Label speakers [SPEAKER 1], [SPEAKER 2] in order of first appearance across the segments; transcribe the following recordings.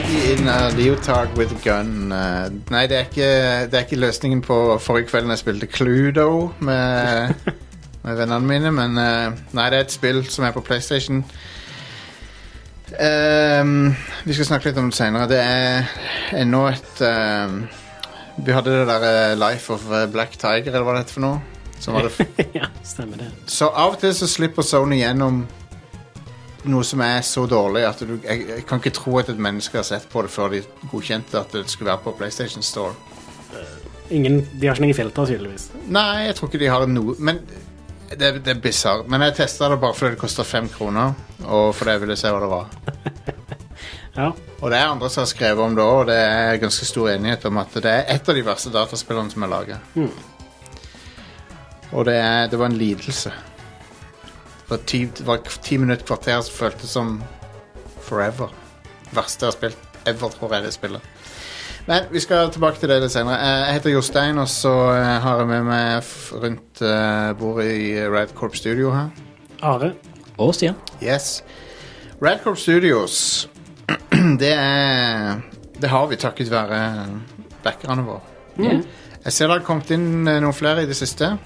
[SPEAKER 1] eh, Leotard with Gun eh, Nei, det er, ikke, det er ikke løsningen på forrige kvelden jeg spilte Cluedo med, med vennene mine, men eh, nei, det er et spill som er på PlayStation. Ehm, vi skal snakke litt om det senere. Det er ennå et ehm, Vi hadde det der eh, Life of eh, Black Tiger, eller hva det heter for noe. Som var det
[SPEAKER 2] ja, stemmer det.
[SPEAKER 1] Så av og til så slipper Sony gjennom noe som er så dårlig at du, jeg, jeg kan ikke tro at et menneske har sett på det før de godkjente at det skulle være på PlayStation Store.
[SPEAKER 2] Ingen, de har ikke noen filter, tydeligvis.
[SPEAKER 1] Nei, jeg tror ikke de har noe Men det, det er bisart. Men jeg testa det bare fordi det koster fem kroner, og fordi jeg ville se hva det var.
[SPEAKER 2] Ja,
[SPEAKER 1] Og det er andre som har skrevet om det òg, og det er ganske stor enighet om at det er et av de verste dataspillene som er laga. Og det, er, det var en lidelse. Det var ti, det var ti minutter kvarter som føltes som forever. Det verste jeg har spilt ever, tror jeg det spillet. Men vi skal tilbake til det litt senere. Eh, Jeg heter Jostein, og så eh, har jeg med meg f- rundt eh, bordet i Rad Corp Studio her.
[SPEAKER 2] Are.
[SPEAKER 3] Og Stian.
[SPEAKER 1] Yes. Radcorp Studios, det er Det har vi takket være eh, backerne våre.
[SPEAKER 2] Mm.
[SPEAKER 1] Jeg ser det har kommet inn eh, noen flere i det siste.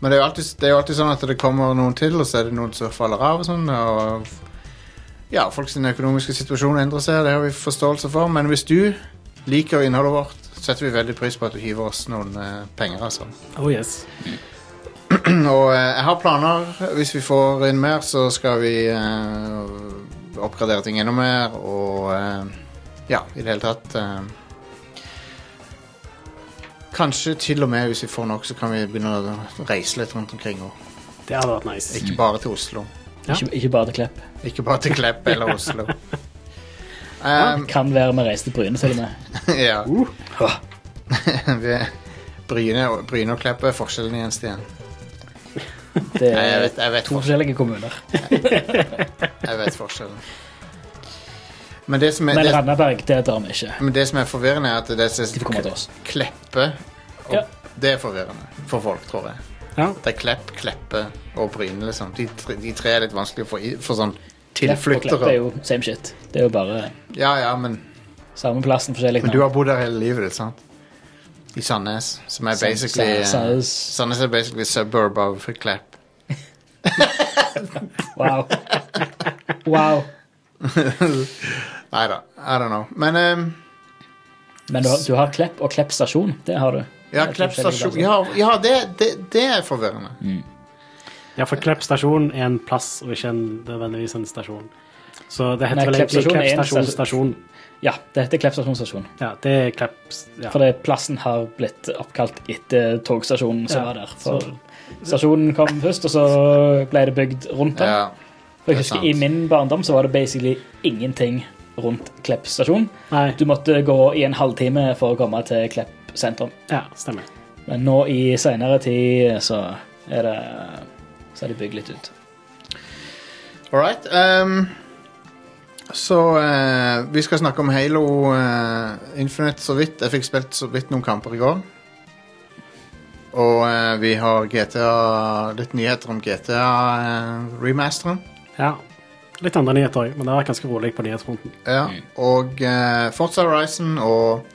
[SPEAKER 1] Men det er jo alltid, det er jo alltid sånn at det kommer noen til, og så er det noen som faller av. og sånn, og ja, Folks økonomiske situasjon endrer seg, det har vi forståelse for. Men hvis du liker innholdet vårt, setter vi veldig pris på at du hiver oss noen eh, penger. altså.
[SPEAKER 2] Oh yes.
[SPEAKER 1] Og eh, jeg har planer. Hvis vi får inn mer, så skal vi eh, oppgradere ting enda mer. Og eh, ja, i det hele tatt eh, Kanskje til og med hvis vi får nok, så kan vi begynne å reise litt rundt omkring. Og
[SPEAKER 2] Det hadde vært nice.
[SPEAKER 1] ikke bare til Oslo.
[SPEAKER 2] Ja.
[SPEAKER 3] Ikke, ikke bare til Klepp.
[SPEAKER 1] Ikke bare til Klepp eller Oslo.
[SPEAKER 3] Det
[SPEAKER 1] Um,
[SPEAKER 3] kan være vi reiser til Bryne, til og med.
[SPEAKER 1] ja.
[SPEAKER 2] Uh.
[SPEAKER 1] Vi- Bryne, og- Bryne og Klepp er forskjellen igjen, Stian.
[SPEAKER 3] Det
[SPEAKER 1] Nei, jeg
[SPEAKER 3] er
[SPEAKER 1] vet, jeg vet
[SPEAKER 3] to forskjellige kommuner.
[SPEAKER 1] Jeg vet forskjellen. Men det som er,
[SPEAKER 3] Men
[SPEAKER 1] det,
[SPEAKER 3] Randaberg, det drar vi ikke.
[SPEAKER 1] men det som er forvirrende, er at det
[SPEAKER 3] De får komme
[SPEAKER 1] er
[SPEAKER 3] til oss.
[SPEAKER 1] Kleppe. Og
[SPEAKER 2] Ja.
[SPEAKER 1] Det er forvirrende for folk, tror jeg.
[SPEAKER 2] Ja.
[SPEAKER 1] Det er Klepp, Kleppe og Bryne, liksom. De, tre- de tre er litt vanskelig å få i- for sånn
[SPEAKER 3] Klepp og Klepp er
[SPEAKER 1] tilflyktere.
[SPEAKER 3] jo same shit. Det er jo bare
[SPEAKER 1] Ja, ja, men,
[SPEAKER 3] samme plassen, forskjellig
[SPEAKER 1] men du
[SPEAKER 3] navn.
[SPEAKER 1] har bodd der hele livet ditt, sant? I Sandnes, som er
[SPEAKER 3] Sand-
[SPEAKER 1] basically eh,
[SPEAKER 3] Sandnes.
[SPEAKER 1] Sandnes er basically suburb av Klepp.
[SPEAKER 3] Wow. Wow.
[SPEAKER 1] Nei da, I don't know. Men ehm,
[SPEAKER 3] Men du har, du har Klepp og Klepp stasjon. Det har du.
[SPEAKER 1] ja,
[SPEAKER 3] Det er
[SPEAKER 1] Klepp
[SPEAKER 3] forskjellige
[SPEAKER 1] stasjon
[SPEAKER 3] plasser.
[SPEAKER 1] Ja, ja det, det, det er forvirrende.
[SPEAKER 2] ja, for Klepp stasjon er en plass, og ikke en, nødvendigvis en stasjon. Så det
[SPEAKER 3] Nei,
[SPEAKER 2] heter vel
[SPEAKER 3] Klepp
[SPEAKER 2] egentlig
[SPEAKER 3] stasjon er
[SPEAKER 2] Klepp
[SPEAKER 3] en
[SPEAKER 2] stasjon
[SPEAKER 3] stas-
[SPEAKER 2] stasjon.
[SPEAKER 3] Ja, det heter Klepp stasjon stasjon.
[SPEAKER 2] Ja, det er Klepp s- ja.
[SPEAKER 3] Fordi plassen har blitt oppkalt etter togstasjonen som
[SPEAKER 2] Ja,
[SPEAKER 3] var der. For
[SPEAKER 2] så-
[SPEAKER 3] stasjonen kom først, og så ble det bygd rundt den.
[SPEAKER 1] Ja.
[SPEAKER 3] For
[SPEAKER 1] det er
[SPEAKER 3] jeg husker
[SPEAKER 1] sant.
[SPEAKER 3] I min barndom så var det basically ingenting rundt Klepp stasjon.
[SPEAKER 2] Nei,
[SPEAKER 3] Du måtte gå i en halvtime for å komme til Klepp sentrum.
[SPEAKER 2] ja, stemmer.
[SPEAKER 3] Men nå i seinere tid så er det Så er det bygd litt ut.
[SPEAKER 1] All right. ehm, så eh, vi skal snakke om Halo eh, Infinite så vidt. Jeg fikk spilt så vidt noen kamper i går. Og eh, vi har GTA, litt nyheter om eh, GTA-remasteren.
[SPEAKER 2] Ja. Litt andre nyheter òg, men det har vært ganske rolig på nyhetsfronten.
[SPEAKER 1] ja. Og eh, Forza Horizon og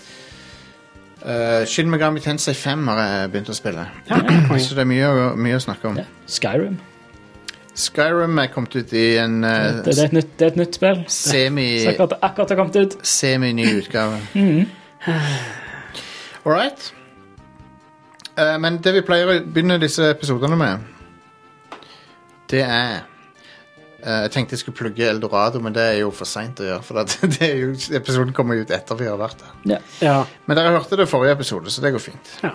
[SPEAKER 1] eh, Shin Megami Tensei 5 har jeg begynt å spille.
[SPEAKER 2] Ja,
[SPEAKER 1] Så det er mye, å- mye å snakke om.
[SPEAKER 3] Ja. Skyrim.
[SPEAKER 1] Skyrim er kommet ut i en eh,
[SPEAKER 3] Det, det, er et nytt, det er et nytt spill.
[SPEAKER 1] semi...
[SPEAKER 3] Som akkurat, akkurat har kommet ut. Mhm.
[SPEAKER 1] semi-ny utgave. All right. Eh, men det vi pleier å begynne disse episodene med, det er eh, Jeg tenkte jeg skulle plugge Eldorado, men det er jo for seint å gjøre. For at det er jo, episoden kommer jo ut etter vi har vært der.
[SPEAKER 3] Ja.
[SPEAKER 2] Ja.
[SPEAKER 1] Men dere hørte det forrige episode, så det går fint.
[SPEAKER 2] ja.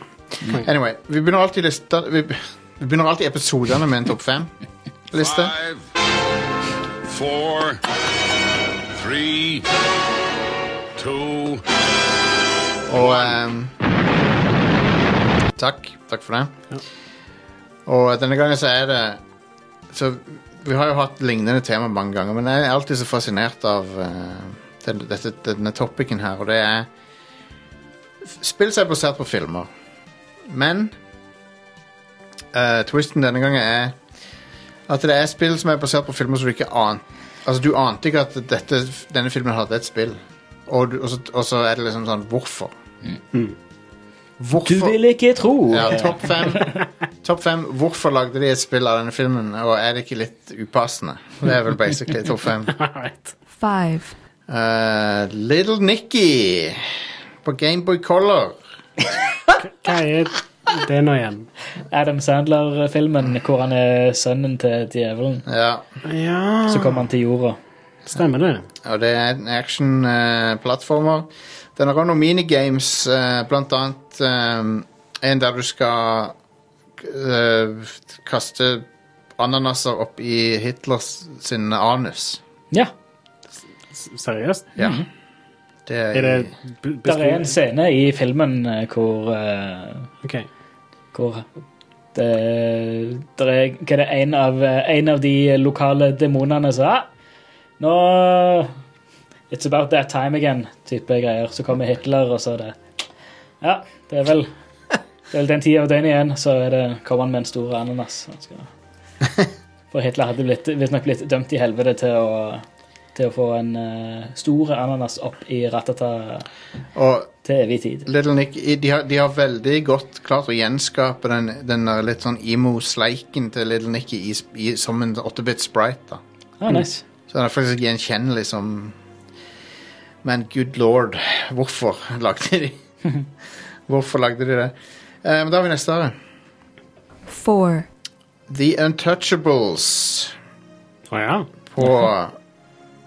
[SPEAKER 1] Anyway, vi begynner alltid, lista, vi, vi begynner alltid episodene med en topp fem-liste.
[SPEAKER 4] Five, four, three, two,
[SPEAKER 1] Og ehm, Takk. Takk for det. Og denne gangen så er det Så vi har jo hatt lignende tema mange ganger, men jeg er alltid så fascinert av eh, den, dette, denne topicen her, og det er f- Spill som er basert på filmer. Men eh, twisten denne gangen er at det er spill som er basert på filmer som du ikke ante Altså, du ante ikke at dette, denne filmen hadde et spill. og, du- og, så, og så er det liksom sånn Hvorfor?
[SPEAKER 3] Du
[SPEAKER 1] Hvorfor?
[SPEAKER 3] vil ikke tro!
[SPEAKER 1] Ja, topp fem. Topp fem. Hvorfor lagde de et spill av denne filmen, og er det ikke litt upassende? Det er vel basically topp fem.
[SPEAKER 2] Alright.
[SPEAKER 5] Five.
[SPEAKER 1] Eh, Little Nicky på Gameboy Color.
[SPEAKER 2] Hva er det nå igjen?
[SPEAKER 3] Adam Sandler-filmen hvor han er sønnen til djevelen.
[SPEAKER 1] Ja,
[SPEAKER 2] Ja
[SPEAKER 3] Så kommer han til jorda.
[SPEAKER 2] Stemmer det.
[SPEAKER 1] og det er en action-plattformer. Den har også noen minigames, eh, blant annet eh, en der du skal eh, kaste ananaser opp i Hitlers sin anus.
[SPEAKER 3] Ja,
[SPEAKER 2] S- Seriøst?
[SPEAKER 1] Ja. Det
[SPEAKER 2] Mhm. Er det
[SPEAKER 3] det er en scene i filmen eh, hvor eh,
[SPEAKER 2] Ok.
[SPEAKER 3] Hvor det, der er, hva er det en av, eh, en av de lokale demonene som ah, Nå It's about that time again, type greier. Så kommer Hitler, og så er det Ja, det er vel Det er vel den tida av døgnet igjen, så er det, kommer han med en stor ananas. Han skal- For Hitler hadde blitt- visstnok blitt dømt i helvete til å, til å få en eh, stor ananas opp i Ratata
[SPEAKER 1] Og
[SPEAKER 3] til evig tid.
[SPEAKER 1] Little Nick, i- de har, de har veldig godt klart å gjenskape den, den der litt sånn emo-sleiken til Little Nicky i, sp- i, som en 8-bit sprite. da.
[SPEAKER 3] Ah, nice.
[SPEAKER 1] Så den er faktisk gjenkjennelig som Men good lord, hvorfor lagde de Hvorfor lagde de det? Eh, Men da har vi neste. her.
[SPEAKER 5] Four.
[SPEAKER 1] The Untouchables
[SPEAKER 2] Å ja.
[SPEAKER 1] på,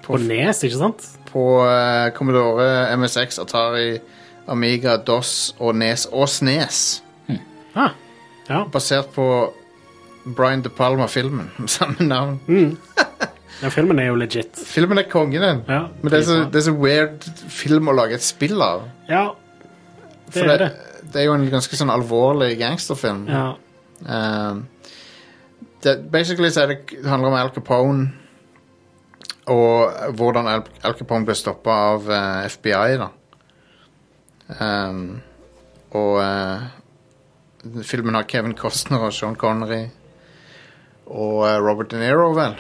[SPEAKER 2] På Nes, ikke sant?
[SPEAKER 1] på eh, Commodore, MSX, Atari, Amiga, DOS og Nes og E Snes.
[SPEAKER 2] Ah. Ja.
[SPEAKER 1] basert på Brian De Palma-filmen med samme navn.
[SPEAKER 2] Den filmen er jo legit.
[SPEAKER 1] Filmen er kongen, den.
[SPEAKER 2] Ja,
[SPEAKER 1] Men det er, så,
[SPEAKER 2] dritbra.
[SPEAKER 1] det er så weird film å lage et spill av.
[SPEAKER 2] Ja. Det
[SPEAKER 1] For
[SPEAKER 2] er det.
[SPEAKER 1] det er jo en ganske sånn alvorlig gangsterfilm.
[SPEAKER 2] Ja.
[SPEAKER 1] Um, det, basically så er det, det handler om Al Capone og hvordan Al, Al Capone ble stoppa av eh, FBI, da. Um, og eh, filmen har Kevin Costner og Sean Connery og eh, Robert De Niro, vel.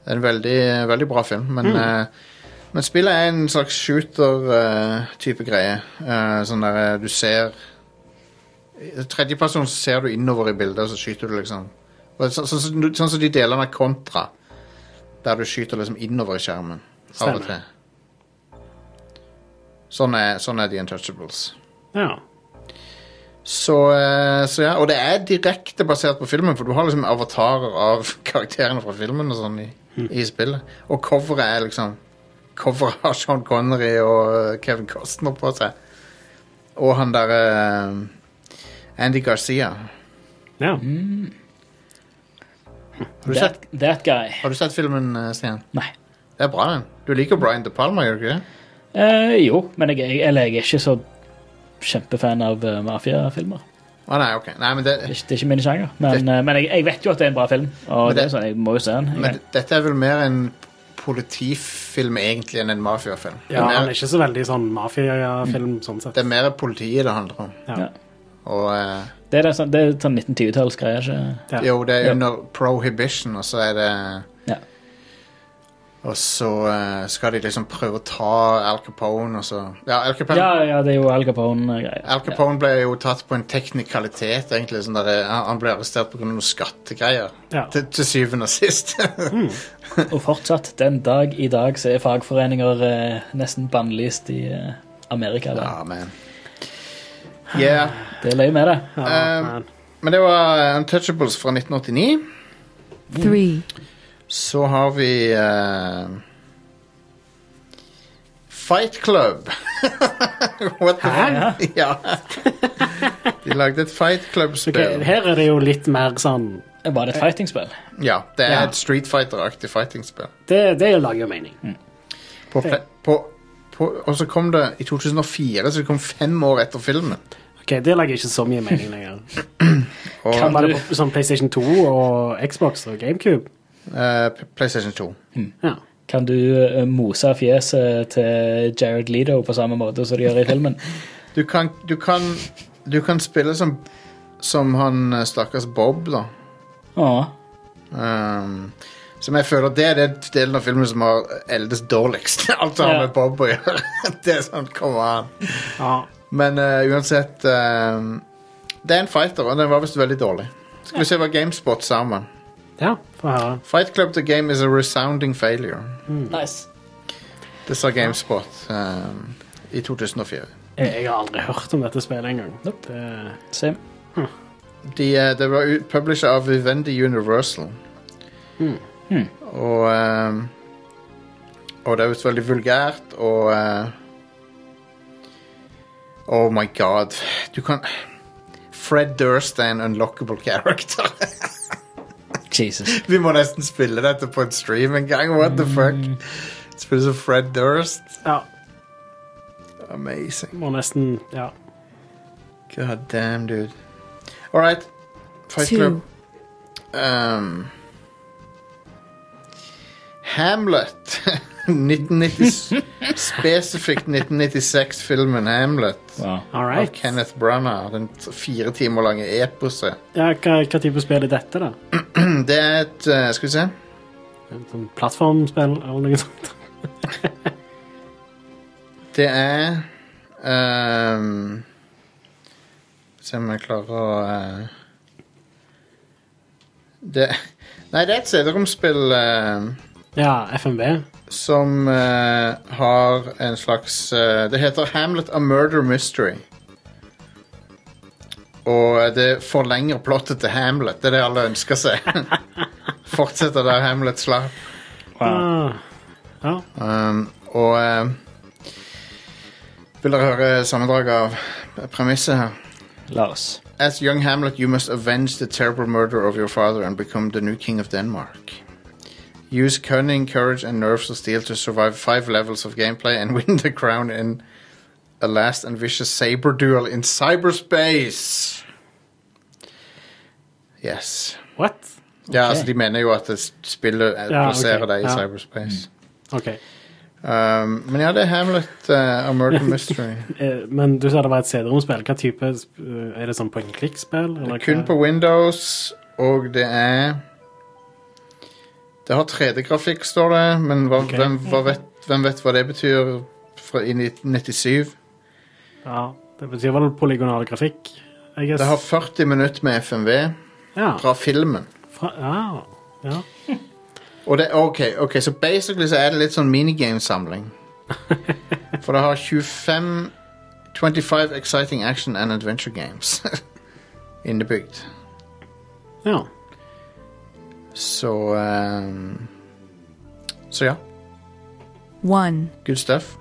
[SPEAKER 1] Det er en veldig, veldig bra film, men eh, men spillet er en slags shooter-type greie. Eh, sånn der eh, du ser i Tredjeperson så ser du innover i bildet, og så skyter du liksom. Og så- Sånn som sånn, som de delene av Kontra, der du skyter liksom innover i skjermen. Av og
[SPEAKER 2] Stemmer.
[SPEAKER 1] til. Sånn er, sånn er The Untouchables.
[SPEAKER 2] ja.
[SPEAKER 1] Så, eh, så ja, Og det er direkte basert på filmen, for du har liksom avatarer av karakterene fra filmen og sånn i, i spillet. Og coveret er liksom Coveret har Sean Connery og eh, Kevin Costner på seg. Og han derre Andy Garcia.
[SPEAKER 2] ja.
[SPEAKER 1] Mm. Har du, sett,
[SPEAKER 3] That, that guy.
[SPEAKER 1] har du sett filmen, eh, Stian?
[SPEAKER 3] Nei.
[SPEAKER 1] Det er bra, den. Du liker Brian De Palma, gjør du ikke det?
[SPEAKER 3] Eh, jo, men jeg, jeg, eller jeg er ikke så kjempefan av eh, mafiafilmer.
[SPEAKER 1] Å nei, ok. Nei, men, det,
[SPEAKER 3] Det, er ikke- det er ikke min sjanger. Men, eh, men jeg, jeg vet jo at det er en bra film, og
[SPEAKER 1] Men
[SPEAKER 3] det,
[SPEAKER 1] det-
[SPEAKER 3] er sånn, jeg må jo se den. Jeg,
[SPEAKER 1] men dette er vel mer en politifilm egentlig enn en mafiafilm. Det
[SPEAKER 2] ja.
[SPEAKER 1] er
[SPEAKER 2] Han er
[SPEAKER 1] mer-
[SPEAKER 2] ikke så veldig sånn mafiafilm sånn sett.
[SPEAKER 1] det er mer politiet det handler om.
[SPEAKER 2] Ja.
[SPEAKER 3] Ja.
[SPEAKER 1] Og eh,
[SPEAKER 3] det, er sånn, det er sånn 1920-tallsgreier. ikke?
[SPEAKER 2] Ja.
[SPEAKER 1] Jo, det er
[SPEAKER 3] Ja.
[SPEAKER 1] under prohibition, og så er det
[SPEAKER 3] Ja.
[SPEAKER 1] Og så eh, skal de liksom prøve å ta Al Capone, og så Ja, Al Capone,
[SPEAKER 3] Ja, ja, det er jo Al Capone-greier.
[SPEAKER 1] Al Capone ble jo tatt på en teknikalitet, egentlig. Sånn der, han han ble arrestert pga. noen skattegreier.
[SPEAKER 2] Ja.
[SPEAKER 1] Til, til syvende og sist.
[SPEAKER 3] Mm. Og fortsatt, den dag i dag, så er fagforeninger eh, nesten bannlyst i eh, Amerika. Da.
[SPEAKER 1] ja, men Yeah.
[SPEAKER 3] Det er løye med det.
[SPEAKER 2] Ja,
[SPEAKER 1] Eh,
[SPEAKER 2] man.
[SPEAKER 1] Men det var Untouchables fra 1989.
[SPEAKER 5] Three.
[SPEAKER 1] Så har vi eh, Fight Club. What the
[SPEAKER 2] Hæ?
[SPEAKER 1] Ja. De lagde et Fight
[SPEAKER 2] Ok,
[SPEAKER 1] Club-spill.
[SPEAKER 2] her er det jo litt mer sånn
[SPEAKER 3] Var det et fightingspill?
[SPEAKER 1] Ja, det er
[SPEAKER 2] Ja.
[SPEAKER 1] et Street Fighter-aktig fighting-spill.
[SPEAKER 2] Det, det lager jo mening.
[SPEAKER 1] Mm. På, ple- på, på, og så kom det i 2004, så det kom fem år etter filmen.
[SPEAKER 2] Ok, Det lager ikke så mye mening lenger.
[SPEAKER 1] Og
[SPEAKER 2] Kan
[SPEAKER 3] du-
[SPEAKER 2] være på sånn PlayStation 2 og Xbox og GameCube.
[SPEAKER 1] eh, P- PlayStation 2.
[SPEAKER 2] Ja.
[SPEAKER 3] Kan du eh, mose fjeset til Jared Leto på samme måte som de gjør i filmen?
[SPEAKER 1] Du kan, du kan, du kan spille som, som han eh, stakkars Bob, da.
[SPEAKER 3] Åh.
[SPEAKER 1] Um, Som jeg føler det er den delen av filmen som har eldes dårligst. Alt har
[SPEAKER 3] Ja.
[SPEAKER 1] med Bob å gjøre. Det er sånn, kom an.
[SPEAKER 2] Ja.
[SPEAKER 1] Men eh, uansett eh, Det er en fighter, og den var visst veldig dårlig. Skal vi se hva Gamespot sa om den.
[SPEAKER 2] ja Få høre.
[SPEAKER 1] Fight Club the Game is a resounding failure.
[SPEAKER 3] Nice.
[SPEAKER 1] Det sa Gamespot eh, i 2004.
[SPEAKER 2] Jeg, jeg har aldri hørt om dette spillet engang.
[SPEAKER 3] Nope.
[SPEAKER 2] Det-
[SPEAKER 3] Same.
[SPEAKER 1] De, eh, det var ut- publisher av Vivendi Universal.
[SPEAKER 3] Hmm.
[SPEAKER 1] Og eh, Og det er visst veldig vulgært, og eh, Oh my god. Du kan Fred Durst er en unlockable character.
[SPEAKER 3] Jesus.
[SPEAKER 1] Vi må nesten spille dette på en stream en gang. What the fuck? Spille som Fred Durst.
[SPEAKER 2] Ja,
[SPEAKER 1] Amazing.
[SPEAKER 2] må nesten Ja.
[SPEAKER 1] God damn, dude. All right. Fight Club.
[SPEAKER 5] two,
[SPEAKER 1] Um, Hamlet. 1990, spesifikt 1996-filmen Hamlet
[SPEAKER 3] Wow.
[SPEAKER 2] All
[SPEAKER 1] av
[SPEAKER 2] right.
[SPEAKER 1] Kenneth Branagh. Den t- fire timer lange eposet.
[SPEAKER 2] Ja, hva, hva type spill er dette, da?
[SPEAKER 1] Det er et eh, Skal vi se.
[SPEAKER 2] Sånn plattformspill eller noe sånt?
[SPEAKER 1] Det er ehm, Se om jeg klarer å eh, Det Nei, det er et CD-romspill eh,
[SPEAKER 2] Ja, FMV.
[SPEAKER 1] som eh, har en slags eh, Det heter Hamlet A Murder Mystery. Og eh, det forlenger plottet til Hamlet. Det er det alle ønsker seg. Fortsetter der Hamlet slapp.
[SPEAKER 3] wow.
[SPEAKER 2] Ah. Ja.
[SPEAKER 1] Um, og um, vil dere høre sammendrag av premisset her?
[SPEAKER 3] La oss.
[SPEAKER 1] As young Hamlet, you must avenge the terrible murder of your father and become the new king of Denmark. Use cunning, courage, and nerves of steel to survive five levels of gameplay and win the crown in a last and vicious saber duel in cyberspace. Yes. er
[SPEAKER 2] What?
[SPEAKER 1] Ja, altså, de mener jo at det spillet eh,
[SPEAKER 2] Ja, ok,
[SPEAKER 1] plasserer deg i
[SPEAKER 2] ja.
[SPEAKER 1] cyberspace.
[SPEAKER 2] OK. Eh,
[SPEAKER 1] Um, men ja, det er Hamlet uh, A Murder Mystery.
[SPEAKER 2] Eh, Men du sa det var et CD-romspill. Hva type sp- eh, Er det sånn point-and-click-spill?
[SPEAKER 1] Det er
[SPEAKER 2] eller
[SPEAKER 1] kun
[SPEAKER 2] hva?
[SPEAKER 1] på Windows, og det er Det har 3D-grafikk, står det, men hva,
[SPEAKER 2] Ok.
[SPEAKER 1] hvem, hva vet, hvem vet hva det betyr fra i 1997?
[SPEAKER 2] Ja, Det betyr vel polygonal grafikk? I guess.
[SPEAKER 1] Det har 40 minutter med FMV
[SPEAKER 2] ja.
[SPEAKER 1] fra filmen.
[SPEAKER 2] Fra, ja. ja.
[SPEAKER 1] Og det, ok, ok, så basically så er det litt sånn minigamesamling. For det har 25 25 exciting action and adventure games innebygd.
[SPEAKER 2] ja.
[SPEAKER 1] Så ehm, Så ja.
[SPEAKER 5] one,
[SPEAKER 1] Good stuff.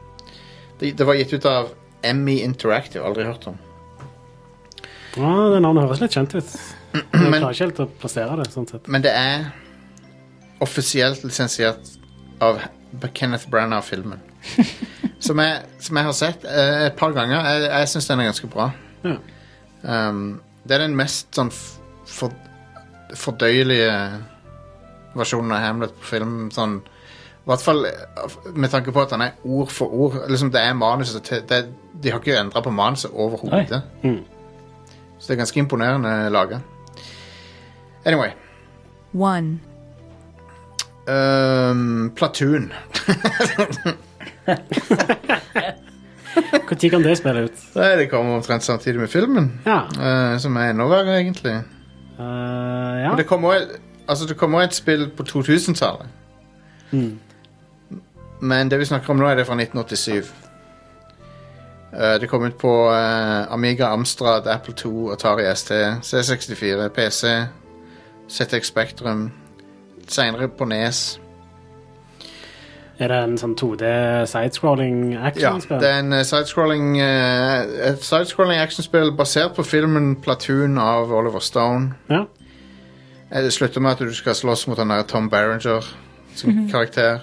[SPEAKER 1] Det, det var gitt ut av Emmy Interactive. Aldri hørt om.
[SPEAKER 2] Ja, Det navnet høres litt kjent ut. Men jeg klarer ikke helt å plassere det. sånn sett.
[SPEAKER 1] Men det er offisielt lisensiert av H- Kenneth Branagh-filmen. som, jeg- som jeg har sett eh, et par ganger. Jeg, jeg syns den er ganske bra.
[SPEAKER 2] Ja.
[SPEAKER 1] Um, det er den mest sånn f- for, fordøyelige versjonen av Hamlet på film. Sånn, I hvert fall eh, med tanke på at han er ord for ord. Liksom det er manuset til det, De har ikke endra på manuset overhodet.
[SPEAKER 2] Mm.
[SPEAKER 1] Så det er ganske imponerende laga. Anyway.
[SPEAKER 5] one,
[SPEAKER 1] Um, Platoon.
[SPEAKER 2] Når kan det spille ut?
[SPEAKER 1] Nei, Det kommer omtrent samtidig med filmen.
[SPEAKER 2] Ja.
[SPEAKER 1] eh, som er enda verre, egentlig.
[SPEAKER 2] Eh, ja.
[SPEAKER 1] Men det kommer også- altså, det kommer også et spill på 2000-tallet.
[SPEAKER 2] Mm.
[SPEAKER 1] Men det vi snakker om nå, er det fra 1987. Eh, det kom ut på eh, Amiga Amstrad, Apple 2, Atari ST, C64, PC, ZX Spectrum. Seinere på E Nes.
[SPEAKER 2] Er det en sånn 2D sidescrolling
[SPEAKER 1] Ja,
[SPEAKER 2] actionspill?
[SPEAKER 1] det er en eh, sidescrolling eh, Et sidescrolling actionspill basert på filmen Platoon av Oliver Stone.
[SPEAKER 2] Ja.
[SPEAKER 1] Eh, Det slutter med at du skal slåss mot han der Tom Berenger som karakter.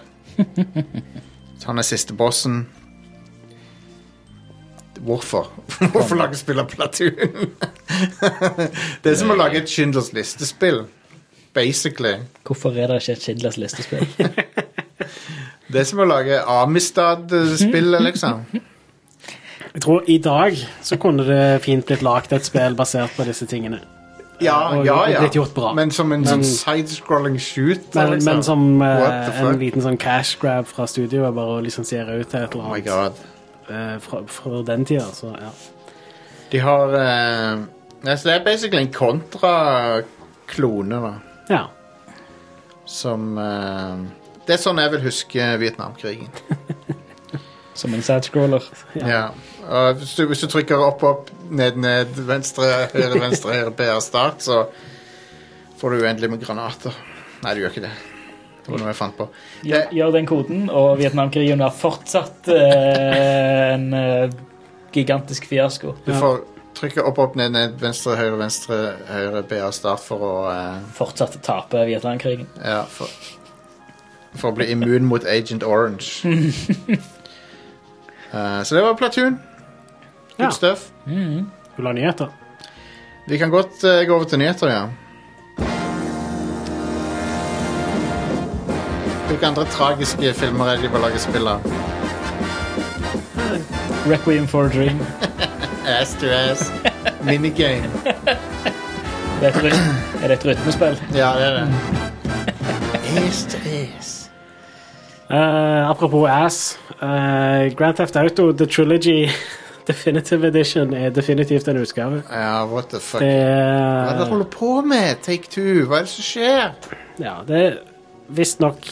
[SPEAKER 1] Så Han er siste bossen. Hvorfor? Hvorfor lage spill av Platoon? det er som å lage et Schindlers listespill. Basically.
[SPEAKER 3] Hvorfor er det ikke et Schindlers listespill?
[SPEAKER 1] Det er som å lage Amistad-spill, liksom.
[SPEAKER 2] Jeg tror i dag så kunne det fint blitt lagt et spill basert på disse tingene.
[SPEAKER 1] Ja,
[SPEAKER 2] og
[SPEAKER 1] ja, ja.
[SPEAKER 2] blitt gjort bra.
[SPEAKER 1] Men som en sånn
[SPEAKER 2] Men-
[SPEAKER 1] sidescrolling shoot.
[SPEAKER 2] Men,
[SPEAKER 1] liksom.
[SPEAKER 2] men som eh,
[SPEAKER 1] What the fuck?
[SPEAKER 2] en liten sånn cash grab fra studioet, bare å lisensiere ut til et
[SPEAKER 1] Oh
[SPEAKER 2] eller
[SPEAKER 1] my
[SPEAKER 2] annet
[SPEAKER 1] god.
[SPEAKER 2] eh, fra, fra den tida, så ja.
[SPEAKER 1] De har eh, ja, Så det er basically en kontraklone, da.
[SPEAKER 2] ja.
[SPEAKER 1] Som eh, Det er sånn jeg vil huske Vietnamkrigen.
[SPEAKER 3] Som en sidescroller.
[SPEAKER 1] Ja. Og hvis, du, hvis du trykker opp, opp, ned, ned, venstre, høyre, venstre, høyre, PR start, så får du uendelig med granater. Nei, du gjør ikke det. Det var noe jeg fant på.
[SPEAKER 3] Gjør, gjør den koden, og Vietnamkrigen er fortsatt eh, en eh, gigantisk fiasko.
[SPEAKER 1] Du får trykke opp, opp, ned, ned, venstre, høyre, venstre, høyre, PR start for å eh,
[SPEAKER 3] Fortsatt taper Vietnamkrigen.
[SPEAKER 1] Ja, for, for å bli immun mot Agent Orange. Eh, så det var Platoon. Good
[SPEAKER 2] Ja.
[SPEAKER 1] stuff.
[SPEAKER 2] Vil du ha nyheter?
[SPEAKER 1] Vi kan godt eh, gå over til nyheter, ja. Hvilke andre tragiske filmer er det de bør lage spill av?
[SPEAKER 3] Requiem for a dream.
[SPEAKER 1] Ass to ass. Minigame.
[SPEAKER 3] Det er, et rytm, er det et rytmespill?
[SPEAKER 1] Ja, det er det. Ass to ass.
[SPEAKER 2] Eh, apropos ass. eh, Grand Theft Auto The Trilogy Definitive Edition er definitivt en utgave.
[SPEAKER 1] Ja, what the fuck.
[SPEAKER 2] Det
[SPEAKER 1] Hva er sånn. det du
[SPEAKER 2] er
[SPEAKER 1] holder på med? Take two. Hva er det som skjer?
[SPEAKER 2] Ja, det er visstnok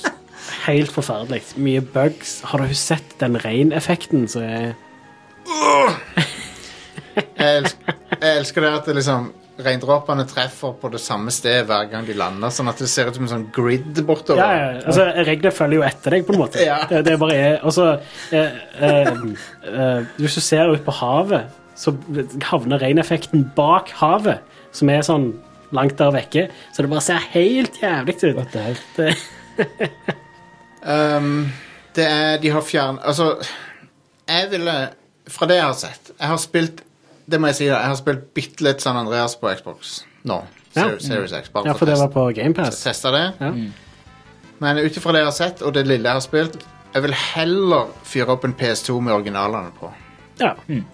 [SPEAKER 2] helt forferdelig. Mye bugs. Har du sett den rain-effekten som er
[SPEAKER 1] Jeg elsker, jeg elsker det at det liksom Regndråpene treffer på det samme sted hver gang de lander, sånn at det ser ut som en sånn grid bortover.
[SPEAKER 2] Ja, ja, altså, reglene følger jo etter deg, på en måte.
[SPEAKER 1] Ja.
[SPEAKER 2] Det, det bare er Og så eh, eh, eh, Hvis du ser ut på havet, så havner reineffekten bak havet, som er sånn langt der vekke, så det bare ser helt jævlig ut.
[SPEAKER 3] What the hell?
[SPEAKER 2] Det,
[SPEAKER 1] Um, det er De har fjern... Altså, jeg ville Fra det jeg har sett Jeg har spilt Det må jeg si, da. Jeg har spilt bitte litt San Andreas på Xbox nå.
[SPEAKER 2] Ja.
[SPEAKER 1] Ser- Series X. Bare
[SPEAKER 2] ja, for det var på GamePass.
[SPEAKER 1] testa det.
[SPEAKER 2] Ja.
[SPEAKER 1] Men ut ifra det jeg har sett, og det lille jeg har spilt, jeg vil heller fyre opp en PS2 med originalene på.
[SPEAKER 2] Ja.
[SPEAKER 3] Hmm.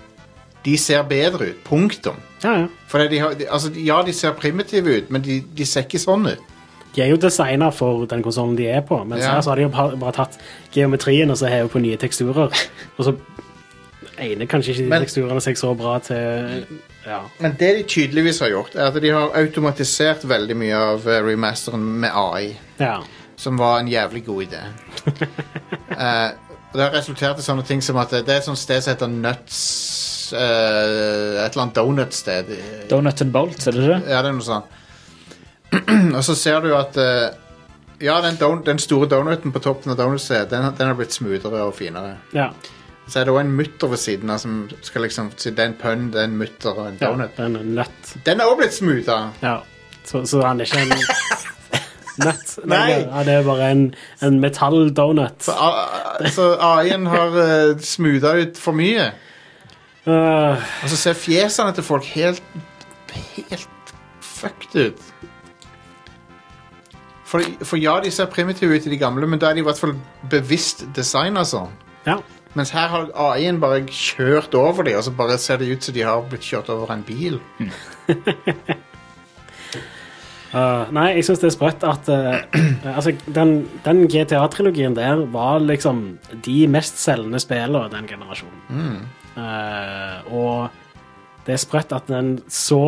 [SPEAKER 1] De ser bedre ut. Punktum.
[SPEAKER 2] ja, ja.
[SPEAKER 1] For de har, de, altså, ja, de ser primitive ut, men de, de ser ikke sånn ut.
[SPEAKER 2] De er jo designa for den konsollen de er på, mens
[SPEAKER 1] Ja.
[SPEAKER 2] her så har de jo bare, bare tatt geometrien og så hevet på nye teksturer. Og så egner kanskje ikke de
[SPEAKER 1] Men-
[SPEAKER 2] teksturene seg så bra til Ja.
[SPEAKER 1] Men det de tydeligvis har gjort, er at de har automatisert veldig mye av eh, remasteren med AI,
[SPEAKER 2] ja.
[SPEAKER 1] som var en jævlig god idé. Eh, og det har resultert i sånne ting som at eh, det er et sånt sted som heter Nuts eh, Et eller annet donut-sted. i-
[SPEAKER 3] Donut and Bolt, er det ikke?
[SPEAKER 1] Ja, det er noe sånt. og så ser du at eh, Ja, den, don den store donuten på toppen av donutstedet, den, har- den har blitt smoothere og finere.
[SPEAKER 2] ja.
[SPEAKER 1] Så er det også en mutter ved siden av som skal liksom si det er en pønn, det er en mutter og en
[SPEAKER 2] Ja,
[SPEAKER 1] donut.
[SPEAKER 2] det er en nøtt.
[SPEAKER 1] Den er også blitt smootha!
[SPEAKER 2] Ja. Så, så han er ikke en nøtt. Nei.
[SPEAKER 1] Nei.
[SPEAKER 2] Ja, det er bare en, en metalldonut.
[SPEAKER 1] Så, A- A- så AI-en har uh, smootha ut for mye.
[SPEAKER 2] Øh,
[SPEAKER 1] Og så ser fjesene til folk helt helt fucked ut. For, for ja, de ser primitive ut i de gamle, men da er de i hvert fall bevisst designa sånn.
[SPEAKER 2] ja.
[SPEAKER 1] Mens her har AI-en bare kjørt over dem, og så bare ser det ut som de har blitt kjørt over en bil.
[SPEAKER 2] Øh, nei, jeg syns det er sprøtt at øh, altså, den, den GTA-trilogien der var liksom de mest selgende spillene av den generasjonen. Øh, og det er sprøtt at en så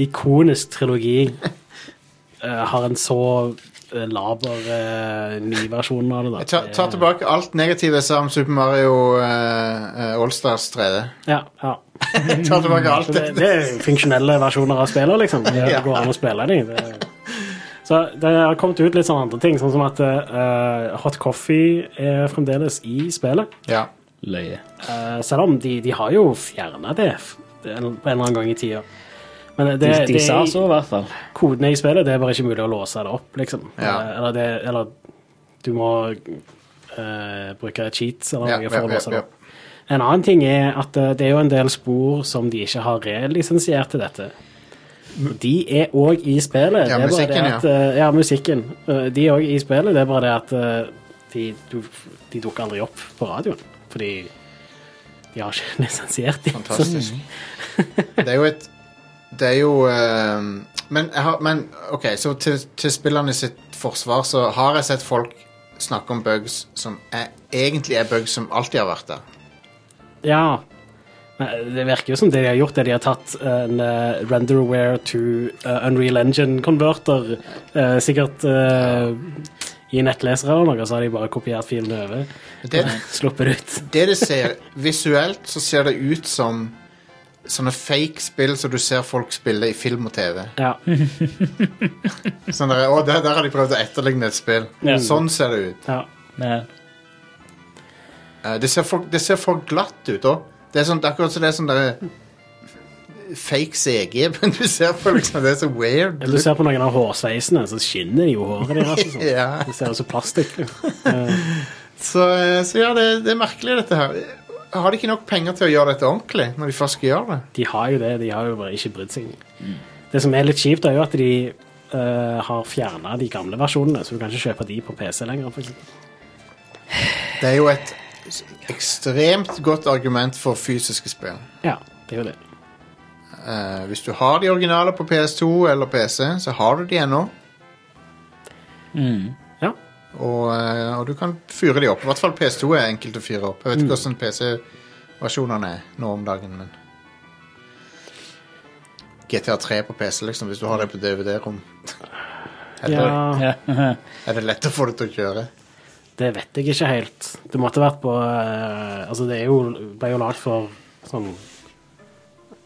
[SPEAKER 2] ikonisk trilogi øh, har en så øh, laber øh, ny versjon av det. da.
[SPEAKER 1] Jeg tar, tar
[SPEAKER 2] Det-
[SPEAKER 1] tilbake alt negativt jeg sa om Super Mario uh, Allstars 3D.
[SPEAKER 2] Ja, ja.
[SPEAKER 1] Jeg tar tilbake alt
[SPEAKER 2] Så det, det er jo funksjonelle versjoner av spiller, liksom. Det
[SPEAKER 1] Ja.
[SPEAKER 2] går an å spille de. Det. Så det har kommet ut litt sånne andre ting, sånn som at eh, hot coffee er fremdeles i spillet.
[SPEAKER 1] Ja.
[SPEAKER 3] Løye.
[SPEAKER 2] Eh, selv om de, de har jo fjerna det f- en- på en eller annen gang i tida. Men det,
[SPEAKER 3] De,
[SPEAKER 2] det,
[SPEAKER 3] de sa så, i hvert fall.
[SPEAKER 2] kodene i spillet, det er bare ikke mulig å låse det opp, liksom.
[SPEAKER 1] Ja.
[SPEAKER 2] Eh, eller, det, eller du må eh, bruke cheats eller
[SPEAKER 1] Ja,
[SPEAKER 2] noe
[SPEAKER 1] ja,
[SPEAKER 2] for
[SPEAKER 1] ja,
[SPEAKER 2] å låse
[SPEAKER 1] ja.
[SPEAKER 2] det opp. En annen ting er at eh, det er jo en del spor som de ikke har relisensiert til dette. Og De er òg i spillet.
[SPEAKER 1] Ja,
[SPEAKER 2] det er bare
[SPEAKER 1] musikken,
[SPEAKER 2] det at, eh, ja. musikken. Eh, De er òg i spillet, det er bare det at eh, de, du, de dukker aldri opp på radioen. Fordi de har ikke lisensiert dem.
[SPEAKER 1] Fantastisk. Det er jo et Det er jo ehm, men, jeg har, men OK, så til, til spillerne sitt forsvar så har jeg sett folk snakke om bugs som er, egentlig er bugs som alltid har vært der.
[SPEAKER 2] Ja. Men eh, Det virker jo som det de har gjort, er de har tatt en eh, renderware to eh, Unreal Engine-konverter. eh, sikkert eh, i nettlesere eller noe, så har de bare kopiert filene over.
[SPEAKER 1] Det,
[SPEAKER 2] Sluppet det ut.
[SPEAKER 1] det det ser Visuelt så ser det ut som sånne fake spill som du ser folk spille i film og TV.
[SPEAKER 2] Ja.
[SPEAKER 1] Sånn der, å, der, der har de prøvd å etterligne et spill.
[SPEAKER 3] Ja.
[SPEAKER 1] Sånn ser det ut.
[SPEAKER 2] ja.
[SPEAKER 3] Ja.
[SPEAKER 1] Eh, Det ser for, det ser for glatt ut òg. Det er sånn, det er akkurat som det er sånn der eh, fake CG, men du ser på liksom Det er så weird.
[SPEAKER 2] Eller du ser på noen av hårsveisene, så skinner jo håret deres. og sånn.
[SPEAKER 1] Ja.
[SPEAKER 2] Det ser ut som plastikk.
[SPEAKER 1] Så, eh, så ja, det, det er merkelig, dette her. Har de ikke nok penger til å gjøre dette ordentlig? når de først skal gjøre det?
[SPEAKER 2] De har jo det, de har jo bare ikke brydd seg. Det som er litt kjipt, er jo at de eh, har fjerna de gamle versjonene, så du kan ikke kjøpe de på PC lenger. For eksempel.
[SPEAKER 1] Det er jo et s- ekstremt godt argument for fysiske spill.
[SPEAKER 2] ja, det er jo det.
[SPEAKER 1] Eh, hvis du har de originale på PS2 eller PC, så har du de ennå.
[SPEAKER 2] Ja.
[SPEAKER 1] Og, eh, og du kan fyre de opp. I hvert fall PS2 er enkelt å fyre opp. Jeg
[SPEAKER 2] Mm.
[SPEAKER 1] vet ikke hvordan PC-versjonene er nå om dagen, men GTA3 på PC, liksom, hvis du har det på DVD-rom. Er, det-
[SPEAKER 2] ja,
[SPEAKER 3] Ja.
[SPEAKER 1] er det lett å få det til å kjøre?
[SPEAKER 2] det vet jeg ikke helt. Det måtte vært på eh, Altså, det er jo, ble jo lagd for sånn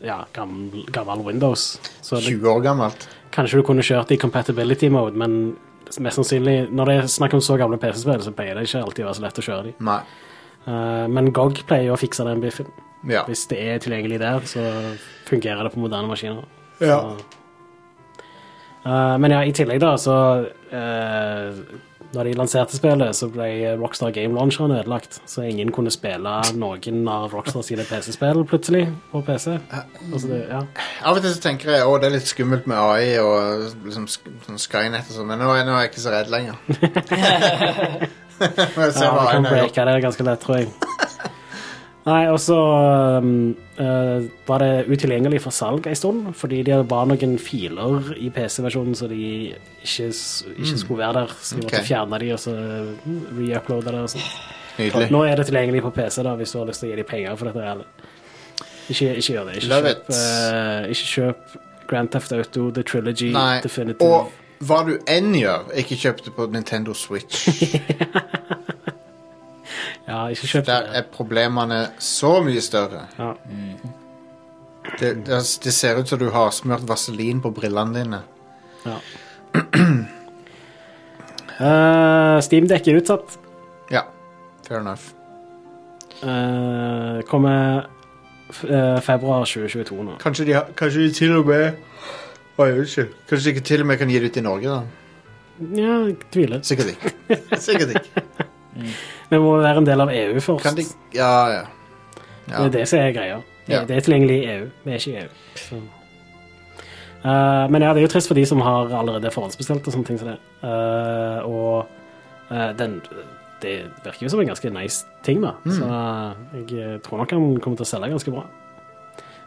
[SPEAKER 2] ja, gammel, gammel Windows. Så det,
[SPEAKER 1] 20 år gammelt.
[SPEAKER 2] kanskje du kunne kjørt i compatibility mode, men mest sannsynlig, når det er snakk om så gamle PC-spill, så pleier det ikke alltid å være så lett å kjøre de.
[SPEAKER 1] Nei.
[SPEAKER 2] Eh, men GOG pleier jo å fikse den biffen.
[SPEAKER 1] Ja.
[SPEAKER 2] Hvis det er tilgjengelig der, så fungerer det på moderne maskiner.
[SPEAKER 1] Ja.
[SPEAKER 2] Eh, men ja, i tillegg da, så uh, Når de lanserte spillet, så ble Rockstar Game Launcheren ødelagt. Så ingen kunne spille noen av Rockstar sine PC-spill plutselig på PC. Altså, det, ja.
[SPEAKER 1] Av og til så tenker jeg at det er litt skummelt med AI og liksom, sk- sånn Skynet og sånn, men nå er, nå er jeg ikke så redd lenger. Når jeg ser
[SPEAKER 2] Ja,
[SPEAKER 1] hva AI
[SPEAKER 2] vi kan
[SPEAKER 1] har gjort.
[SPEAKER 2] breake det ganske lett, tror jeg. Nei, og så um, eh, var det utilgjengelig for salg en stund, fordi det var noen filer i PC-versjonen så de ikke, s- ikke skulle være der. Så de måtte
[SPEAKER 1] Mm. Ok.
[SPEAKER 2] fjerne de og så mm, reuploade det. og sånt.
[SPEAKER 1] Nydelig.
[SPEAKER 2] Nå er det tilgjengelig på PC, da, hvis du har lyst til å gi dem penger for dette. Eller. Ikke, ikke gjør det. Ikke
[SPEAKER 1] Love
[SPEAKER 2] kjøp,
[SPEAKER 1] it.
[SPEAKER 2] eh, ikke kjøp Grand Theft Auto, The Trilogy,
[SPEAKER 1] Nei.
[SPEAKER 2] Definitive.
[SPEAKER 1] Og hva du enn gjør, ikke kjøp det på Nintendo Switch.
[SPEAKER 2] ja, ikke kjøp
[SPEAKER 1] Der
[SPEAKER 2] det.
[SPEAKER 1] er problemene så mye større.
[SPEAKER 2] Ja.
[SPEAKER 1] Det, det, det ser ut som du har smurt vaselin på brillene dine.
[SPEAKER 2] Ja. Eh, Steam Deck er utsatt.
[SPEAKER 1] Ja, fair enough.
[SPEAKER 2] Eh, kommer f eh, februar 2022 nå.
[SPEAKER 1] Kanskje de, har- kanskje de til og med Oi, unnskyld. Kanskje de ikke til og med kan gi det ut i Norge, da.
[SPEAKER 2] Ja, jeg tviler.
[SPEAKER 1] Sikkert ikke. Sikkert ikke.
[SPEAKER 2] Vi må være en del av EU først.
[SPEAKER 1] Kan de Ja, ja. ja.
[SPEAKER 2] Det er det som er greia. Det,
[SPEAKER 1] Ja.
[SPEAKER 2] det er tilgjengelig i EU. Vi er ikke i EU. Så. Eh, men ja, det er jo trist for de som har allerede forhåndsbestilt og sånne ting som det. Eh, og eh, den Det virker jo som en ganske nice ting, da.
[SPEAKER 1] Mm.
[SPEAKER 2] Så eh, jeg tror nok han kommer til å selge ganske bra.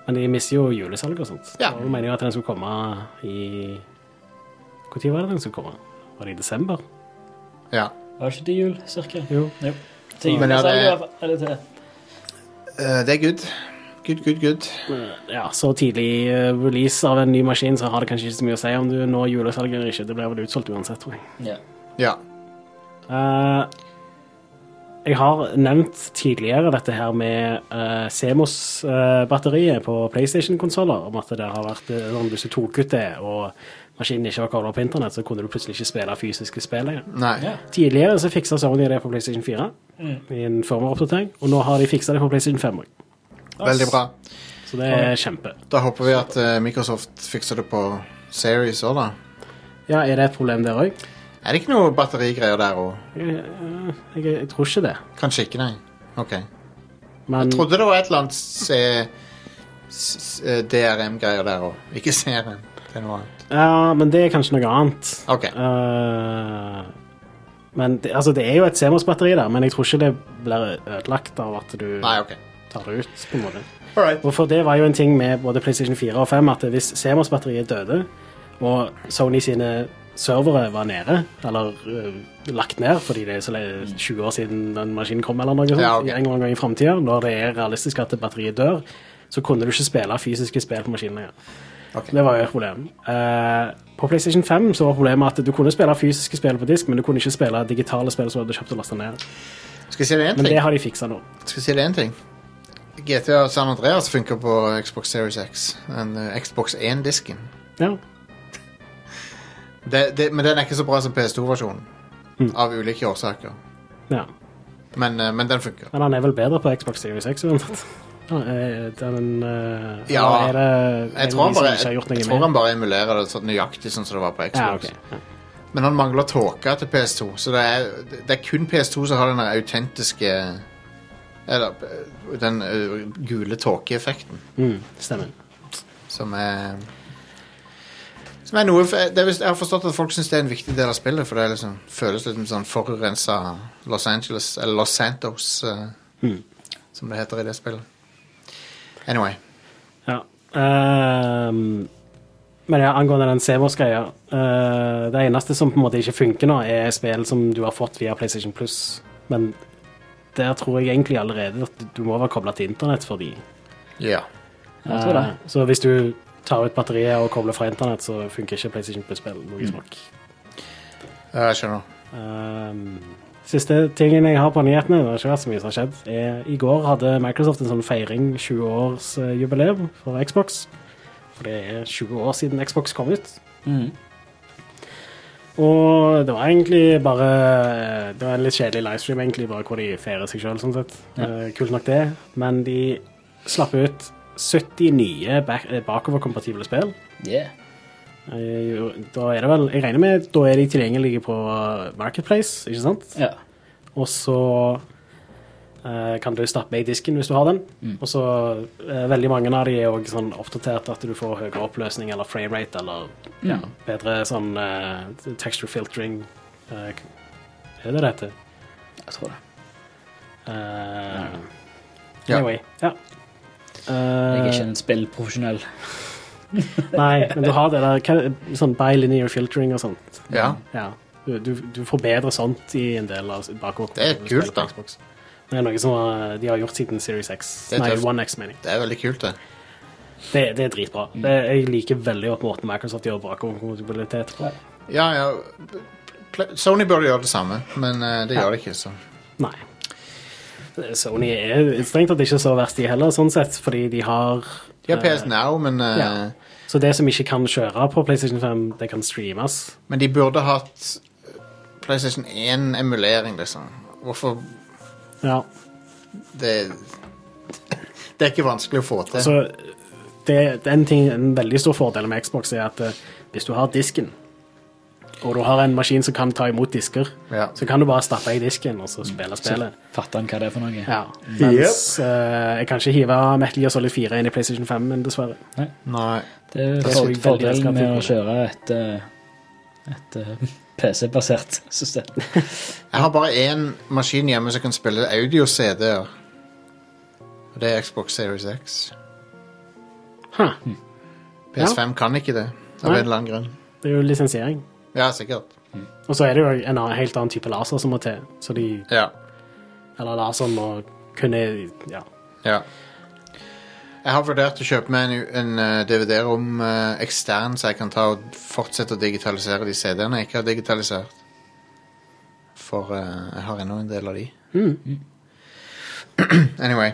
[SPEAKER 2] Men de mister jo julesalg og sånt.
[SPEAKER 1] Ja.
[SPEAKER 2] Og mener jo at den skulle komme i Når var det den skulle komme? Var det i desember?
[SPEAKER 1] ja.
[SPEAKER 3] Var ikke det jul, cirka?
[SPEAKER 2] Jo.
[SPEAKER 3] Jo. Til
[SPEAKER 1] Men ja,
[SPEAKER 3] julesalg,
[SPEAKER 1] det-
[SPEAKER 3] i hvert fall. Eller til
[SPEAKER 1] Eh, det er good. Good, good, good.
[SPEAKER 2] Eh, Ja, så tidlig eh, release av en ny maskin, så har det kanskje ikke så mye å si om du når julesalget eller ikke. Det blir vel utsolgt uansett, tror jeg.
[SPEAKER 3] ja.
[SPEAKER 1] Ja.
[SPEAKER 2] Eh, jeg har nevnt tidligere dette her med uh, Semos-batteriet på PlayStation-konsoller, om at det har vært eh, sånn hvis du tok ut det, og maskinen ikke var kobla på internett, så kunne du plutselig ikke spille fysiske spill lenger.
[SPEAKER 1] Nei.
[SPEAKER 3] Ja.
[SPEAKER 2] Tidligere så fiksa Sony det på PlayStation 4 i en firmware-oppdatering, og nå har de fiksa det på PlayStation 5 også.
[SPEAKER 1] Veldig bra.
[SPEAKER 2] Så det er kjempe.
[SPEAKER 1] Da håper vi at eh, Microsoft fikser det på Series òg, da.
[SPEAKER 2] Ja, er det et problem der òg?
[SPEAKER 1] Er det ikke noe batterigreier der òg?
[SPEAKER 2] Jeg, Eh, jeg, jeg tror ikke det.
[SPEAKER 1] Kanskje ikke, nei. Ok.
[SPEAKER 2] Men
[SPEAKER 1] Trodde det var et eller annet C... s- s- eh, DRM-greier der òg. Ikke CRM. Det er noe annet.
[SPEAKER 2] Ja, men det er kanskje noe annet.
[SPEAKER 1] Ok.
[SPEAKER 2] Eh, men det, altså, det er jo et CMOS-batteri der, men jeg tror ikke det blir ødelagt av at du
[SPEAKER 1] Nei, ok.
[SPEAKER 2] tar det ut. på en måte.
[SPEAKER 1] Alright.
[SPEAKER 2] Og for det var jo en ting med både PlayStation 4 og 5 at hvis CMOS-batteriet døde, og Sony sine servere var nede, eller øh, lagt ned, fordi det er så le- 20 år siden den maskinen kom, eller noe sånt,
[SPEAKER 1] Ja, ok.
[SPEAKER 2] en eller annen gang i fremtiden, når det er realistisk at batteriet dør, så kunne du ikke spille fysiske spill på maskinen lenger.
[SPEAKER 1] Ok.
[SPEAKER 2] Det var jo et problem. Eh, på PlayStation 5 så var problemet at du kunne spille fysiske spill på disk, men du kunne ikke spille digitale spill som du hadde kjøpt og lastet ned.
[SPEAKER 1] Skal jeg si det én
[SPEAKER 2] Men
[SPEAKER 1] ting?
[SPEAKER 2] det har de fiksa nå.
[SPEAKER 1] Skal jeg si det en ting? GTA San Andreas funker på Xbox Series X. Den eh, Xbox 1-disken.
[SPEAKER 2] Ja.
[SPEAKER 1] Det, det, men den er ikke så bra som PS2-versjonen.
[SPEAKER 2] Mm.
[SPEAKER 1] Av ulike årsaker.
[SPEAKER 2] ja.
[SPEAKER 1] Men, eh, men den funker.
[SPEAKER 2] Men han er vel bedre på Xbox Series X uansett. Ja, eh, Den eh,
[SPEAKER 1] Ja.
[SPEAKER 2] eller er det, er
[SPEAKER 1] Jeg
[SPEAKER 2] det
[SPEAKER 1] tror, han
[SPEAKER 2] de som
[SPEAKER 1] bare,
[SPEAKER 2] ikke har
[SPEAKER 1] jeg,
[SPEAKER 2] gjort noe
[SPEAKER 1] jeg tror
[SPEAKER 2] med?
[SPEAKER 1] han bare emulerer det sånn nøyaktig sånn som det var på Xbox.
[SPEAKER 2] Ja, ok. Ja.
[SPEAKER 1] Men han mangler tåka til PS2, så det er, det er kun PS2 som har den der autentiske Eller eh, den eh, gule tåkeeffekten,
[SPEAKER 2] Mm, stemmer.
[SPEAKER 1] som er som er noe, for- det er, visst- jeg har forstått at folk syns det er en viktig del av spillet, for det er liksom, føles litt som sånn forurensa Los Angeles, eller Los Santos, eh,
[SPEAKER 2] Mm.
[SPEAKER 1] som det heter i det spillet. Anyway.
[SPEAKER 2] Ja. Ehm, men ja, angående den CMOS-greia eh, Det eneste som på en måte ikke funker nå, er spill som du har fått via PlayStation Plus. Men der tror jeg egentlig allerede at du må være kobla til internett for de.
[SPEAKER 1] Ja.
[SPEAKER 3] Jeg tror det.
[SPEAKER 2] Eh, Så hvis du tar ut batteriet og kobler fra internett, så funker ikke PlayStation Plus-spill logisk nok.
[SPEAKER 1] Ja, Jeg skjønner.
[SPEAKER 2] Um, siste tingen jeg har på nyhetene, det har ikke vært så mye som har skjedd, er i går hadde Microsoft en sånn feiring 20-årsjubileum for Xbox. For det er 20 år siden Xbox kom ut.
[SPEAKER 3] Mm.
[SPEAKER 2] Og det var egentlig bare Det var en litt kjedelig livestream, egentlig, bare hvor de feirer seg sjøl, sånn sett.
[SPEAKER 3] Ja.
[SPEAKER 2] Eh, kult nok, det. Men de slapp ut 70 nye bak eh, bakoverkompatible spill.
[SPEAKER 3] Yeah.
[SPEAKER 2] Eh, jo, Da er det vel Jeg regner med da er de tilgjengelige på Marketplace, ikke sant?
[SPEAKER 3] Ja.
[SPEAKER 2] Og så eh, kan du stappe i disken hvis du har den.
[SPEAKER 3] Mm.
[SPEAKER 2] Og så eh, Veldig mange av de er òg sånn oppdatert at du får høyere oppløsning eller framerate eller ja,
[SPEAKER 3] Mm.
[SPEAKER 2] bedre sånn eh, texture filtering. eh, er det det heter?
[SPEAKER 3] Jeg tror det.
[SPEAKER 2] Eh,
[SPEAKER 1] Ja.
[SPEAKER 2] Anyway. Ja.
[SPEAKER 3] Jeg
[SPEAKER 2] Eh,
[SPEAKER 3] er ikke en spillprofesjonell.
[SPEAKER 2] nei, men du har det der hva- sånn bilinear filtering og sånt.
[SPEAKER 1] Ja.
[SPEAKER 2] Ja. Du, du, du får bedre sånt i en del av bakover.
[SPEAKER 1] Det er kult, da.
[SPEAKER 2] Xbox. Det er noe som eh, de har gjort siden Series X.
[SPEAKER 1] Det er
[SPEAKER 2] Nei,
[SPEAKER 1] tøft.
[SPEAKER 2] One X, mener jeg.
[SPEAKER 1] Det er veldig kult, det.
[SPEAKER 2] Det, det er dritbra. Det, jeg liker veldig godt måten Microsoft gjør bakoverkompatibilitet på.
[SPEAKER 1] Ja, ja. Pl- Sony burde gjøre det samme, men eh, det gjør det ikke. så
[SPEAKER 2] Nei. Sony er strengt tatt ikke så verst, de heller, sånn sett, fordi de har
[SPEAKER 1] De har
[SPEAKER 2] eh,
[SPEAKER 1] PS Now, men, eh,
[SPEAKER 2] ja. Så det som ikke kan kjøre på PlayStation 5, det kan streames.
[SPEAKER 1] men de burde hatt eh, PlayStation 1-emulering, liksom. Hvorfor
[SPEAKER 2] Ja.
[SPEAKER 1] det, det er ikke vanskelig å få til.
[SPEAKER 2] Så det, det er en, ting, en veldig stor fordel med Xbox er at eh, hvis du har disken, og du har en maskin som kan ta imot disker,
[SPEAKER 1] Ja.
[SPEAKER 2] så kan du bare stappe i disken og så spille spillet.
[SPEAKER 3] Fatter han hva det er for noe?
[SPEAKER 2] Ja. Mens eh, jeg kan ikke hive Metal Gear Solid 4 inn i PlayStation 5, men dessverre.
[SPEAKER 1] Nei.
[SPEAKER 3] Det er
[SPEAKER 2] Det
[SPEAKER 3] for,
[SPEAKER 2] skulle jeg veldig elske
[SPEAKER 3] fordelen
[SPEAKER 2] at
[SPEAKER 3] med
[SPEAKER 2] de
[SPEAKER 3] å
[SPEAKER 2] gjorde.
[SPEAKER 3] kjøre et, eh, et eh, PC-basert system.
[SPEAKER 1] Jeg har bare én maskin hjemme som kan spille audio-CD-er. Og det er Xbox Series X.
[SPEAKER 2] Huh.
[SPEAKER 1] PS5 kan ikke det, av
[SPEAKER 2] Nei.
[SPEAKER 1] en eller annen grunn.
[SPEAKER 2] Det er jo lisensiering.
[SPEAKER 1] Ja, sikkert.
[SPEAKER 2] Og så er det jo en annen, helt annen type laser som må til. Så de,
[SPEAKER 1] Ja.
[SPEAKER 2] eller laseren må kunne ja.
[SPEAKER 1] Ja. Jeg har vurdert å kjøpe meg en, en eh, DVD-rom eh, ekstern, så jeg kan ta og fortsette å digitalisere de CD-ene jeg ikke har digitalisert. For eh, jeg har ennå en del av de. Mm. anyway.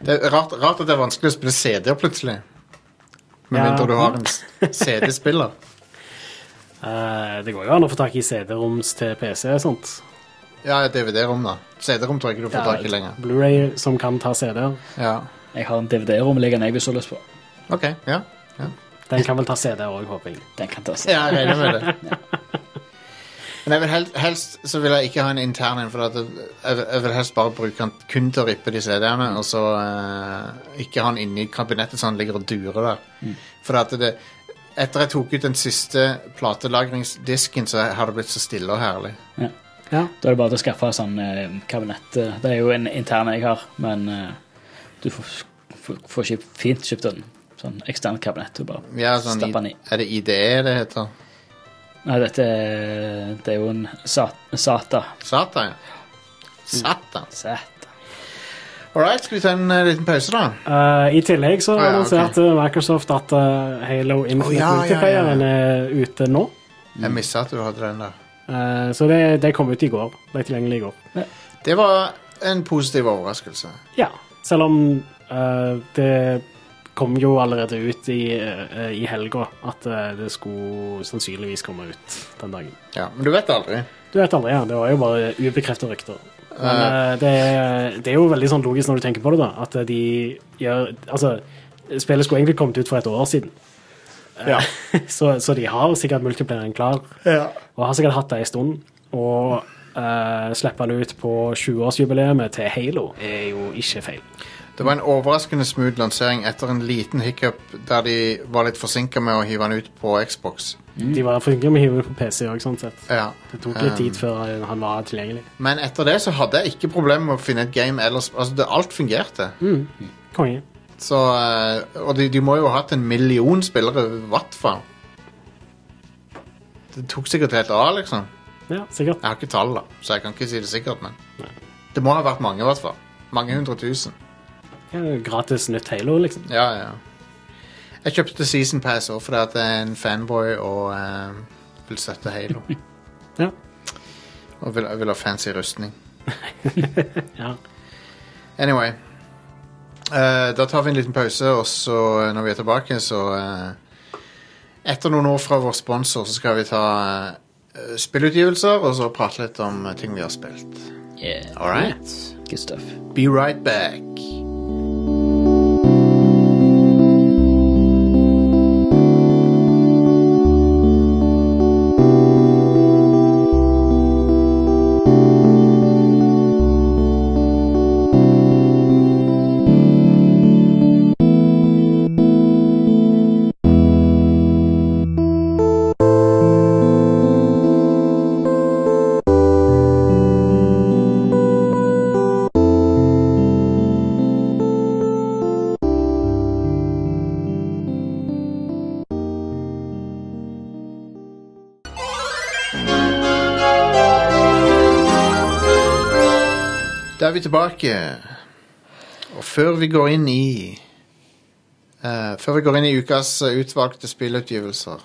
[SPEAKER 1] Det er rart, rart at det er vanskelig å spille CD-er plutselig. Med
[SPEAKER 2] Ja.
[SPEAKER 1] mindre du har en s- CD-spiller.
[SPEAKER 2] Eh, det går jo an å få tak i CD-roms til PC og sånt.
[SPEAKER 1] Ja, et DVD-rom, da. CD-rom tror jeg ikke du får tak i lenger.
[SPEAKER 2] Blu-ray som kan ta CD-er.
[SPEAKER 1] Ja.
[SPEAKER 3] Jeg har en DVD-rom liggende jeg vil så lyst på.
[SPEAKER 1] OK. Ja. ja.
[SPEAKER 2] Den kan vel ta CD-er òg, håper jeg.
[SPEAKER 3] Den kan tas.
[SPEAKER 1] Ja, jeg regner med det. Men jeg vil helst, helst så vil jeg ikke ha en intern en, for at jeg, jeg jeg vil helst bare bruke den kun til å rippe de CD-ene, og så eh, ikke ha den inni kabinettet så han ligger og durer der. For at det, etter jeg tok ut den siste platelagringsdisken, så har det blitt så stille og herlig.
[SPEAKER 2] Ja.
[SPEAKER 3] Da er det bare til å skaffe sånn eh, kabinett. eh, Det er jo en intern jeg har, men eh, du får Får får kjøpt, fint kjøpt en sånn ekstern kabinett og bare
[SPEAKER 1] Ja, sånn,
[SPEAKER 3] stappe den i.
[SPEAKER 1] er det IDE det heter?
[SPEAKER 3] Nei, dette er, det er jo en sat, Sata.
[SPEAKER 1] Satan. ja. Satan.
[SPEAKER 3] Sata.
[SPEAKER 1] All right, skal vi ta en eh, liten pause, da?
[SPEAKER 2] Eh, I tillegg
[SPEAKER 1] Å,
[SPEAKER 2] så
[SPEAKER 1] ja, ok.
[SPEAKER 2] annonserte Microsoft at eh, Halo Infinite
[SPEAKER 1] Å, ja, ja, ja,
[SPEAKER 2] Multiplayeren er ute nå.
[SPEAKER 1] Jeg mista at du hadde den der.
[SPEAKER 2] Eh, så det, det kom ut i går. Ble tilgjengelig i går.
[SPEAKER 1] Det var en positiv overraskelse.
[SPEAKER 2] Ja, selv om eh, det kom jo allerede ut i, eh, i helga at eh, det skulle sannsynligvis komme ut den dagen.
[SPEAKER 1] Ja, Men du vet aldri.
[SPEAKER 2] Du vet aldri, ja. Det var jo bare ubekrefta rykter. Men eh, det, er- det er jo veldig sånn logisk når du tenker på det, da. At eh, de gjør Altså, spillet skulle egentlig kommet ut for et år siden. Eh, så, så de har sikkert multiplieren klar, og har sikkert hatt det en stund. Og uh, slippe den ut på 20-årsjubileet til Halo er jo ikke feil.
[SPEAKER 1] Det var en overraskende smooth lansering etter en liten hiccup der de var litt forsinka med å hive den ut på Xbox.
[SPEAKER 2] De var flinke med å hive det på PC òg, sånn sett.
[SPEAKER 1] Ja.
[SPEAKER 2] Det tok litt
[SPEAKER 1] Um,
[SPEAKER 2] tid før eh, han var tilgjengelig.
[SPEAKER 1] Men etter det så hadde jeg ikke problemer med å finne et game ellers. Altså, det, alt fungerte.
[SPEAKER 2] Konge.
[SPEAKER 1] Så, eh, og de, de må jo ha hatt en million spillere, i hvert fall. Det tok sikkert helt av, liksom.
[SPEAKER 2] Ja, sikkert.
[SPEAKER 1] Jeg har ikke tall, da, så jeg kan ikke si det sikkert, men Det må ha vært mange, i hvert fall. Mange hundre tusen.
[SPEAKER 2] Ja, gratis nytt Halo, liksom.
[SPEAKER 1] Ja, ja. Jeg kjøpte Season Pass også fordi at jeg er en fanboy og eh, vil støtte Halo.
[SPEAKER 2] Ja.
[SPEAKER 1] Og vil, vil ha fancy rustning.
[SPEAKER 2] Ja.
[SPEAKER 1] Anyway. Eh, da tar vi en liten pause, og så eh, når vi er tilbake, så eh, Etter noen ord fra vår sponsor, så skal vi ta eh, spillutgivelser, og så prate litt om eh, ting vi har spilt.
[SPEAKER 3] Yeah.
[SPEAKER 1] All right.
[SPEAKER 3] Good stuff.
[SPEAKER 1] Be right back. Da er vi tilbake. Og før vi går inn i eh, Før vi går inn i ukas eh, utvalgte spillutgivelser,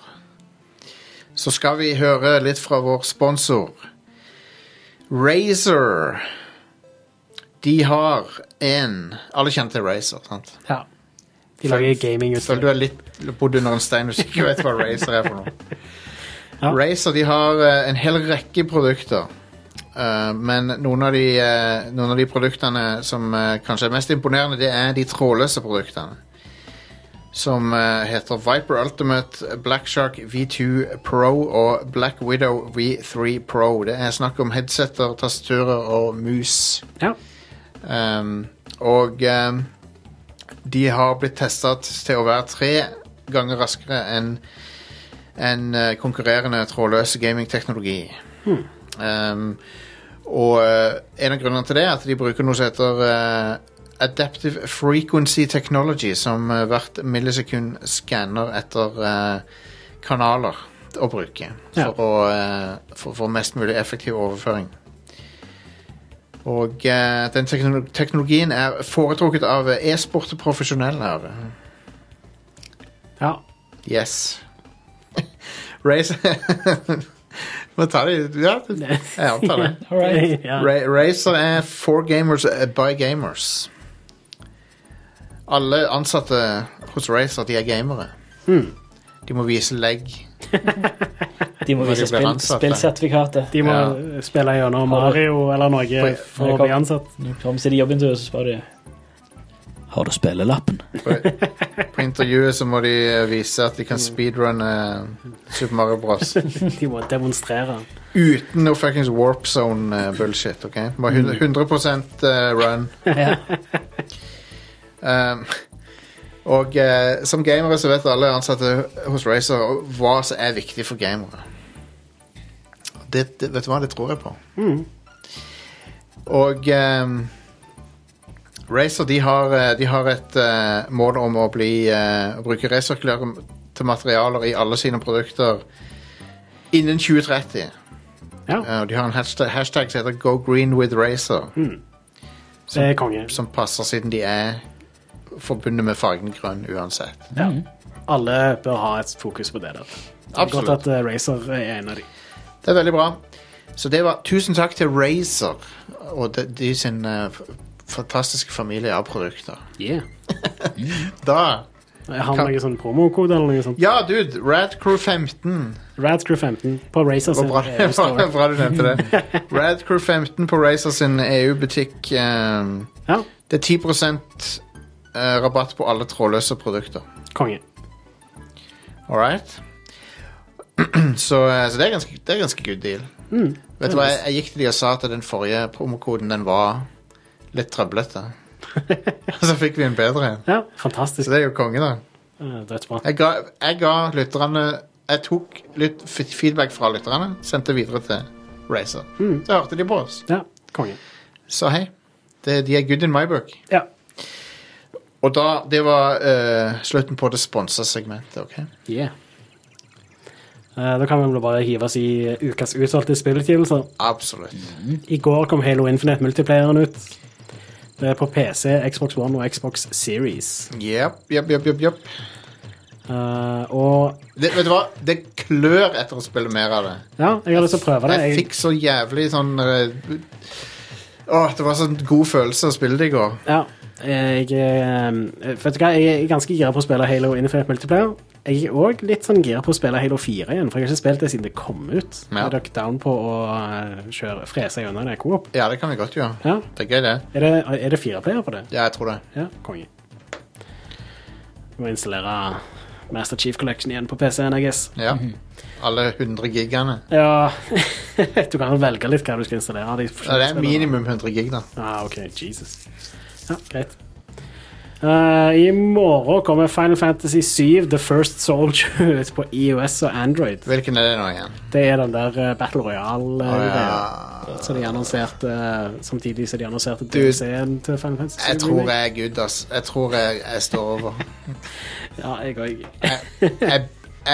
[SPEAKER 1] så skal vi høre litt fra vår sponsor. Razer. De har en Alle kjenner til Razer, sant?
[SPEAKER 2] ja. De lager gaming ut
[SPEAKER 1] Føler du er litt bodd under en stein hvis du ikke vet hva Razer er for noe.
[SPEAKER 2] Ja.
[SPEAKER 1] Razer de har eh, en hel rekke produkter. Eh, men noen av, de, eh, noen av de produktene som eh, kanskje er mest imponerende, det er de trådløse produktene. Som eh, heter Viper Ultimate, Black Shark V2 Pro og Black Widow V3 Pro. Det er snakk om headsetter, tastaturer og mus.
[SPEAKER 2] Ja.
[SPEAKER 1] Um, og um, de har blitt testet til å være tre ganger raskere enn enn, eh, konkurrerende trådløs gamingteknologi. Um, og eh, en av grunnene til det er at de bruker noe som heter eh, Adaptive Frequency Technology, som eh, hvert millisekund skanner etter eh, kanaler å bruke
[SPEAKER 2] Ja.
[SPEAKER 1] for, å, eh, for, for mest mulig effektiv overføring. Og eh, den teknolo- teknologien er foretrukket av eh, e-sport og profesjonelle. av det.
[SPEAKER 2] ja.
[SPEAKER 1] Yes. Race Må ta det Ja, jeg antar det.
[SPEAKER 3] All right.
[SPEAKER 2] ja.
[SPEAKER 1] Ra Razer er for gamers eh, by gamers. Alle ansatte hos Razer, de er gamere. De må vise legg.
[SPEAKER 3] De
[SPEAKER 1] Når de
[SPEAKER 3] må
[SPEAKER 1] blir
[SPEAKER 3] vise spill,
[SPEAKER 1] ansatt,
[SPEAKER 3] spillsertifikatet.
[SPEAKER 2] De må
[SPEAKER 1] Ja.
[SPEAKER 2] spille gjennom Mario eller noe for å bli ansatt.
[SPEAKER 3] Så Om de sier jobben til, så spør de Har du spillelappen?
[SPEAKER 1] På, på intervjuet så må de eh, vise at de kan speedrunne eh, Super Mario Bros.
[SPEAKER 2] De må demonstrere.
[SPEAKER 1] Uten noe fuckings warp zone eh, bullshit, ok? Bare hun- 100 eh, run.
[SPEAKER 3] Ja.
[SPEAKER 1] Um, og eh, som gamere så vet alle ansatte hos Razer hva som er viktig for gamere. Det, det, vet du hva, det tror jeg på. Og um, ehm, Razer de har, eh, de har et eh, mål om å bli, eh, å bruke resirkulerte materialer i alle sine produkter innen 2030.
[SPEAKER 2] Ja.
[SPEAKER 1] Eh, og de har en hashtag, hashtag som heter Go Green with Razer,
[SPEAKER 2] Det er konge.
[SPEAKER 1] som passer siden de er forbundet med fargen grønn uansett.
[SPEAKER 2] Alle bør ha et fokus på det. der. Det er godt
[SPEAKER 1] Mm. Absolutt.
[SPEAKER 2] at eh, Razer er en av de.
[SPEAKER 1] Det er veldig bra. Så det var Tusen takk til Razer og de, de sin eh, f- fantastiske familie av produkter. Da
[SPEAKER 2] Jeg har noen sånn promokode eller noe sånt.
[SPEAKER 1] Ja, dude! Radcrew15.
[SPEAKER 2] Radcrew 15 på Razer
[SPEAKER 1] Det
[SPEAKER 2] sin
[SPEAKER 1] var bra,
[SPEAKER 2] EU-store.
[SPEAKER 1] bra du nevnte det. Radcrew 15 på Razer sin EU-butikk. ehm,
[SPEAKER 2] Ja,
[SPEAKER 1] det er 10 eh, rabatt på alle trådløse produkter.
[SPEAKER 2] konge.
[SPEAKER 1] All right? så, eh, så det er ganske, det er ganske good deal. Vet du hva, jeg, jeg gikk til de og sa at den forrige promokoden den var litt trøblete. Og så fikk vi en bedre en.
[SPEAKER 2] Ja,
[SPEAKER 1] Så
[SPEAKER 2] fantastisk.
[SPEAKER 1] det er jo konge, da.
[SPEAKER 2] Eh, Dødsbra.
[SPEAKER 1] Jeg ga, jeg ga lytterne Jeg tok lytt, f- feedback fra lytterne, sendte videre til Razer. Så hørte de på oss.
[SPEAKER 2] Ja, konge.
[SPEAKER 1] Så hei. Det, de er good in my book.
[SPEAKER 2] Ja.
[SPEAKER 1] Og da, det var eh, slutten på det sponsa segmentet. ok?
[SPEAKER 2] Yeah. Eh, da kan vi vel bare hive oss i ukas utvalgte spillutgivelser.
[SPEAKER 1] Absolutt.
[SPEAKER 2] I går kom Halo Infinite multiplayeren ut. Det er på PC, Xbox One og Xbox Series.
[SPEAKER 1] Jepp, jepp, jepp. jepp, jepp.
[SPEAKER 2] Eh, og
[SPEAKER 1] Det, vet du hva? Det klør etter å spille mer av det.
[SPEAKER 2] ja, jeg har lyst til å prøve det.
[SPEAKER 1] Jeg
[SPEAKER 2] Jeg,
[SPEAKER 1] fikk så jævlig sånn eh, Åh, det var sånn god følelse å spille det i går.
[SPEAKER 2] ja, jeg, eh, vet du hva, jeg er ganske gira på å spille Halo Infinite multiplayer. Jeg er òg litt sånn gira på å spille Halo 4 igjen, for jeg har ikke spilt det siden det kom ut.
[SPEAKER 1] Ja.
[SPEAKER 2] Jeg dere down på å eh, kjøre, frese gjennom det co-op.
[SPEAKER 1] Ja, det kan vi godt gjøre.
[SPEAKER 2] Ja.
[SPEAKER 1] Det er gøy, det.
[SPEAKER 2] Er det, er det fire player på det?
[SPEAKER 1] Ja, jeg tror det.
[SPEAKER 2] Ja, konge. Du må installere Master Chief Collection igjen på PC-en, I guess.
[SPEAKER 1] Ja. Alle 100 gigene.
[SPEAKER 2] Ja, du kan jo velge litt hva du skal installere. av de
[SPEAKER 1] Ja, det
[SPEAKER 2] forskjellige
[SPEAKER 1] er
[SPEAKER 2] spillene.
[SPEAKER 1] minimum 100 gig, da.
[SPEAKER 2] Ah, ok, Jesus. Ja, greit. Eh, I morgen kommer Final Fantasy 7 The First Soldier ut på IOS og Android.
[SPEAKER 1] Hvilken er det nå igjen?
[SPEAKER 2] Det er den der eh, Battle
[SPEAKER 1] Å,
[SPEAKER 2] Royale-greia.
[SPEAKER 1] ja.
[SPEAKER 2] Som de annonserte eh, samtidig som de annonserte
[SPEAKER 1] Du,
[SPEAKER 2] DLC-en til Final Fantasy 7.
[SPEAKER 1] Jeg tror jeg er good, ass. Jeg tror jeg, jeg står over.
[SPEAKER 2] Ja, jeg òg.
[SPEAKER 1] Jeg, jeg,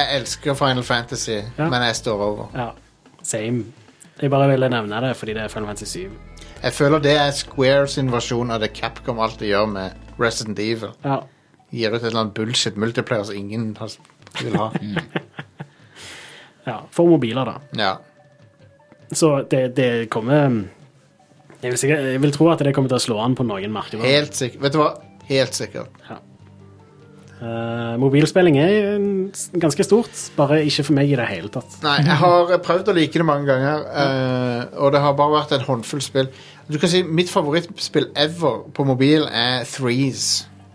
[SPEAKER 1] jeg elsker Final Fantasy,
[SPEAKER 2] Ja.
[SPEAKER 1] men jeg står over.
[SPEAKER 2] Ja, same. Jeg bare ville nevne det fordi det er Final Fantasy 7.
[SPEAKER 1] Jeg føler det er Squares versjon av det Capcom alltid gjør med Resident Evil.
[SPEAKER 2] Ja,
[SPEAKER 1] Gir ut et eller annet bullshit multiplayer som ingen har- vil ha.
[SPEAKER 2] ja for mobiler, da.
[SPEAKER 1] Ja.
[SPEAKER 2] Så det, det kommer mm, jeg vil, sikkert, jeg vil tro at det kommer til å slå an på noen markeder.
[SPEAKER 1] Helt sikkert. Vet du hva? Helt sikkert.
[SPEAKER 2] Eh, mobilspilling er eh, s- ganske stort, bare ikke for meg i det hele tatt.
[SPEAKER 1] Nei, jeg har eh, prøvd å like det mange ganger, eh, og det har bare vært en håndfull spill. Du kan si Mitt favorittspill ever på mobil er Threes.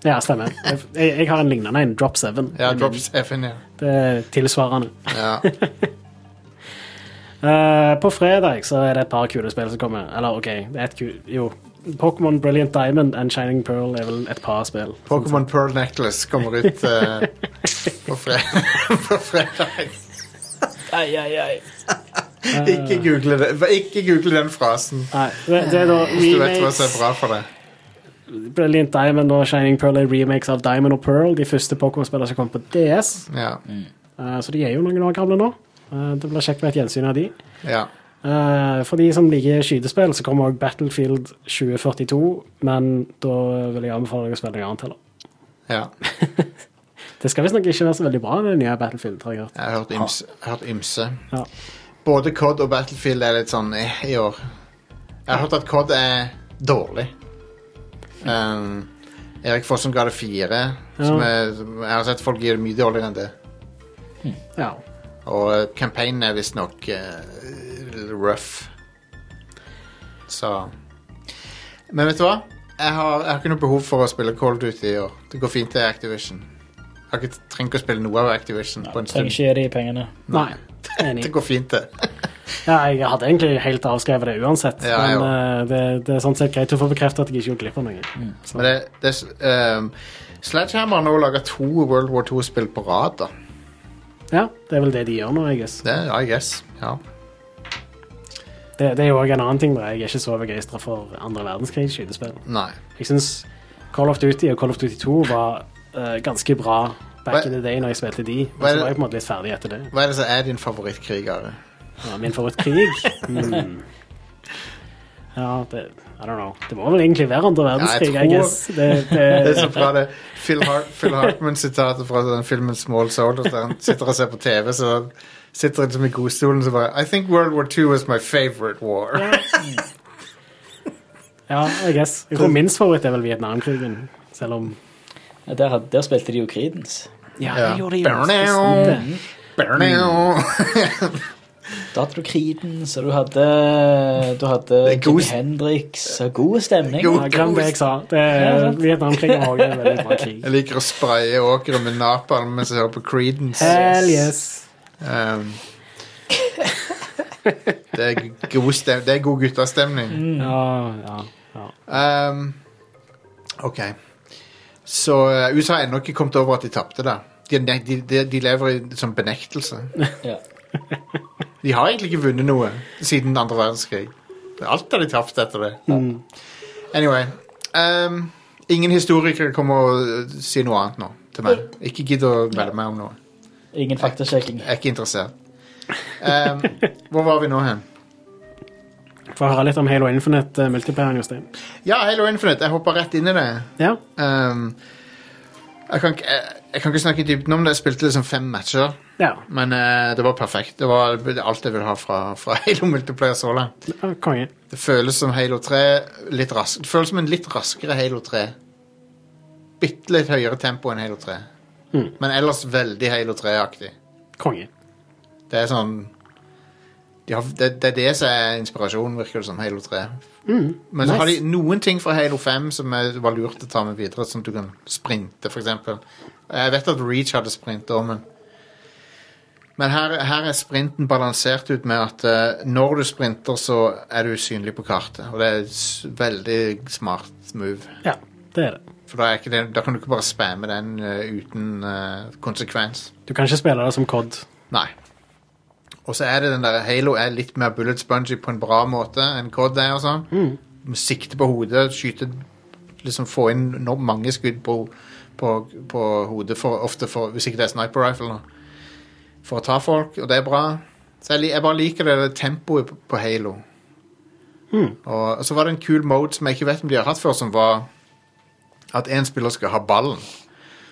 [SPEAKER 2] Ja, stemmer. Jeg, jeg, jeg har en lignende en, Drop 7.
[SPEAKER 1] Ja, Drop Seven, ja.
[SPEAKER 2] Det er tilsvarende.
[SPEAKER 1] E. ja.
[SPEAKER 2] Eh, på fredag så er det et par kule spill som kommer. Eller OK, det er et ku... Jo. Pokémon Brilliant Diamond and Shining Pearl er vel et par spill.
[SPEAKER 1] Pokémon Pearl Necklace kommer ut eh, på, fre på fredag.
[SPEAKER 3] Ai, ai, ai.
[SPEAKER 1] Ikke google, det. ikke google den frasen
[SPEAKER 2] Nei, det, det er da
[SPEAKER 1] hvis du vet hva
[SPEAKER 2] remakes
[SPEAKER 1] som er bra for deg.
[SPEAKER 2] Brilliant Diamond og Shining Pearl er remakes av Diamond og Pearl, de første Pokémon-spillene som kom på DS.
[SPEAKER 1] Ja.
[SPEAKER 2] Eh, så de er jo noen år gamle nå. Eh, det blir kjekt med et gjensyn av de.
[SPEAKER 1] ja.
[SPEAKER 2] Eh, for de som liker skytespill, så kommer også Battlefield 2042, men da vil jeg anbefale deg å spille noe annet heller.
[SPEAKER 1] ja.
[SPEAKER 2] Det skal visstnok ikke være så veldig bra, det nye Battlefield, har jeg hørt.
[SPEAKER 1] Jeg har hørt ymse. Jeg har hørt ymse.
[SPEAKER 2] Ja.
[SPEAKER 1] Både Cod og Battlefield er litt sånn eh, i år. Jeg har hørt at Cod er dårlig. Um, Erik Fossum ga det fire. Som
[SPEAKER 2] Ja.
[SPEAKER 1] er, jeg har sett folk gi det mye dårligere enn det.
[SPEAKER 2] Ja.
[SPEAKER 1] Og eh, campaignen er visstnok uh, rough. Så Men vet du hva? Jeg har, jeg har ikke noe behov for å spille Cold Duty i år. Det går fint, det er Activision. Jeg har ikke trenger ikke å spille noe av Activision på en stund.
[SPEAKER 3] Trenger ikke gi de pengene.
[SPEAKER 2] Nei.
[SPEAKER 1] Det
[SPEAKER 2] Enig.
[SPEAKER 1] går fint, det.
[SPEAKER 2] Ja, jeg hadde egentlig helt avskrevet det uansett,
[SPEAKER 1] Ja, jeg
[SPEAKER 2] men eh, det, det er sånn sett greit å få bekreftet at jeg ikke går glipp av noe. Så,
[SPEAKER 1] Men det, det s- ehm, Sledgehammer har nå laga to World War II-spill på rad, da.
[SPEAKER 2] ja, det er vel det de gjør nå, jeg guess.
[SPEAKER 1] Det er I guess. Ja.
[SPEAKER 2] Det, det er jo også en annen ting der. Jeg er ikke så begeistra for andre verdenskrig-skytespill.
[SPEAKER 1] Nei.
[SPEAKER 2] Jeg syns Call of Duty og Call of Duty 2 var eh, ganske bra back
[SPEAKER 1] Hva-
[SPEAKER 2] in the day når jeg spilte de, men
[SPEAKER 1] Hva er
[SPEAKER 2] så
[SPEAKER 1] det-
[SPEAKER 2] var jeg på en måte litt ferdig etter det.
[SPEAKER 1] Hva er det som er din favorittkriger?
[SPEAKER 2] Ja, min favorittkrig mm. Ja, det I don't know. Det må vel egentlig være andre verdenskrig,
[SPEAKER 1] Ja,
[SPEAKER 2] I
[SPEAKER 1] jeg tror-
[SPEAKER 2] guess. Det,
[SPEAKER 1] Det er
[SPEAKER 2] det,
[SPEAKER 1] så bra det Phil, Har Phil Hartman-sitatet fra den filmen Small Soldiers, der han sitter og ser på TV, så sitter han som i godstolen så bare I think World War II was my favorite war.
[SPEAKER 2] ja, I guess. Jeg tror minst favoritt er vel Vietnamkrigen, selv om
[SPEAKER 3] Ja, Der, had- der spilte de jo Creedence.
[SPEAKER 2] Ja,
[SPEAKER 1] Ja.
[SPEAKER 2] det gjorde de
[SPEAKER 1] Bow,
[SPEAKER 2] jo.
[SPEAKER 1] now,
[SPEAKER 3] Mm.
[SPEAKER 1] bow, now.
[SPEAKER 3] Da hadde du Creedence, og du hadde, du
[SPEAKER 1] Det
[SPEAKER 3] hadde
[SPEAKER 1] er
[SPEAKER 3] Jimi
[SPEAKER 1] god-
[SPEAKER 3] Hendrix. og God stemning.
[SPEAKER 1] God-
[SPEAKER 2] Ja, glem det jeg sa. Det,
[SPEAKER 3] Ja, sant.
[SPEAKER 2] Vietnamkrigen var også en veldig bra krig.
[SPEAKER 1] Jeg liker å spraye åkre med napalm mens jeg hører på Creedence.
[SPEAKER 2] Hell yes.
[SPEAKER 1] Um, det, er god stem det er god guttastemning.
[SPEAKER 2] Ja, ja, ja.
[SPEAKER 1] Um, ok. Så eh, USA har ennå ikke kommet over at de tapte, da. De, ne- de, de, de lever i sånn benektelse.
[SPEAKER 3] Ja.
[SPEAKER 1] De har egentlig ikke vunnet noe siden andre verdenskrig. Alt har de tapt etter det. Anyway. Um, ingen historikere kommer å eh, si noe annet nå til meg. Ikke gidd å melde meg om noe.
[SPEAKER 3] Ingen faktasjekking.
[SPEAKER 1] Jeg er ikke interessert. Um, hvor var vi nå hen?
[SPEAKER 2] Få høre litt om Halo Infinite uh, multiplayeren, Jostein.
[SPEAKER 1] Ja, Halo Infinite. Jeg hoppa rett inn i det.
[SPEAKER 2] Ja.
[SPEAKER 1] Ehm, jeg, kan ikke, jeg, jeg kan ikke snakke i dybden om det. Jeg spilte liksom fem matcher,
[SPEAKER 2] ja.
[SPEAKER 1] men eh, det var perfekt. Det var alt jeg vil ha fra, fra Halo Multiplayer så langt.
[SPEAKER 2] ja konge.
[SPEAKER 1] Det føles som Halo 3 litt rask, Det føles som en litt raskere Halo 3. Bitte litt høyere tempo enn Halo 3.
[SPEAKER 2] Mm.
[SPEAKER 1] Men ellers veldig Halo 3-aktig.
[SPEAKER 2] Konge.
[SPEAKER 1] Det er sånn de har, det, det er det som er inspirasjonen, virker det som. Halo 3. Men så har de
[SPEAKER 2] nice.
[SPEAKER 1] noen ting fra Halo 5 som er, var lurt å ta med videre, som du kan sprinte, f.eks. Jeg vet at Reach hadde sprint òg, men Men her, her er sprinten balansert ut med at eh, når du sprinter, så er du usynlig på kartet. Og det er et s- veldig smart move.
[SPEAKER 2] Ja, det er det.
[SPEAKER 1] For da, er ikke det, da kan du ikke bare spamme den eh, uten eh, konsekvens.
[SPEAKER 2] Du kan ikke spille det som COD.
[SPEAKER 1] Nei. Og så er det den der Halo er litt mer bullet spongy på en bra måte enn Cod er og sånn. Med sikte på hodet, skyte Liksom få inn no- mange skudd på, på, på hodet, for, ofte for, hvis ikke det er sniper rifle, da. For å ta folk, og det er bra. Så jeg, li- jeg bare liker det, der tempoet på, på Halo. Og, og så var det en kul mode som jeg ikke vet om de har hatt før, som var at én spiller skal ha ballen.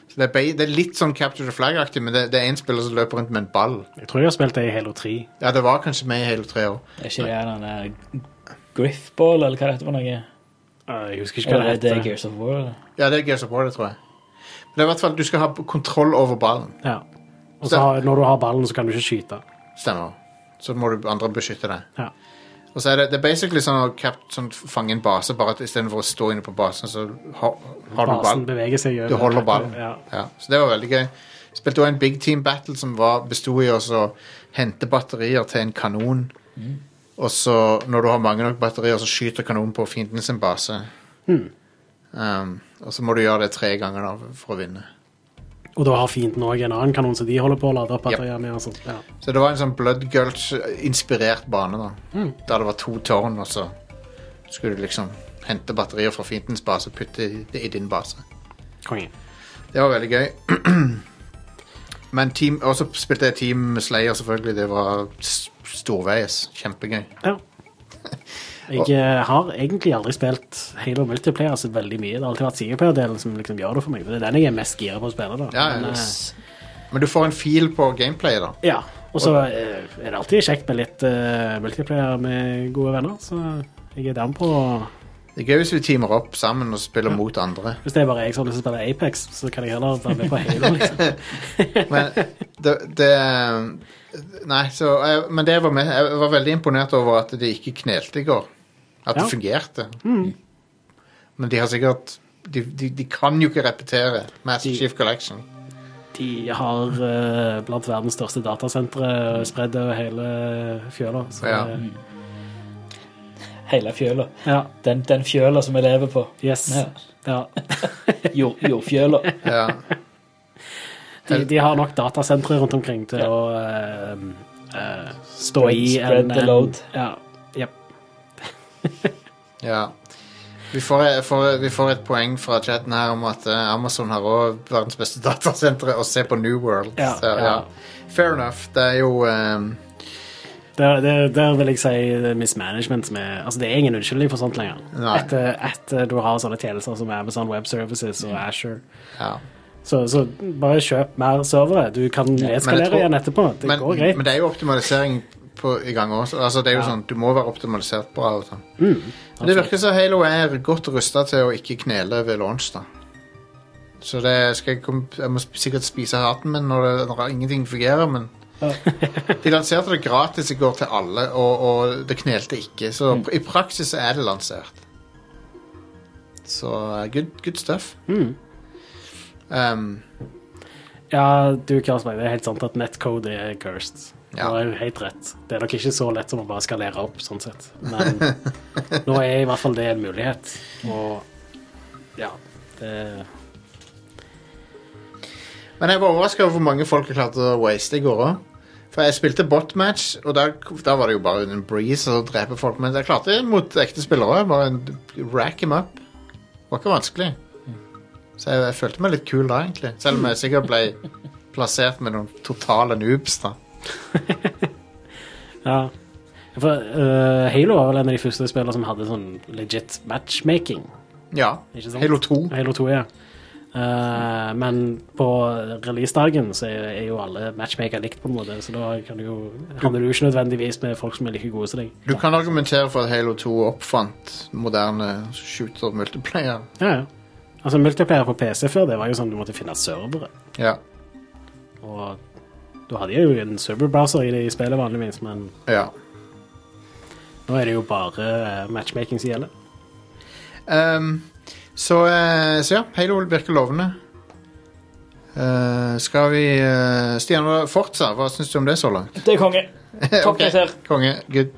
[SPEAKER 1] Så det er, be- det er litt sånn Capture the Flag-aktig, men det, det er én spiller som løper rundt med en ball.
[SPEAKER 2] Jeg tror jeg har spilt det i Halo 3.
[SPEAKER 1] Ja, det var kanskje med i hele tre år.
[SPEAKER 3] Er ikke det den der Griffball, eller hva det heter for noe?
[SPEAKER 2] Uh, jeg husker ikke hva det
[SPEAKER 3] Eller er det
[SPEAKER 2] heter.
[SPEAKER 3] Gears of War? eller?
[SPEAKER 1] Ja, det er Gears of War, det tror jeg. Men det er i hvert fall, du skal ha kontroll over ballen.
[SPEAKER 2] Ja. Og så har, når du har ballen, så kan du ikke skyte.
[SPEAKER 1] Stemmer. Så må du andre beskytte deg.
[SPEAKER 2] Ja.
[SPEAKER 1] Og så er det, det er basically sånn å cap, sånn, fange en base, bare at istedenfor å stå inne på basen, så ha, har du
[SPEAKER 2] Basen
[SPEAKER 1] ballen.
[SPEAKER 2] beveger seg over.
[SPEAKER 1] Du holder ballen.
[SPEAKER 2] Ja.
[SPEAKER 1] Ja, så det var veldig gøy. Spilte også en big team battle som var- bestod i også å hente batterier til en kanon.
[SPEAKER 2] Mm.
[SPEAKER 1] Og så, når du har mange nok batterier, så skyter kanonen på fienden sin base.
[SPEAKER 2] Mm.
[SPEAKER 1] Um, og så må du gjøre det tre ganger da, for å vinne.
[SPEAKER 2] Og da har fienden òg en annen kanon som de holder på å lade opp.
[SPEAKER 1] Yep.
[SPEAKER 2] batterier med og sånt. Ja.
[SPEAKER 1] Så det var en sånn Blood Gulch-inspirert bane, da. Der det var to tårn, og så skulle du liksom hente batterier fra fiendens base og putte det i din base.
[SPEAKER 2] Konge.
[SPEAKER 1] Det var veldig gøy. Men team, også spilte jeg Team Slayer, selvfølgelig. Det var s- storveis. Kjempegøy.
[SPEAKER 2] Ja. Jeg eh, har egentlig aldri spilt Halo multiplayer så veldig mye. Det har alltid vært singleplayerdelen som liksom gjør det for meg. Det er den jeg er mest gira på å spille. da.
[SPEAKER 1] Ja, ja.
[SPEAKER 2] Men, eh,
[SPEAKER 1] Men du får en feel på gameplay, da.
[SPEAKER 2] ja. Og så eh, er det alltid kjekt med litt eh, multiplayer med gode venner, så jeg er down på
[SPEAKER 1] Det er gøy hvis vi teamer opp sammen og spiller mot andre.
[SPEAKER 2] Hvis det er bare jeg som har lyst til å spille Apex, så kan jeg heller være med på Halo. liksom.
[SPEAKER 1] Men det, det Nei, så jeg- Men det var med, jeg var veldig imponert over at de ikke knelte i går. At
[SPEAKER 2] Ja. Mm.
[SPEAKER 1] det fungerte. Men de har sikkert de, de, de kan jo ikke repetere Master
[SPEAKER 2] De-
[SPEAKER 1] Chief Collection.
[SPEAKER 2] De har eh, blant verdens største datasentre spredd over hele fjøla. Så,
[SPEAKER 1] Ja.
[SPEAKER 2] eh,
[SPEAKER 3] Hele fjøla.
[SPEAKER 2] ja.
[SPEAKER 3] Den, den fjøla som vi lever på.
[SPEAKER 2] Yes.
[SPEAKER 3] Ja.
[SPEAKER 2] Ja.
[SPEAKER 3] Jord, jordfjøla.
[SPEAKER 1] Ja.
[SPEAKER 2] De, de har nok datasentre rundt omkring til å eh, eh, stå i
[SPEAKER 3] Spread the load.
[SPEAKER 2] Ja. Jep.
[SPEAKER 1] Ja. Vi får, får, vi får et poeng fra chatten her om at eh, Amazon har også verdens beste datasentre å se på New World.
[SPEAKER 2] Ja,
[SPEAKER 1] Så, ja.
[SPEAKER 2] ja.
[SPEAKER 1] Fair enough. Det er jo ehm,
[SPEAKER 2] Der, der, der vil jeg si det er mismanagement som er Altså, det er ingen unnskyldning for sånt lenger.
[SPEAKER 1] Nei.
[SPEAKER 2] Etter etter du har sånne tjenester som Amazon Web Services og Asher.
[SPEAKER 1] ja.
[SPEAKER 2] Så, så bare kjøp mer servere. Du kan nedskalere
[SPEAKER 1] tror-
[SPEAKER 2] igjen etterpå. Det
[SPEAKER 1] men,
[SPEAKER 2] går greit.
[SPEAKER 1] men det er jo optimalisering på, i gang også. Altså, det er jo sånn, du må være optimalisert bra. Og sånn.
[SPEAKER 2] Mm.
[SPEAKER 1] men det virker som Halo er godt rusta til å ikke knele ved launch. da. Så det skal jeg, kom- jeg må sikkert spise haten min når, det, når ingenting fungerer, men De lanserte det gratis i går til alle, og, og det knelte ikke. Så
[SPEAKER 2] Mm.
[SPEAKER 1] pr- i praksis er det lansert. Så eh, good, good stuff.
[SPEAKER 2] Mm.
[SPEAKER 1] Um,
[SPEAKER 2] Ja, du, Karlsberg, det er helt sant at netcode er cursed.
[SPEAKER 1] Ja.
[SPEAKER 2] Det er jo helt rett. Det er nok ikke så lett som å bare skalere opp, sånn sett. Men nå er i hvert fall det en mulighet. Og ja, det
[SPEAKER 1] Men jeg var overraska over hvor mange folk jeg klarte å waste i går òg. For jeg spilte botmatch, og der, der var det jo bare en breeze å drepe folk. Men jeg klarte det mot ekte spillere òg. Bare en- rack em up. Det var ikke vanskelig. Så jeg, jeg følte meg litt kul da, egentlig. Selv om jeg sikkert ble plassert med noen totale noobs, da.
[SPEAKER 2] Ja. For eh, Halo var vel en av de første spillene som hadde sånn legit matchmaking.
[SPEAKER 1] Ja.
[SPEAKER 2] Ikke sant?
[SPEAKER 1] Halo 2.
[SPEAKER 2] Halo 2, ja. Eh, men på releasedagen så er, er jo alle matchmaker likt, på en måte, så da kan du jo, handler du jo ikke nødvendigvis med folk som er like gode som deg.
[SPEAKER 1] Du kan argumentere for at Halo 2 oppfant moderne shooter multiplayer.
[SPEAKER 2] Ja, ja. Altså, multiplayer på PC før, det var jo sånn du måtte finne servere.
[SPEAKER 1] Ja.
[SPEAKER 2] Og du hadde jo en serverbrowser i det i spillet vanligvis, men
[SPEAKER 1] ja.
[SPEAKER 2] nå er det jo bare eh, matchmaking som gjelder.
[SPEAKER 1] Ehm, så, eh, så ja, Halo virker lovende. Eh, skal vi eh, Stian, hva- Forza, hva syns du om det så langt?
[SPEAKER 3] Det er konge. Topp karakter.
[SPEAKER 1] Konge. Good.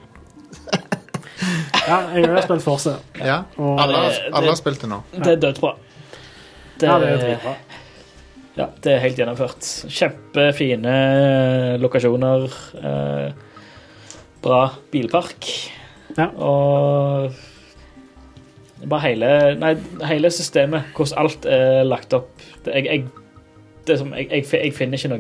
[SPEAKER 2] Ja, jeg har spilt Force.
[SPEAKER 1] Ja.
[SPEAKER 2] Og-
[SPEAKER 1] Alle, har-
[SPEAKER 3] Det-
[SPEAKER 1] alle har spilt det nå.
[SPEAKER 3] Det er dødbra. Det,
[SPEAKER 2] Ja, det er jo dritbra.
[SPEAKER 3] ja, det er helt gjennomført. Kjempefine lokasjoner. eh, Bra bilpark.
[SPEAKER 2] Ja.
[SPEAKER 3] Og bare hele, nei, hele systemet, hvordan alt er lagt opp. Det, jeg, jeg, det er som, jeg, jeg, fi- jeg finner ikke noe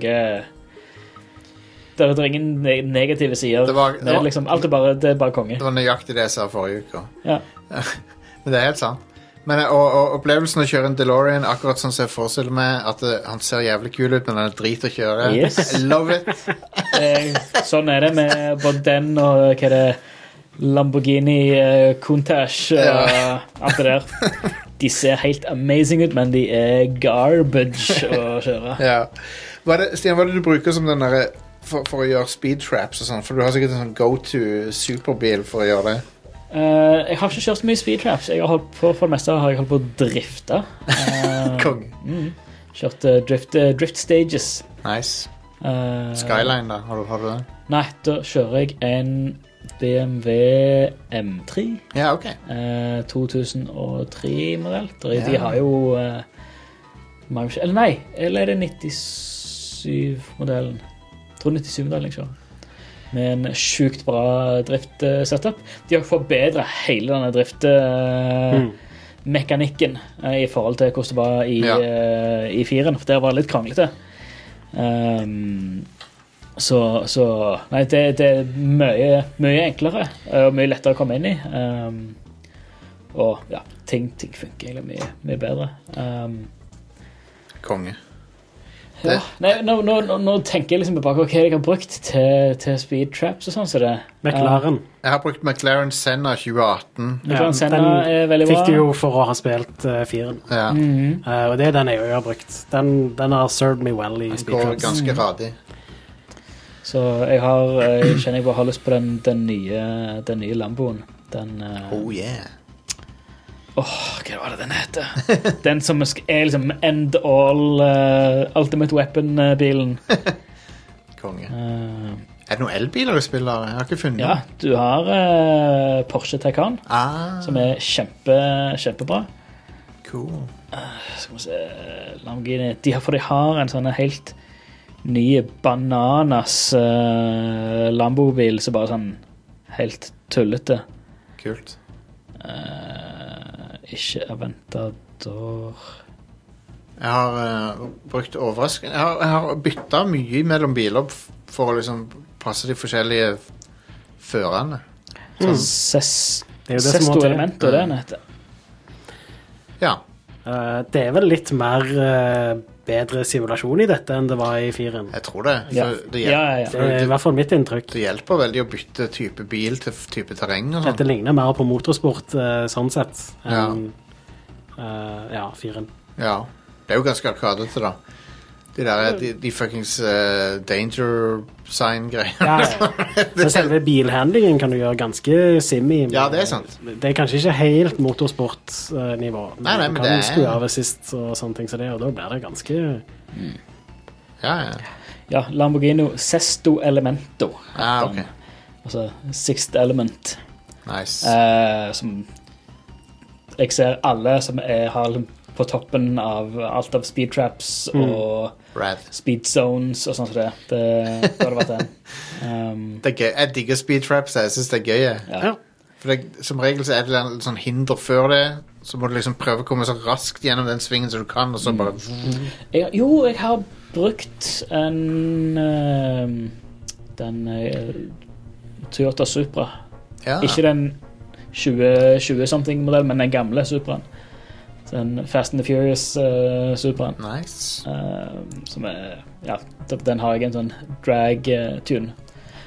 [SPEAKER 3] Det er, det er ingen ne- negative sider.
[SPEAKER 1] Det var- det
[SPEAKER 3] er
[SPEAKER 1] var-
[SPEAKER 3] liksom, alt er bare, det er bare konge.
[SPEAKER 1] Det var nøyaktig det jeg sa forrige uke. også.
[SPEAKER 3] Ja.
[SPEAKER 1] Men det er helt sant. Men, eh, og, og opplevelsen å kjøre en DeLorean akkurat sånn som jeg forestiller meg, at eh, han ser jævlig kul ut, men han er drit å kjøre.
[SPEAKER 3] Yes.
[SPEAKER 1] I Love it.
[SPEAKER 3] Eh, sånn er det med både den og eh, hva er det Lamborghini eh, Countach og
[SPEAKER 1] Ja.
[SPEAKER 3] alt det der. De ser helt amazing ut, men de er garbage å kjøre.
[SPEAKER 1] Ja. Hva er det, Stian, hva er det du bruker som den derre for, for å gjøre speed traps og sånn? For du har sikkert en sånn go to superbil for å gjøre det.
[SPEAKER 3] Eh, jeg har ikke kjørt så mye speed traps. Jeg har holdt på, for det meste har jeg holdt på å drifte. Eh,
[SPEAKER 1] Kong.
[SPEAKER 3] kjørt eh, drift, eh, drift stages.
[SPEAKER 1] Nice.
[SPEAKER 3] Eh,
[SPEAKER 1] Skyline, da. Har du, har du den?
[SPEAKER 3] Nei, da kjører jeg en BMW M3.
[SPEAKER 1] Ja, OK.
[SPEAKER 3] Eh, 2003-modell. Drit,
[SPEAKER 1] Ja.
[SPEAKER 3] De har jo eh, mange forskjell- Eller nei, eller er det 97-modellen? Jeg tror 97-modellen jeg kjører. Med en sjukt bra drift-setup. De har forbedra hele denne
[SPEAKER 2] Mm.
[SPEAKER 3] drift-mekanikken eh, i forhold til hvordan det var i,
[SPEAKER 1] Ja.
[SPEAKER 3] eh, i firen, for der var det litt kranglete. Ehm, så, så Nei, det, det er mye, mye enklere eh, og mye lettere å komme inn i. Ehm, og ja, ting, ting funker egentlig mye, mye bedre. Ehm,
[SPEAKER 1] Konge.
[SPEAKER 3] ja.
[SPEAKER 1] Det-
[SPEAKER 3] Nei, nå, nå, nå, nå tenker jeg liksom tilbake på hva jeg har brukt til, til speed traps og sånn. Så det
[SPEAKER 2] McLaren.
[SPEAKER 1] Jeg har brukt McLaren Senna 2018.
[SPEAKER 3] McLaren Senna er
[SPEAKER 2] den
[SPEAKER 3] eh, veldig
[SPEAKER 2] fikk
[SPEAKER 3] bra.
[SPEAKER 2] du jo for å ha spilt uh, firen.
[SPEAKER 1] Ja.
[SPEAKER 3] Mhm.
[SPEAKER 2] Eh, og det er den jeg jo har brukt. Den, den har served me well i
[SPEAKER 1] Den går
[SPEAKER 2] speedtraps.
[SPEAKER 1] ganske radig.
[SPEAKER 3] Så jeg har eh, jeg kjenner jeg bare har lyst på den, den, nye, den nye Lamboen. Den eh,
[SPEAKER 1] Oh yeah.
[SPEAKER 3] Åh, hva var det den heter? Den som sk- er liksom end all eh, Ultimate Weapon-bilen.
[SPEAKER 1] Konge.
[SPEAKER 3] Eh,
[SPEAKER 1] Er det noen elbiler i spillet? Jeg har ikke funnet
[SPEAKER 3] ja,
[SPEAKER 1] noen.
[SPEAKER 3] du har eh, Porsche Taycan,
[SPEAKER 1] Ah,
[SPEAKER 3] som er kjempe, kjempebra.
[SPEAKER 1] cool.
[SPEAKER 3] Skal vi se Lamborghini de har, For de har en sånn helt ny bananas eh, Lambo-bil som bare er sånn helt tullete.
[SPEAKER 1] Kult.
[SPEAKER 3] Eh, ikke Aventador
[SPEAKER 1] Jeg har eh, brukt overraskende Jeg har, jeg har bytta mye mellom biler f- for å liksom passe de forskjellige førerne.
[SPEAKER 3] Så Ses-
[SPEAKER 2] Mm. Det er jo det som må
[SPEAKER 3] Sesto
[SPEAKER 2] til.
[SPEAKER 3] Elemento, det er den heter.
[SPEAKER 1] Ja.
[SPEAKER 2] Eh, det er vel litt mer eh, bedre simulasjon i dette enn det var i firen.
[SPEAKER 1] Jeg tror det.
[SPEAKER 3] Ja.
[SPEAKER 1] For det, hjelper,
[SPEAKER 3] Ja, ja, ja. Eh,
[SPEAKER 2] Det er i hvert fall mitt inntrykk.
[SPEAKER 1] det hjelper veldig å bytte type bil til f- type terreng og
[SPEAKER 2] Dette
[SPEAKER 1] sånn.
[SPEAKER 2] ligner mer på motorsport eh, sånn sett enn eh, ja, firen.
[SPEAKER 1] Ja. Det er jo ganske arkadete, da. De der de, de fuckings eh, danger sign-greiene.
[SPEAKER 2] Ja, ja. Men selve bilhandlingen kan du gjøre ganske simmy. men
[SPEAKER 1] Ja, det er sant.
[SPEAKER 2] Det er kanskje ikke helt motorsportnivå.
[SPEAKER 1] Nei, nei, men
[SPEAKER 2] du
[SPEAKER 1] det
[SPEAKER 2] kan
[SPEAKER 1] er-
[SPEAKER 2] skru av sist og sånne ting, så det, og da blir det ganske
[SPEAKER 1] Ja, ja.
[SPEAKER 3] Ja, Lamborghini Sesto Elemento.
[SPEAKER 1] Ah, ok.
[SPEAKER 3] Altså Sixth Element.
[SPEAKER 1] Nice.
[SPEAKER 3] Eh, som jeg ser alle som er har liksom på toppen av alt av speed traps
[SPEAKER 2] Mm.
[SPEAKER 3] og
[SPEAKER 1] Rad.
[SPEAKER 3] speed zones og sånn som det. Det det har det vært den. Um,
[SPEAKER 1] Det er gøy. Jeg digger speed traps. Jeg syns det er gøy. jeg.
[SPEAKER 3] ja.
[SPEAKER 2] Ja.
[SPEAKER 1] For det, Som regel så er det en sånn hinder før det. Så må du liksom prøve å komme så raskt gjennom den svingen som du kan, og så bare
[SPEAKER 3] Mm. jeg, Jo, jeg har brukt en ehm, Den eh, Toyota Supra.
[SPEAKER 1] ja.
[SPEAKER 3] Ikke den 20-something-modellen, men den gamle Supraen. Den Fast and the Furious-Supraen.
[SPEAKER 1] Nice.
[SPEAKER 3] Eh, som er Ja, d- den har jeg en sånn drag-tune.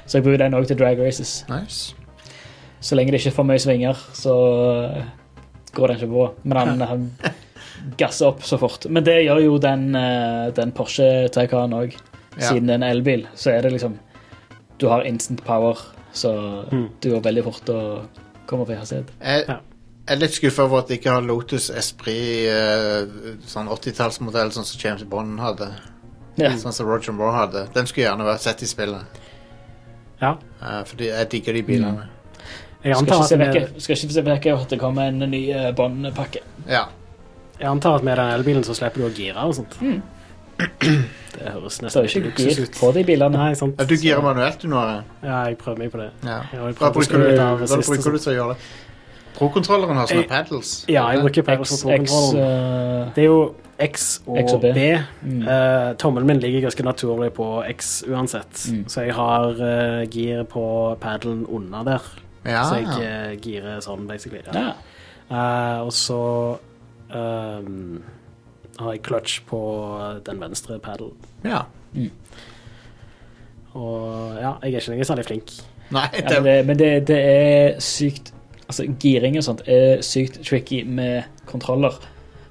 [SPEAKER 3] Så jeg bruker den òg til drag races.
[SPEAKER 1] Nice.
[SPEAKER 3] Så lenge det ikke er for mye svinger, så eh, går den ikke på. Men han, han gasser opp så fort. Men det gjør jo den, eh, den Porsche Taycan òg.
[SPEAKER 1] Ja.
[SPEAKER 3] Siden det er en elbil, så er det liksom Du har instant power, så det går veldig fort å komme opp i hastighet.
[SPEAKER 1] Jeg
[SPEAKER 2] Ja.
[SPEAKER 1] jeg er litt skuffa over at de ikke har Lotus Esprit, eh, sånn 80-tallsmodell sånn som James Bond hadde.
[SPEAKER 3] Ja.
[SPEAKER 1] Sånn som Roger Moore hadde. Den skulle gjerne vært sett i spillet.
[SPEAKER 2] Ja.
[SPEAKER 1] Eh, fordi jeg digger de bilene.
[SPEAKER 2] Jeg
[SPEAKER 3] Skal
[SPEAKER 2] antar,
[SPEAKER 3] ikke se
[SPEAKER 2] at
[SPEAKER 3] vekk
[SPEAKER 2] med,
[SPEAKER 3] skal ikke se vekk at det kommer en ny eh, Bond-pakke.
[SPEAKER 1] Ja.
[SPEAKER 2] jeg antar at med den elbilen så slipper du å gire og sånt. Det høres
[SPEAKER 3] Så
[SPEAKER 2] nesten
[SPEAKER 3] det er
[SPEAKER 2] litt
[SPEAKER 3] ikke gir
[SPEAKER 2] luksus ut.
[SPEAKER 3] på de bilene.
[SPEAKER 2] Nei, sant.
[SPEAKER 1] Ja, Du girer manuelt, du, Nore.
[SPEAKER 2] Ja, jeg prøver meg på det.
[SPEAKER 1] Ja.
[SPEAKER 2] Ja, vi
[SPEAKER 1] Da
[SPEAKER 2] prøvde å
[SPEAKER 1] bruker
[SPEAKER 2] skru
[SPEAKER 1] du,
[SPEAKER 2] litt av
[SPEAKER 1] da
[SPEAKER 2] sist og
[SPEAKER 1] bruker du
[SPEAKER 2] sånt.
[SPEAKER 1] til å gjøre det. Pro-kontrolleren har sånne
[SPEAKER 2] Jeg-
[SPEAKER 1] paddles.
[SPEAKER 2] Ja, jeg bruker pedal
[SPEAKER 3] X,
[SPEAKER 2] for
[SPEAKER 3] X
[SPEAKER 2] kontrollen.
[SPEAKER 3] eh,
[SPEAKER 2] Det er jo X og,
[SPEAKER 3] X og B.
[SPEAKER 2] B.
[SPEAKER 3] Mm.
[SPEAKER 2] Eh, tommelen min ligger ganske naturlig på X uansett, så jeg har eh, gir på paddelen under der.
[SPEAKER 1] Ja.
[SPEAKER 2] Så jeg eh, girer sånn, basically. Ja.
[SPEAKER 3] ja.
[SPEAKER 2] Eh, og så ehm, har jeg clutch på eh, den venstre paddelen.
[SPEAKER 1] ja.
[SPEAKER 2] Og ja, jeg er ikke lenger særlig flink.
[SPEAKER 1] Nei,
[SPEAKER 3] Ja, men
[SPEAKER 1] det,
[SPEAKER 3] det, men det, det er sykt Altså, giring og sånt er sykt tricky med kontroller.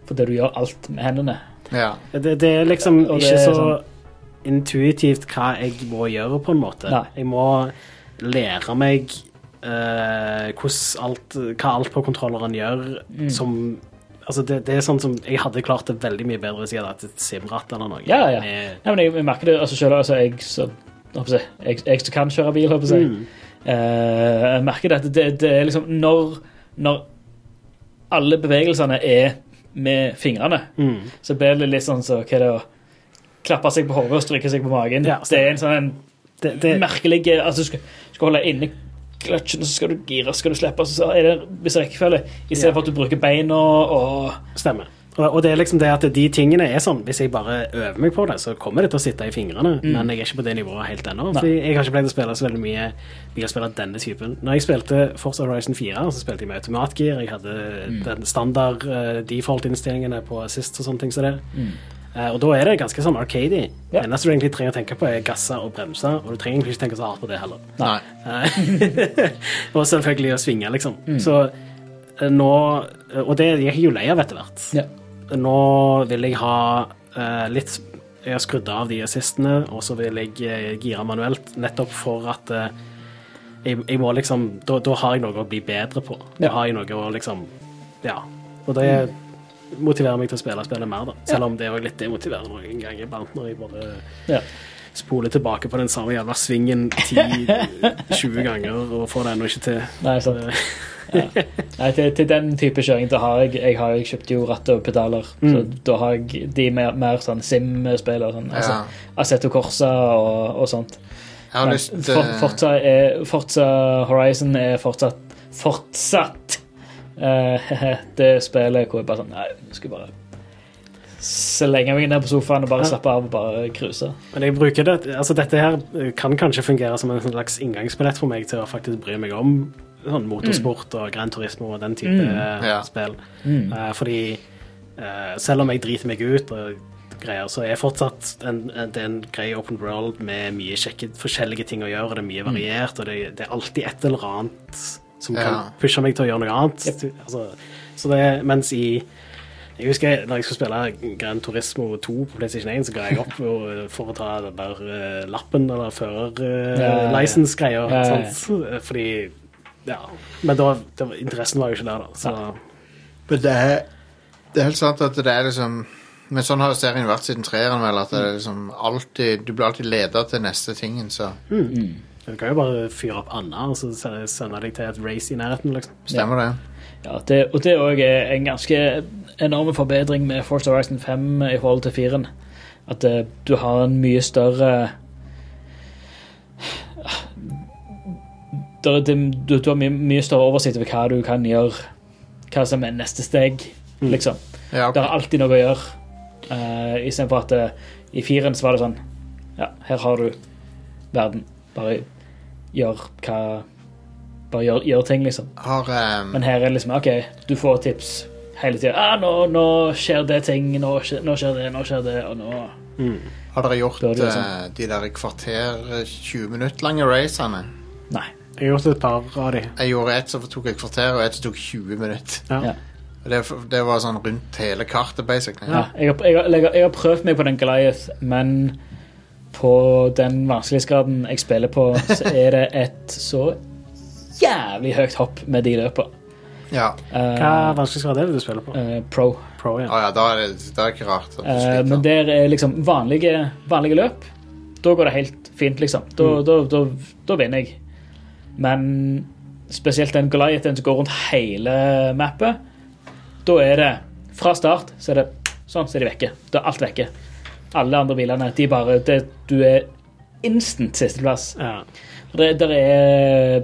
[SPEAKER 3] Fordi du gjør alt med hendene.
[SPEAKER 1] ja.
[SPEAKER 2] Det, det er liksom
[SPEAKER 3] Og det
[SPEAKER 2] ikke
[SPEAKER 3] er
[SPEAKER 2] så
[SPEAKER 3] sånn-
[SPEAKER 2] intuitivt hva jeg må gjøre, på en måte.
[SPEAKER 3] Nei.
[SPEAKER 2] Jeg må lære meg eh, hvordan alt, hva alt på kontrolleren gjør
[SPEAKER 3] Mm.
[SPEAKER 2] som Altså, det, det er sånn som Jeg hadde klart det veldig mye bedre hvis jeg hadde hatt et simratt eller noe.
[SPEAKER 3] Ja, ja.
[SPEAKER 2] Med-
[SPEAKER 3] Nei, men jeg, jeg merker det altså selv, altså, jeg, så, håper jeg, jeg, jeg som kan kjøre bil, håper jeg. Eh, jeg merker det at det, det er liksom når, når alle bevegelsene er med fingrene,
[SPEAKER 2] Mm.
[SPEAKER 3] så blir det litt sånn så, hva er det å klappe seg på hodet og stryke seg på magen.
[SPEAKER 2] Ja,
[SPEAKER 3] det er en sånn en
[SPEAKER 2] Det, det,
[SPEAKER 3] merkelig Altså, du skal, skal holde inne kløtsjen, og så skal du gire, og så skal du slippe, og så er det en viss rekkefølge. I stedet
[SPEAKER 2] Ja.
[SPEAKER 3] for at du bruker beina og
[SPEAKER 2] Stemmer. Og, og det er liksom det at de tingene er sånn Hvis jeg bare øver meg på det, så kommer det til å sitte i fingrene. Men jeg er ikke på det nivået helt ennå. Fordi jeg har ikke pleid å spille så veldig mye bilspill av denne typen. Når jeg spilte Forza Horizon 4, så spilte jeg med automatgir. Jeg hadde den standard eh, default-innstillingene på assist og sånne ting som det. Eh, og da er det ganske sånn arcady.
[SPEAKER 3] Ja.
[SPEAKER 2] Det eneste du egentlig trenger å tenke på, er gasser og bremser, og du trenger egentlig ikke tenke så hardt på det heller.
[SPEAKER 1] Nei.
[SPEAKER 2] Eh, og selvfølgelig å svinge, liksom. Så eh, nå Og det gikk jeg jo lei av etter hvert
[SPEAKER 3] ja.
[SPEAKER 2] nå vil jeg ha eh, litt Jeg har skrudd av de assistene, og så vil jeg eh, gire manuelt, nettopp for at eh, jeg, jeg må liksom da, da har jeg noe å bli bedre på. Da
[SPEAKER 3] Ja.
[SPEAKER 2] har jeg noe å liksom Ja. Og det motiverer meg til å spille spillet mer, da. Selv om det er jo litt demotiverende noen ganger iblant når jeg bare
[SPEAKER 3] ja.
[SPEAKER 2] spoler tilbake på den samme jævla svingen 10-20 ganger og får det ennå ikke til.
[SPEAKER 3] Nei, sant. Ja. Nei, til, til den type kjøring da har jeg Jeg har jeg kjøpt jo ratt og pedaler. Så
[SPEAKER 2] Mm.
[SPEAKER 3] da har jeg de mer, mer sånn Sim-spill og sånn. Altså,
[SPEAKER 1] Ja.
[SPEAKER 3] Assetto Corsa og, og sånt.
[SPEAKER 1] Jeg har
[SPEAKER 3] Men
[SPEAKER 1] lyst
[SPEAKER 3] For,
[SPEAKER 1] eh,
[SPEAKER 3] Forza, er, Forza Horizon er fortsatt Fortsatt Eh, det spillet hvor jeg bare sånn Nei, jeg skulle bare slenge meg ned på sofaen og bare slappe av og bare cruise.
[SPEAKER 2] Men jeg bruker det, altså dette her kan kanskje fungere som en sånn slags inngangsbillett for meg til å faktisk bry meg om sånn motorsport og Gran Turismo og den type eh,
[SPEAKER 1] Ja.
[SPEAKER 2] spill.
[SPEAKER 3] Mm.
[SPEAKER 2] Eh, fordi eh, selv om jeg driter meg ut og greier, så er fortsatt en, en, det er en grei open world med mye kjekke, forskjellige ting å gjøre, og det er
[SPEAKER 3] Mm.
[SPEAKER 2] mye variert, og det, det er alltid et eller annet som kan
[SPEAKER 1] Ja.
[SPEAKER 2] pushe meg til å gjøre noe annet. Altså, så det, mens i jeg husker når jeg skulle spille Gran Turismo 2 på PlayStation 1, så ga jeg opp og- for å ta den der eh, lappen eller eh,
[SPEAKER 3] Ja, ja, ja.
[SPEAKER 2] førerlisensgreia.
[SPEAKER 3] Ja, ja, ja.
[SPEAKER 2] Fordi Ja. Men da, det var, interessen var jo ikke der, da. Så
[SPEAKER 1] Men det er, det er helt sant at det er liksom Men sånn har jo serien vært siden treeren, vel. At det er liksom alltid, du blir alltid leder til neste tingen, så
[SPEAKER 2] du kan jo bare fyre opp Anna og så se- sende deg til et race i nærheten, liksom.
[SPEAKER 1] stemmer det.
[SPEAKER 3] Ja, det, og det òg er en ganske enorm forbedring med Force Horizon 5 i forhold til 4-en. At eh, du har en mye større Der, det, du, du har mye, mye større oversikt over hva du kan gjøre, hva som er neste steg, liksom.
[SPEAKER 1] Ja, ok.
[SPEAKER 3] Det er alltid noe å gjøre. Uh, Istedenfor at eh, i firen så var det sånn Ja, her har du verden. Bare gjør hva Bare gjør, gjør ting, liksom.
[SPEAKER 1] Har ehm,
[SPEAKER 3] Men her er det liksom OK, du får tips hele tida. Ah, nå, 'Nå skjer det ting. Nå skjer, nå skjer det. Nå skjer det.' Og nå
[SPEAKER 1] Har dere gjort
[SPEAKER 3] Da er det jo
[SPEAKER 1] eh, de der kvarter eh, 20 minutt lange racene?
[SPEAKER 3] Nei.
[SPEAKER 2] Jeg har gjort et par av de.
[SPEAKER 1] Jeg gjorde et som tok et kvarter, og et som tok 20 minutter.
[SPEAKER 2] Ja.
[SPEAKER 3] Ja.
[SPEAKER 1] Og Det, det var sånn rundt hele kartet, basically.
[SPEAKER 3] Ja, jeg, har, jeg, har, jeg, har, jeg har prøvd meg på den Goliath, men på den vanskelighetsgraden jeg spiller på, så er det et så jævlig høyt hopp med de løpene.
[SPEAKER 1] Ja.
[SPEAKER 3] Eh,
[SPEAKER 2] Hva vanskelighetsgrad er det du spiller på?
[SPEAKER 3] eh, pro.
[SPEAKER 2] Pro, ja.
[SPEAKER 1] Å ja, da er det, da er det ikke rart at du
[SPEAKER 3] Eh, men
[SPEAKER 1] sliter.
[SPEAKER 3] der er liksom vanlige, vanlige løp. Da går det helt fint, liksom. Da, da, da, da vinner jeg. Men spesielt den Goliath, den som går rundt hele mappet, da er det Fra start så er det sånn, så er de vekke. Da er alt vekke. Alle andre bilene, de bare det, Du er instant sisteplass.
[SPEAKER 2] ja.
[SPEAKER 3] Det, der er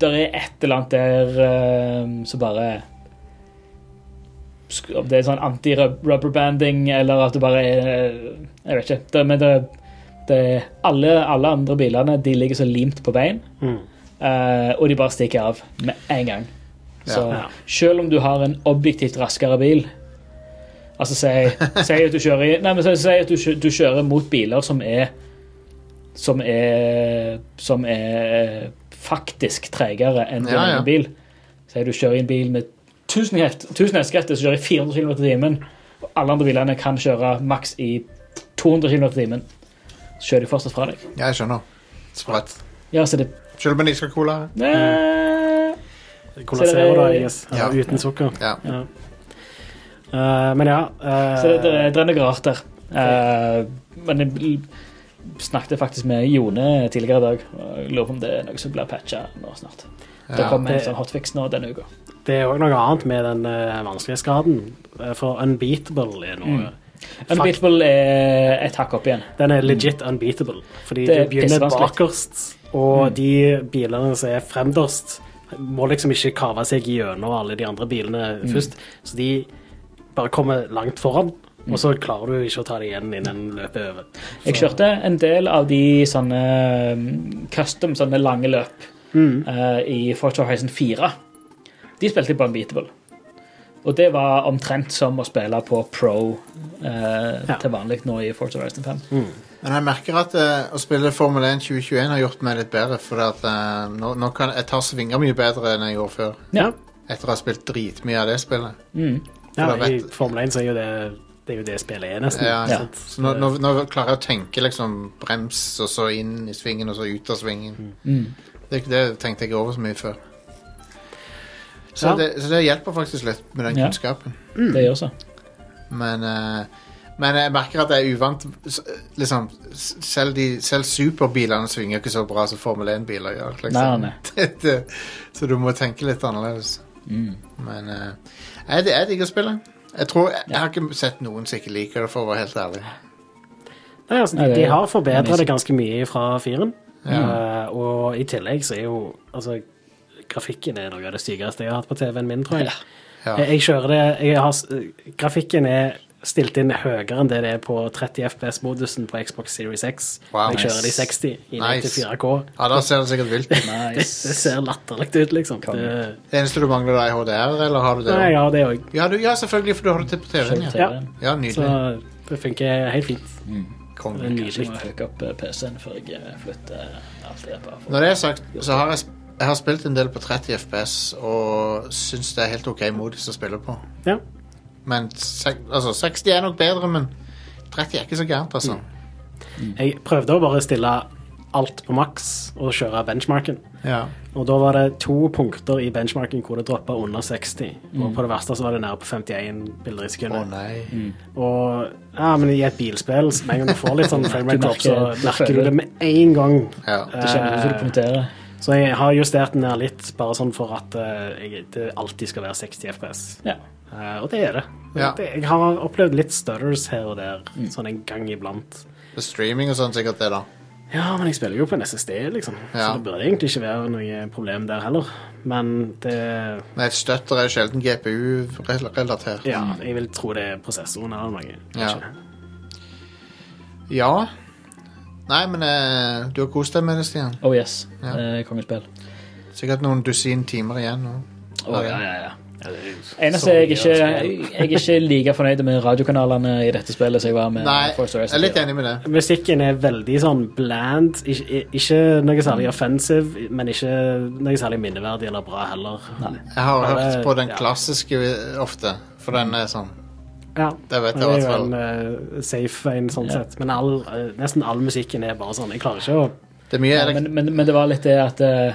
[SPEAKER 3] Der er et eller annet der eh, som bare sk- Om det er sånn anti-rubberbanding, eller at det bare er eh, Jeg vet ikke. Det, men det, det alle, alle andre bilene de ligger så limt på veien,
[SPEAKER 2] Mm.
[SPEAKER 3] eh, og de bare stikker av med en gang. Så
[SPEAKER 1] Ja.
[SPEAKER 2] Ja.
[SPEAKER 3] selv om du har en objektivt raskere bil Altså si, si at du kjører i, Nei, men si, si at du, kjø- du kjører mot biler som er Som er Som er faktisk tregere enn din
[SPEAKER 1] Ja, ja.
[SPEAKER 3] egen bil. Si du kjører i en bil med 1000 heft- 1000 hestekrefter som kjører i 400 km i timen, og alle andre bilene kan kjøre maks i 200 km i timen, så kjører de fortsatt fra deg.
[SPEAKER 1] Ja, jeg skjønner. Sprøtt.
[SPEAKER 3] Ja, så det
[SPEAKER 1] Selv med Nisca-cola.
[SPEAKER 3] Nei.
[SPEAKER 2] Cola Zero, da, jeg guess.
[SPEAKER 1] Ja.
[SPEAKER 2] Ja. Uten sukker.
[SPEAKER 1] Ja.
[SPEAKER 2] Ja. Eh, men ja eh,
[SPEAKER 3] Så det, det, er- det er noe rart der. Eh, men jeg bl- snakket faktisk med Jone tidligere i dag. og Jeg lurer på om det er noe som blir patcha nå snart. Det
[SPEAKER 1] Ja.
[SPEAKER 3] kommer en
[SPEAKER 2] det-
[SPEAKER 3] sånn hotfix nå denne uka.
[SPEAKER 2] Det er òg noe annet med den eh, vanskelighetsgraden. Eh, For unbeatable er noe
[SPEAKER 3] Mm. Unbeatable er et hakk opp igjen.
[SPEAKER 2] Den er legit unbeatable. Fordi
[SPEAKER 3] Det er
[SPEAKER 2] du begynner
[SPEAKER 3] pissevanskelig.
[SPEAKER 2] bakerst,
[SPEAKER 1] Mm.
[SPEAKER 2] og de bilene som er fremderst, må liksom ikke kave seg gjennom alle de andre bilene
[SPEAKER 1] Mm.
[SPEAKER 2] først. Så de bare kommer langt foran,
[SPEAKER 1] Mm.
[SPEAKER 2] og så klarer du ikke å ta det igjen innen løpet er over.
[SPEAKER 3] Jeg kjørte en del av de sånne mm, custom, sånne lange løp eh, i Forza Horizon 4. De spilte jeg på Unbeatable. Og det var omtrent som å spille på pro eh,
[SPEAKER 2] Ja.
[SPEAKER 3] til vanlig nå i Forza Horizon 5.
[SPEAKER 1] Men jeg merker at eh, å spille Formel 1 2021 har gjort meg litt bedre, for at, eh, nå, nå kan jeg ta svinger mye bedre enn jeg gjorde før.
[SPEAKER 3] Ja.
[SPEAKER 1] Etter å ha spilt dritmye av det spillet.
[SPEAKER 3] Mm.
[SPEAKER 2] Ja,
[SPEAKER 1] For da
[SPEAKER 2] I
[SPEAKER 1] vet-
[SPEAKER 2] Formel 1 så er jo det det er jo det spillet er, nesten.
[SPEAKER 1] Ja,
[SPEAKER 3] Ja.
[SPEAKER 1] sant. Så nå, nå, nå klarer jeg å tenke liksom brems, og så inn i svingen, og så ut av svingen. Det, det tenkte jeg ikke over så mye før. Så,
[SPEAKER 2] Ja.
[SPEAKER 1] det, så det hjelper faktisk litt med den
[SPEAKER 3] Ja.
[SPEAKER 1] kunnskapen.
[SPEAKER 3] Det gjør så.
[SPEAKER 1] Men, eh, men jeg merker at jeg er uvant. S- Liksom, s- selv, de, selv superbilene svinger ikke så bra som Formel 1-biler gjør. Liksom.
[SPEAKER 3] Nei, nei.
[SPEAKER 1] Det- det- så du må tenke litt annerledes. Men eh, jeg, jeg digger spillet. Jeg, tror, jeg, jeg har ikke sett noen som ikke liker det, for å være helt ærlig.
[SPEAKER 2] Nei, altså,
[SPEAKER 3] Nei,
[SPEAKER 2] de,
[SPEAKER 3] det-
[SPEAKER 2] de har
[SPEAKER 3] men
[SPEAKER 2] forbedra
[SPEAKER 3] jeg-
[SPEAKER 2] det ganske mye fra firen. Eh, og i tillegg så er jo altså grafikken er noe av det sykeste jeg har hatt på TV-en min, tror jeg.
[SPEAKER 1] Ja.
[SPEAKER 2] Jeg, jeg kjører det jeg har, s- eh, Grafikken er stilt inn høyere enn det det er på 30 FPS-modusen på Xbox Series X.
[SPEAKER 1] Wow.
[SPEAKER 2] jeg kjører det i
[SPEAKER 1] Nice.
[SPEAKER 2] 60 i
[SPEAKER 1] Nice.
[SPEAKER 2] 94K.
[SPEAKER 1] ja, da ser det sikkert vilt ut.
[SPEAKER 2] Det, det ser latterlig ut, liksom.
[SPEAKER 3] Konge.
[SPEAKER 2] Det,
[SPEAKER 1] Det eneste du mangler, er HDR, eller har du det?
[SPEAKER 2] nei, jeg har det òg.
[SPEAKER 1] Ja, du, ja, selvfølgelig, for du har det til på TV-en. Ja.
[SPEAKER 2] Ja.
[SPEAKER 1] ja,
[SPEAKER 2] Så
[SPEAKER 1] nydelig.
[SPEAKER 2] det funker helt fint. Det er
[SPEAKER 1] Konge.
[SPEAKER 3] Kanskje jeg må
[SPEAKER 2] nydelig.
[SPEAKER 3] hooke opp eh, PC-en før jeg eh, flytter alt det på.
[SPEAKER 1] Når det er sagt, så har jeg, sp- jeg har spilt en del på 30 FPS, og syns det er helt OK modus å spille på.
[SPEAKER 2] Ja.
[SPEAKER 1] Men sek, altså, 60 er nok bedre, men 30 er ikke så gærent, altså.
[SPEAKER 2] Jeg prøvde å bare stille alt på maks og kjøre benchmarken.
[SPEAKER 1] Ja.
[SPEAKER 2] Og da var det to punkter i benchmarken hvor det droppa under 60. Og på det verste så var det nede på 51 bilder i
[SPEAKER 1] Å
[SPEAKER 2] sekundet.
[SPEAKER 1] nei.
[SPEAKER 2] Og ja, men i et bilspill, så med en gang du får litt sånn frame rate
[SPEAKER 3] Du
[SPEAKER 2] drop, så
[SPEAKER 3] merker- du
[SPEAKER 2] merker du
[SPEAKER 3] føler-
[SPEAKER 2] det med en gang.
[SPEAKER 1] Ja.
[SPEAKER 3] Det kjenner du som du punkterer.
[SPEAKER 2] Så jeg har justert den ned litt, bare sånn for at eh, jeg, det alltid skal være 60 FPS.
[SPEAKER 3] Ja.
[SPEAKER 2] Eh, og det er det.
[SPEAKER 1] Ja.
[SPEAKER 2] det. Jeg har opplevd litt stutters her og der, sånn en gang iblant.
[SPEAKER 1] Det er streaming og sånn sikkert det, da.
[SPEAKER 2] Ja, men jeg spiller jo på en SSD, liksom.
[SPEAKER 1] Ja.
[SPEAKER 2] Så det burde egentlig ikke være noe problem der heller. Men det
[SPEAKER 1] Men et støtter er jo sjelden GPU-relatert.
[SPEAKER 2] Ja, jeg vil tro det er prosessoren eller noe.
[SPEAKER 1] Mm. Ja.
[SPEAKER 2] kanskje.
[SPEAKER 1] Ja. Nei, men eh, du har kost deg med det, Stian.
[SPEAKER 3] Oh yes.
[SPEAKER 1] Ja.
[SPEAKER 3] Eh, Kongespill.
[SPEAKER 1] Sikkert noen dusin timer igjen nå.
[SPEAKER 3] Å, ja, ja, ja.
[SPEAKER 2] Ja, det er jo
[SPEAKER 3] Eneste
[SPEAKER 2] så mye
[SPEAKER 3] jeg ikke,
[SPEAKER 2] å
[SPEAKER 3] jeg
[SPEAKER 2] spille.
[SPEAKER 3] er ikke like fornøyd med radiokanalene i dette spillet som jeg var med
[SPEAKER 1] Nei,
[SPEAKER 3] Force
[SPEAKER 1] jeg er litt enig med det.
[SPEAKER 2] Musikken er veldig sånn bland. Ikke, ikke noe særlig offensive, men ikke noe særlig minneverdig eller bra heller.
[SPEAKER 1] Jeg har
[SPEAKER 2] Ja,
[SPEAKER 1] hørt
[SPEAKER 2] det-
[SPEAKER 1] på den
[SPEAKER 2] ja.
[SPEAKER 1] klassiske eh, ofte, for den er sånn
[SPEAKER 2] Ja.
[SPEAKER 1] Det vet jeg
[SPEAKER 2] er
[SPEAKER 1] i hvert
[SPEAKER 2] jo
[SPEAKER 1] fall.
[SPEAKER 2] en eh, safe en, sånn sett. Men all, eh, nesten all musikken er bare sånn. Jeg klarer ikke å
[SPEAKER 1] Det er mye
[SPEAKER 3] Ja,
[SPEAKER 1] elek-
[SPEAKER 3] men, men, men det var litt det at uh,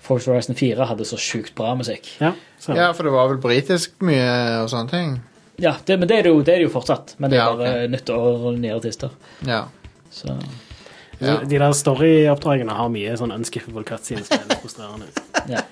[SPEAKER 3] Force Horizon 4 hadde så sjukt bra musikk.
[SPEAKER 2] Ja. Så.
[SPEAKER 1] Ja, for det var vel britisk mye og sånne ting.
[SPEAKER 3] Ja, det, men det er, det, jo, det er det jo fortsatt. Men det er
[SPEAKER 1] Ja,
[SPEAKER 3] bare nytt år og nye artister.
[SPEAKER 1] Ja.
[SPEAKER 3] Så
[SPEAKER 1] Ja,
[SPEAKER 2] De der storyoppdragene har mye sånn unskippable cutscenes. som er frustrerende.
[SPEAKER 1] ja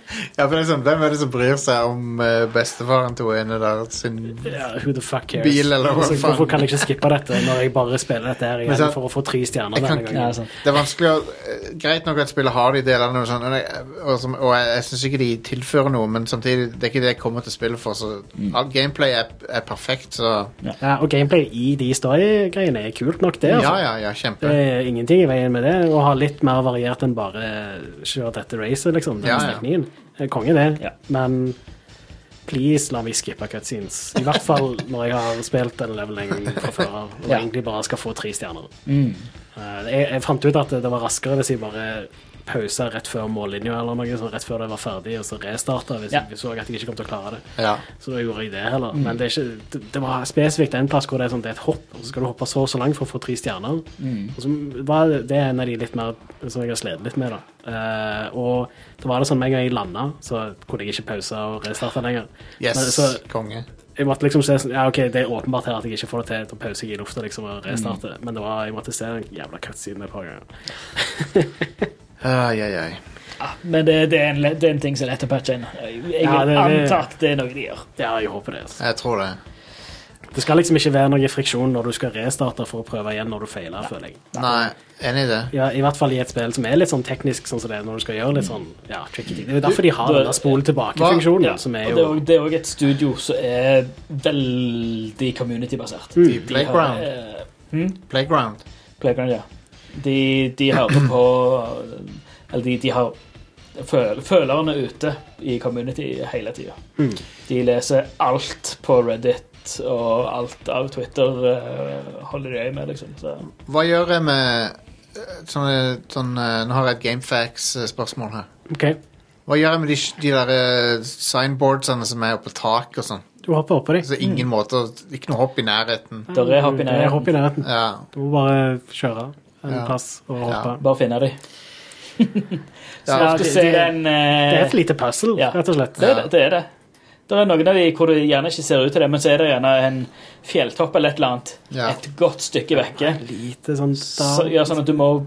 [SPEAKER 1] for det er sånn, Hvem er det som bryr seg om eh, bestefaren til henne der sin
[SPEAKER 2] Ja, who the fuck cares?
[SPEAKER 1] Bil eller hva
[SPEAKER 2] altså,
[SPEAKER 1] faen.
[SPEAKER 2] Hvorfor kan jeg ikke skippe dette når jeg bare spiller dette her igjen
[SPEAKER 1] sant,
[SPEAKER 2] for å få tre stjerner
[SPEAKER 1] jeg kan
[SPEAKER 2] denne
[SPEAKER 1] ikke-
[SPEAKER 2] gangen?
[SPEAKER 3] ja, sånn. sant.
[SPEAKER 1] Det er vanskelig å eh, Greit nok at spillet har de delene, og, sånn, og, jeg- og, som, og jeg, jeg syns ikke de tilfører noe, men samtidig, det er ikke det jeg kommer til å spille for. Så alt gameplay er, er perfekt, så
[SPEAKER 2] Ja, og gameplay i de story-greiene er kult nok, det.
[SPEAKER 1] Ja,
[SPEAKER 2] Altså.
[SPEAKER 1] ja, ja,
[SPEAKER 2] Det
[SPEAKER 1] kjempe.
[SPEAKER 2] er ingenting i veien med det. Å ha litt mer variert enn bare kjøre dette racet, liksom. Den
[SPEAKER 1] Ja, ja.
[SPEAKER 2] strekningen. Eh, Konge, det.
[SPEAKER 3] Ja.
[SPEAKER 2] Men please, la meg skippe cutscenes. I hvert fall når jeg har spilt den levelen en gang fra før av, og
[SPEAKER 3] Ja. Mm.
[SPEAKER 2] egentlig bare skal få tre stjerner. Eh, Jeg, jeg fant ut at det- det var raskere hvis jeg bare pausa rett før mållinja eller noe, sånn rett før det var ferdig, og så restarta hvis
[SPEAKER 3] Ja.
[SPEAKER 2] jeg så at jeg ikke kom til å klare det.
[SPEAKER 1] Ja.
[SPEAKER 2] Så da gjorde jeg det heller. Men det, er ikke, det, det var spesifikt en plass hvor det er sånn det er et hopp, og så skal du hoppe så og så langt for å få tre stjerner.
[SPEAKER 1] Mm.
[SPEAKER 2] Og så var det, det er en av de litt mer som jeg har slitt litt med, da. Eh, og da var det sånn med en gang jeg landa, så kunne jeg ikke pause og restarte lenger. Men,
[SPEAKER 1] Yes,
[SPEAKER 2] så
[SPEAKER 1] konge.
[SPEAKER 2] jeg måtte liksom se sånn Ja, OK, det er åpenbart her at jeg ikke får det til. Da pauser jeg i lufta liksom og restarter.
[SPEAKER 1] Mm.
[SPEAKER 2] Men det var, jeg måtte se den jævla cutscenen et par ganger.
[SPEAKER 1] Ai, ai, ai.
[SPEAKER 3] Men det, det, er en, le- det er en ting som er lett å patche inn. Jeg, jeg
[SPEAKER 2] Ja, det- det-
[SPEAKER 3] antar at det er noe de gjør.
[SPEAKER 2] Ja, jeg håper det. Altså.
[SPEAKER 1] Jeg tror det.
[SPEAKER 2] Det skal liksom ikke være noe friksjon når du skal restarte for å prøve igjen når du feiler, føler jeg.
[SPEAKER 1] Nei, enig i det.
[SPEAKER 2] Ja, I hvert fall i et spill som er litt sånn teknisk, sånn som det er når du skal gjøre litt sånn ja, tricky ting. Det er jo derfor de har
[SPEAKER 3] Du-
[SPEAKER 2] den der spol tilbake-funksjonen, som er
[SPEAKER 3] Mm. og det er
[SPEAKER 2] jo
[SPEAKER 3] også- det er òg et studio som er veldig community-basert.
[SPEAKER 2] Mm.
[SPEAKER 1] I Playground.
[SPEAKER 3] De har, eh, hm?
[SPEAKER 1] Playground.
[SPEAKER 3] Playground, ja. De, de hører på Eller de, de har føl, følerne ute i community hele tida.
[SPEAKER 2] Mm.
[SPEAKER 3] De leser alt på Reddit og alt av Twitter eh, holder de øye med, liksom. Så.
[SPEAKER 1] Hva gjør jeg med eh, sånne, sånne Nå har jeg et GameFax-spørsmål her.
[SPEAKER 2] OK,
[SPEAKER 1] Hva gjør jeg med de, de der eh, signboardsene som er oppe på tak og sånn?
[SPEAKER 2] du hopper oppå dem.
[SPEAKER 1] Altså ingen måte å- Ikke noe hopp i nærheten.
[SPEAKER 3] Der er hopp i
[SPEAKER 2] Jeg
[SPEAKER 3] nærheten.
[SPEAKER 2] hopper i nærheten.
[SPEAKER 1] Ja.
[SPEAKER 2] Du må bare kjøre en
[SPEAKER 1] Ja.
[SPEAKER 2] plass og hoppe.
[SPEAKER 3] Bare finne de. Så
[SPEAKER 1] Ja,
[SPEAKER 3] ofte
[SPEAKER 2] det-
[SPEAKER 3] ser
[SPEAKER 2] det-
[SPEAKER 3] jeg en eh,
[SPEAKER 2] Det er et lite puzzle,
[SPEAKER 3] Ja.
[SPEAKER 2] rett og slett.
[SPEAKER 3] Det er
[SPEAKER 1] Ja.
[SPEAKER 3] det. det er det. Det er noen av de hvor det gjerne ikke ser ut til det, men så er det gjerne en fjelltopp eller et eller annet.
[SPEAKER 1] Ja.
[SPEAKER 3] Et godt stykke vekke.
[SPEAKER 2] Lite sånn
[SPEAKER 3] Så, ja, sånn at du må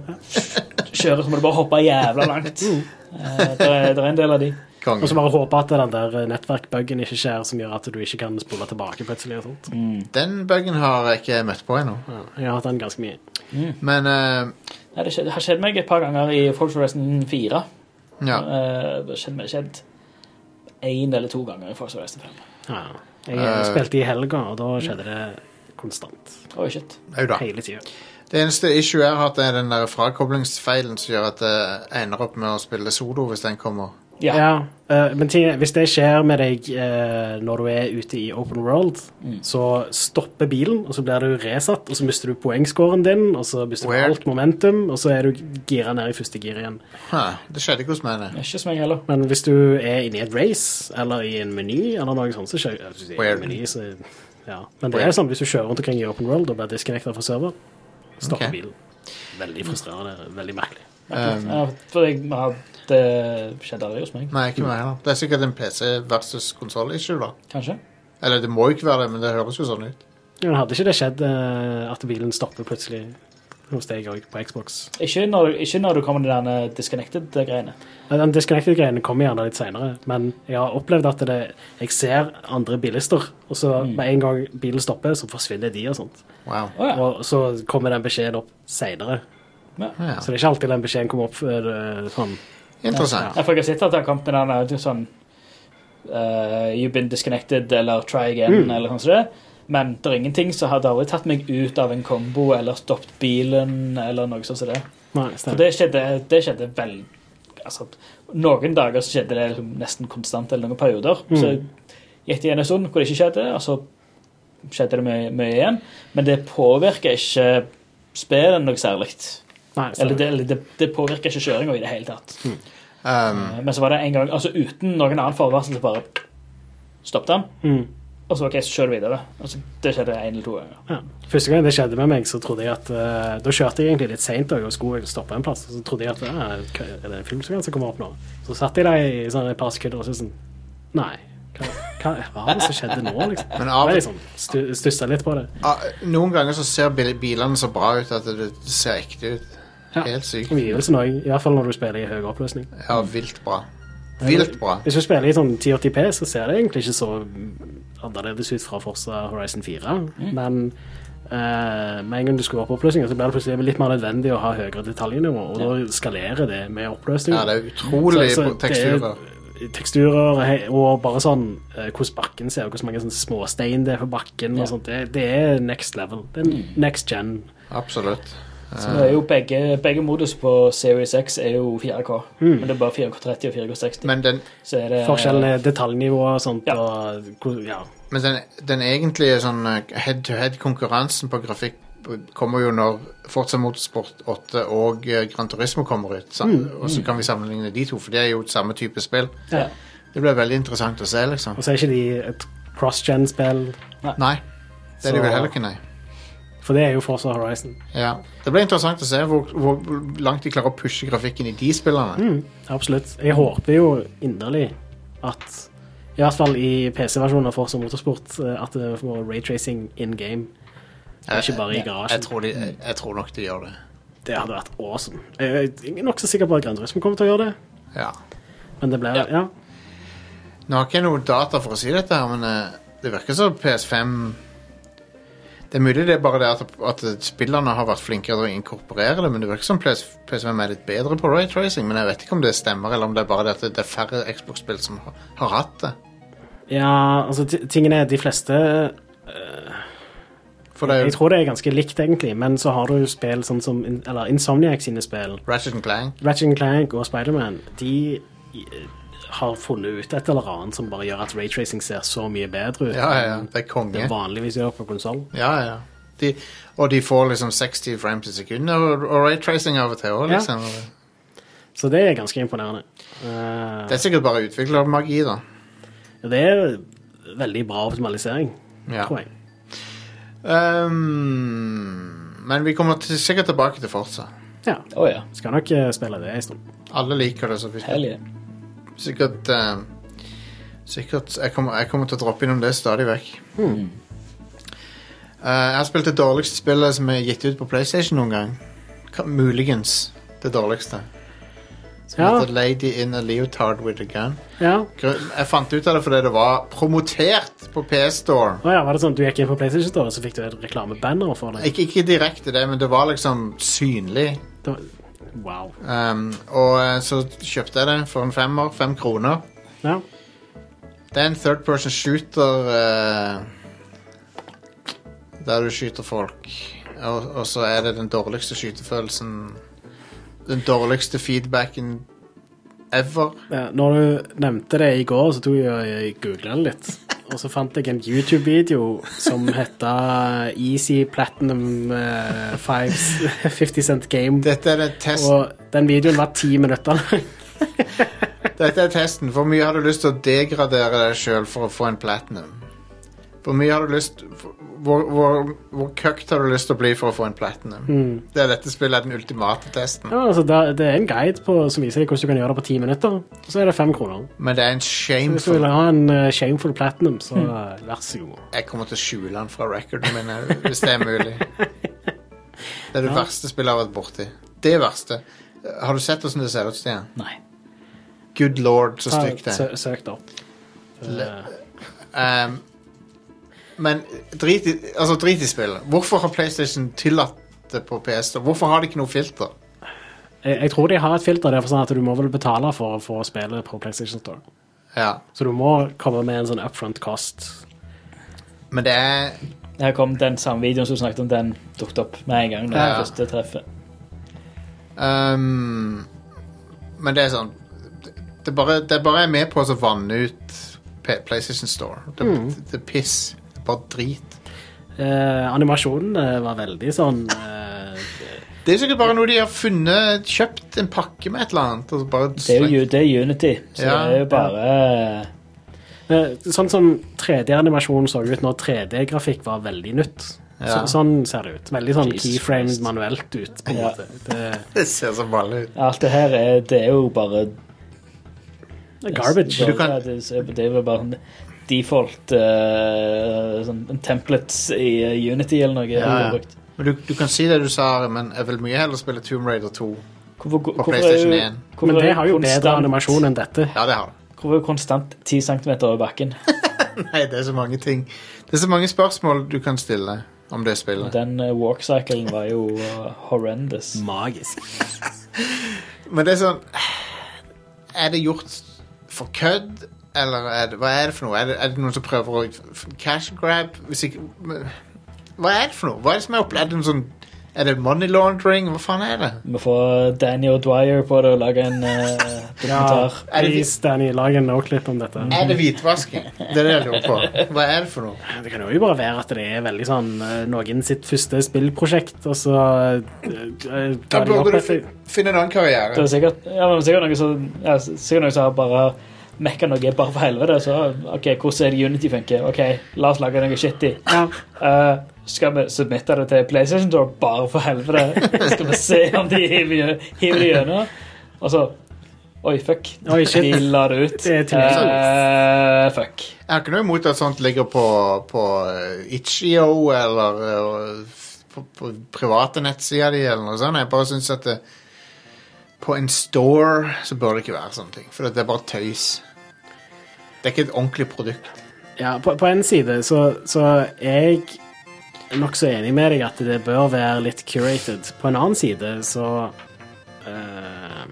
[SPEAKER 3] kjøre, så må du bare hoppe jævla langt.
[SPEAKER 1] Mm.
[SPEAKER 3] Eh, Det er, det er en del av de.
[SPEAKER 2] Og
[SPEAKER 1] Konge.
[SPEAKER 2] så bare håpe at den der nettverkbuggen ikke skjer, som gjør at du ikke kan spole tilbake plutselig og sånt.
[SPEAKER 1] Den bugen har jeg ikke møtt på ennå.
[SPEAKER 2] Ja, jeg har hatt den ganske mye.
[SPEAKER 1] Men eh,
[SPEAKER 3] Nei, det, skje- det har skjedd meg et par ganger i Force Horizon 4.
[SPEAKER 1] Ja.
[SPEAKER 3] Uh, kjenner meg kjent én eller to ganger i Force Horizon 5.
[SPEAKER 2] Ja. Jeg
[SPEAKER 1] Eh.
[SPEAKER 2] spilte i helga, og da skjedde det konstant.
[SPEAKER 3] Oi, shit.
[SPEAKER 1] Au da.
[SPEAKER 2] Hele tida.
[SPEAKER 1] Det eneste issue jeg har hatt, er den der frakoblingsfeilen som gjør at jeg ender opp med å spille solo hvis den kommer.
[SPEAKER 3] Ja.
[SPEAKER 2] Ja. eh, men ting, er, hvis det skjer med deg eh, når du er ute i open world, så stopper bilen, og så blir du resatt, og så mister du poengscoren din, og så mister
[SPEAKER 1] Weird.
[SPEAKER 2] du alt momentum, og så er du gira ned i første gir igjen.
[SPEAKER 1] Huh, det skjedde ikke hos meg, det.
[SPEAKER 3] Ikke som jeg heller.
[SPEAKER 2] Men hvis du er inne i et race, eller i en meny, eller noe sånt, så skjer altså, i en
[SPEAKER 1] Weird.
[SPEAKER 2] meny, så, ja. Men det
[SPEAKER 1] Weird.
[SPEAKER 2] er sånn, hvis du kjører rundt omkring i open world og blir disconnecta fra server, stopper
[SPEAKER 1] Ok.
[SPEAKER 2] bilen. Veldig frustrerende. Veldig merkelig.
[SPEAKER 1] Um,
[SPEAKER 3] Ja, for jeg har Det skjedde aldri hos meg,
[SPEAKER 1] nei, ikke meg heller. Det er sikkert en PC versus konsoll-issue, da.
[SPEAKER 3] kanskje.
[SPEAKER 1] Eller det må jo ikke være det, men det høres jo sånn ut.
[SPEAKER 2] Ja, men hadde ikke det skjedd eh, at bilen stopper plutselig hos deg òg, på Xbox?
[SPEAKER 3] Ikke når, ikke når du kommer til denne disconnected-greiene.
[SPEAKER 2] Ja, Eh, Den disconnected-greiene kommer gjerne litt seinere, men jeg har opplevd at det, jeg ser andre bilister, og så
[SPEAKER 3] Mm.
[SPEAKER 2] med en gang bilen stopper, så forsvinner de og sånt.
[SPEAKER 1] Wow.
[SPEAKER 3] Å ja.
[SPEAKER 2] Og så kommer den beskjeden opp seinere.
[SPEAKER 3] ja.
[SPEAKER 1] Ja.
[SPEAKER 2] Så det er ikke alltid den beskjeden kommer opp eh, sånn.
[SPEAKER 1] Interessant.
[SPEAKER 3] For jeg har sett at det har kommet med denne det er sånn eh, You've been disconnected, eller try again, eller sånn som det. Men det er ingenting som hadde aldri tatt meg ut av en kombo eller stoppet bilen. eller noe sånt som det.
[SPEAKER 2] Nei,
[SPEAKER 3] For
[SPEAKER 2] stemmer.
[SPEAKER 3] det skjedde, det skjedde vel altså, Noen dager så skjedde det liksom nesten konstant, eller noen perioder. Så gikk det igjen en stund hvor det ikke skjedde, og så skjedde det mye, mye igjen. Men det påvirker ikke spillet noe særlig.
[SPEAKER 2] Nei,
[SPEAKER 3] Eller,
[SPEAKER 2] stemmer.
[SPEAKER 3] det, eller det, det påvirker ikke kjøringa i det hele tatt.
[SPEAKER 1] Um,
[SPEAKER 3] Eh, Men så var det en gang altså uten noen annen forvarsel så bare stoppet han.
[SPEAKER 2] Mm.
[SPEAKER 3] Og så OK, så kjører du videre. Altså, det skjedde én eller to ganger.
[SPEAKER 2] Ja. Første gang det skjedde med meg, så trodde jeg at eh, Da kjørte jeg egentlig litt seint og skulle stoppe en plass. Så trodde jeg at eh, hva- er det en filmsekvens som kommer opp nå? Så satt jeg der i sånn et par sekunder og så sånn Nei. Hva, hva var det som skjedde nå, liksom?
[SPEAKER 1] Men
[SPEAKER 2] Jeg
[SPEAKER 1] av,
[SPEAKER 2] ble liksom stu, stussa litt på det.
[SPEAKER 1] ah, noen ganger så ser bil- bilene så bra ut at det det ser ekte ut.
[SPEAKER 2] Ja.
[SPEAKER 1] Helt sykt.
[SPEAKER 2] Omgivelsen òg, iallfall når du spiller i høy oppløsning.
[SPEAKER 1] Ja, vilt bra. Vilt bra.
[SPEAKER 2] Hvis du spiller i sånn 1080P, så ser det egentlig ikke så annerledes ut fra Forza Horizon 4. Men eh, med en gang du skrur opp oppløsningen, så blir det plutselig litt mer nødvendig å ha høyere detaljnivå, og da skalerer det med oppløsning.
[SPEAKER 1] Ja, det er utrolig på teksturer.
[SPEAKER 2] Teksturer hei, og bare sånn eh, hvordan bakken ser ut, hvordan mange sånne småstein det er på bakken. og sånt. Det, det er next level. Det er next gen.
[SPEAKER 1] Absolutt.
[SPEAKER 3] Så nå er jo begge, begge modus på Series X er jo 4K. Men det er bare 4K30 og 4K60.
[SPEAKER 1] Eh, Men den,
[SPEAKER 3] så er det
[SPEAKER 2] Mm. Forskjellen er detaljnivå og sånt.
[SPEAKER 3] Ja.
[SPEAKER 2] Og, hvor- ja.
[SPEAKER 1] men den, den egentlige sånn eh, head-to-head-konkurransen på grafikk kommer jo når Forza Motorsport 8 og eh, Gran Turismo kommer ut. Sam, Og så kan vi sammenligne de to, for det er jo samme type spill.
[SPEAKER 3] Ja.
[SPEAKER 1] Det blir veldig interessant å se, liksom.
[SPEAKER 2] Og så er ikke de et cross-gen-spill,
[SPEAKER 1] Nei. Det er det
[SPEAKER 2] Så-
[SPEAKER 1] vel heller ikke, nei.
[SPEAKER 2] for det er jo Forza Horizon.
[SPEAKER 1] Ja. Det blir interessant å se hvor, hvor langt de klarer å pushe grafikken i de spillene.
[SPEAKER 2] Mm, absolutt. Jeg håper jo inderlig at I hvert fall i PC-versjonen av Forza Motorsport eh, at det får raytracing in game.
[SPEAKER 1] Jeg-
[SPEAKER 2] Ikke bare i
[SPEAKER 1] Eh, Jeg
[SPEAKER 2] garasjen. Mm.
[SPEAKER 1] tror, de, jeg, jeg tror nok de gjør det.
[SPEAKER 2] Det hadde vært awesome. Jeg jeg er nokså sikker på at Grand Turismo kommer til å gjøre det.
[SPEAKER 1] Ja.
[SPEAKER 2] Men det blir ja.
[SPEAKER 1] Nå har ikke jeg noe data for å si dette, her, men eh, det virker som PS5 Det er mulig det er bare det at, at spillerne har vært flinkere til å inkorporere det, men det virker som PS, PS5 er litt bedre på raytracing. Men jeg vet ikke om det stemmer, eller om det er bare det at det er færre Xbox-spill som har, har hatt det.
[SPEAKER 2] ja, altså ti- tingene er de fleste
[SPEAKER 1] For det er
[SPEAKER 2] Jeg
[SPEAKER 1] jo
[SPEAKER 2] tror det er ganske likt, egentlig, men så har du spill sånn som Eller Insomniac sine spill.
[SPEAKER 1] Ratchet Clank.
[SPEAKER 2] Ratchet Clank og Spiderman de eh, har funnet ut et eller annet som bare gjør at raytracing ser så mye bedre ut
[SPEAKER 1] Ja, ja, ja.
[SPEAKER 2] enn
[SPEAKER 1] Det er
[SPEAKER 2] det
[SPEAKER 1] konge.
[SPEAKER 2] vanligvis gjør på konsoll.
[SPEAKER 1] Ja, ja. De, og de får liksom 60 frames i sekundet og, og raytracing av og til òg,
[SPEAKER 2] Ja.
[SPEAKER 1] liksom.
[SPEAKER 2] Så det er ganske imponerende. Eh,
[SPEAKER 1] Det er sikkert bare utviklermagi, da.
[SPEAKER 2] det er veldig bra optimalisering,
[SPEAKER 1] Ja.
[SPEAKER 2] tror jeg.
[SPEAKER 1] Ehm, men vi kommer til, sikkert tilbake til Forza.
[SPEAKER 2] Ja.
[SPEAKER 3] Å ja.
[SPEAKER 2] Skal nok eh, spille det en stund.
[SPEAKER 1] Alle liker det, så vi
[SPEAKER 3] Hell yeah.
[SPEAKER 1] sikkert, eh, sikkert jeg, kommer, jeg kommer til å droppe innom det stadig vekk.
[SPEAKER 2] Hmm.
[SPEAKER 1] Eh, jeg har spilt det dårligste spillet som er gitt ut på PlayStation noen gang. Ka- Muligens det dårligste. Som
[SPEAKER 2] Ja.
[SPEAKER 1] heter Lady in a Leotard with a Gun.
[SPEAKER 2] Ja.
[SPEAKER 1] Gru- Jeg fant ut av det fordi det var promotert på PS Store.
[SPEAKER 2] Å ja, var det sånn at du gikk inn på PlayStation Store, og så fikk du et reklamebanner for det?
[SPEAKER 1] Ikke, ikke direkte det, men det var liksom synlig.
[SPEAKER 2] det var, Wow.
[SPEAKER 1] Um, og eh, så kjøpte jeg det for en femmer, fem kroner.
[SPEAKER 2] Ja.
[SPEAKER 1] Det er en third person shooter eh, der du skyter folk. Og, og så er det den dårligste skytefølelsen Den dårligste feedbacken ever.
[SPEAKER 2] Ja, Når du nevnte det i går, så tok jeg, jeg googla det litt. Og så fant jeg en YouTube-video som heta Easy Platinum eh, Fives 50 Cent Game.
[SPEAKER 1] Dette er, den test,
[SPEAKER 2] Og den videoen var ti minutter lang.
[SPEAKER 1] dette er testen. Hvor mye har du lyst til å degradere deg sjøl for å få en platinum? Hvor mye har du lyst Hvor, hvor, hvor cucked har du lyst til å bli for å få en platinum? Det er dette spillet er den ultimate testen.
[SPEAKER 2] Ja, altså, det, det er en guide på, som viser deg hvordan du kan gjøre det på ti minutter. Og så er det fem kroner.
[SPEAKER 1] Men det er en
[SPEAKER 2] Hvis du vil
[SPEAKER 1] shameful
[SPEAKER 2] ha en eh, shameful platinum, så eh, vær så god.
[SPEAKER 1] Jeg kommer til å skjule den fra recorden min jeg, hvis det er mulig. Det er det verste spillet jeg har vært borti. Det verste. Har du sett åssen det ser ut, Stian?
[SPEAKER 3] Nei.
[SPEAKER 1] Good lord, så
[SPEAKER 2] Ta-
[SPEAKER 1] stygt det er.
[SPEAKER 2] sø- Søk det opp. Eh,
[SPEAKER 1] Um, men drit i, altså, drit i spillet. Hvorfor har PlayStation tillatt det på PS? da? Hvorfor har de ikke noe filter?
[SPEAKER 2] Eh, jeg, jeg tror de har et filter der for sånn at du må vel betale for å få spillet på PlayStation Store.
[SPEAKER 1] Ja,
[SPEAKER 2] Så du må komme med en sånn upfront cost.
[SPEAKER 1] Men det er
[SPEAKER 3] Her kom den samme videoen som du snakket om, den dukket opp med en gang. Når
[SPEAKER 1] Ja.
[SPEAKER 3] det første treffet.
[SPEAKER 1] um, Men det er sånn Det er bare, det er bare jeg er med på å vanne ut P- PlayStation Store. Det,
[SPEAKER 3] Mm.
[SPEAKER 1] det er piss. Det er bare drit.
[SPEAKER 2] Eh, animasjonen eh, var veldig sånn eh,
[SPEAKER 1] Det er sikkert bare noe de har funnet Kjøpt en pakke med et eller annet og så bare
[SPEAKER 3] Det er jo det er Unity, så
[SPEAKER 1] Ja.
[SPEAKER 3] det er jo bare
[SPEAKER 2] eh, Sånn som 3D-animasjonen så ut når 3D-grafikk var veldig nytt.
[SPEAKER 1] Ja.
[SPEAKER 2] Så, sånn ser det ut. Veldig sånn
[SPEAKER 3] Jesus
[SPEAKER 2] keyframed
[SPEAKER 3] Christ.
[SPEAKER 2] manuelt ut, på en
[SPEAKER 3] Ja.
[SPEAKER 2] måte. Det
[SPEAKER 1] Det ser så vanlig ut.
[SPEAKER 3] Alt det her er, det er jo bare
[SPEAKER 2] er garbage.
[SPEAKER 3] Det,
[SPEAKER 1] Du kan-
[SPEAKER 3] det, det, er jo bare sånn default eh, sånn templates i eh, Unity eller noe.
[SPEAKER 1] Ja, ja.
[SPEAKER 3] har du brukt.
[SPEAKER 1] Men du, du kan si det du sa, Ari, men jeg vil mye heller spille Tomb Raider 2
[SPEAKER 3] Hvorfor,
[SPEAKER 1] på
[SPEAKER 3] hvorfor, er
[SPEAKER 1] PlayStation
[SPEAKER 3] jo-
[SPEAKER 1] 1.
[SPEAKER 3] hvorfor
[SPEAKER 2] Men
[SPEAKER 3] er
[SPEAKER 2] det har jo bedre
[SPEAKER 3] konstant-
[SPEAKER 2] animasjon enn dette.
[SPEAKER 1] Ja, det har du.
[SPEAKER 3] Hvorfor er jo konstant 10 cm over bakken?
[SPEAKER 1] Nei, det er så mange ting. Det er så mange spørsmål du kan stille om det spillet.
[SPEAKER 3] Den eh, walk-cyclen var jo eh, horrendous.
[SPEAKER 1] Mm.
[SPEAKER 2] Magisk.
[SPEAKER 1] Men det er sånn Er det gjort for kødd, eller er det, hva er det for noe? Er det, er det noen som prøver å f- cash grab? Hvis ikke, men- hva er det for noe? Hva er det som er opplevd? Er det, en sånn, er det money laundering? Hva faen er det?
[SPEAKER 3] Vi får Daniel Dwyer på det og lage en eh,
[SPEAKER 2] Ja,
[SPEAKER 3] dokumentar.
[SPEAKER 1] Er det-
[SPEAKER 2] please, Danny, lag en no-clip om dette.
[SPEAKER 1] Er det hvitvasking? Det er det jeg lurer på. Hva er det for noe?
[SPEAKER 2] Det kan jo bare være at det er veldig sånn eh, noen sitt første spillprosjekt, og så eh, eh,
[SPEAKER 1] Da
[SPEAKER 2] tar de opp
[SPEAKER 1] burde du
[SPEAKER 2] etter-
[SPEAKER 1] fin- finne en annen karriere.
[SPEAKER 3] Det er sikkert, ja, men sikkert noen som, ja, sikkert noen som har bare mekka noe bare for helvete. Så OK, hvordan er det Unity funker? OK, la oss lage noe shitty.
[SPEAKER 2] Ja.
[SPEAKER 3] Eh, skal vi submitte det til PlayStation Store bare for helvete? Skal vi se om de hiver gjø- hiver det gjennom? Og så Oi, fuck.
[SPEAKER 2] Oi, shit.
[SPEAKER 3] De la det ut.
[SPEAKER 2] Det er
[SPEAKER 3] Eh, fuck.
[SPEAKER 1] Jeg har ikke noe imot at sånt ligger på, på eh, itch.io eller eh, f- på, på private nettsider de eller noe sånt. Jeg bare syns at det, på en store så bør det ikke være sånne ting. For det er bare tøys. Det er ikke et ordentlig produkt.
[SPEAKER 2] Ja, på, på en side så, så er jeg nokså enig med deg at det bør være litt curated. På en annen side så eh,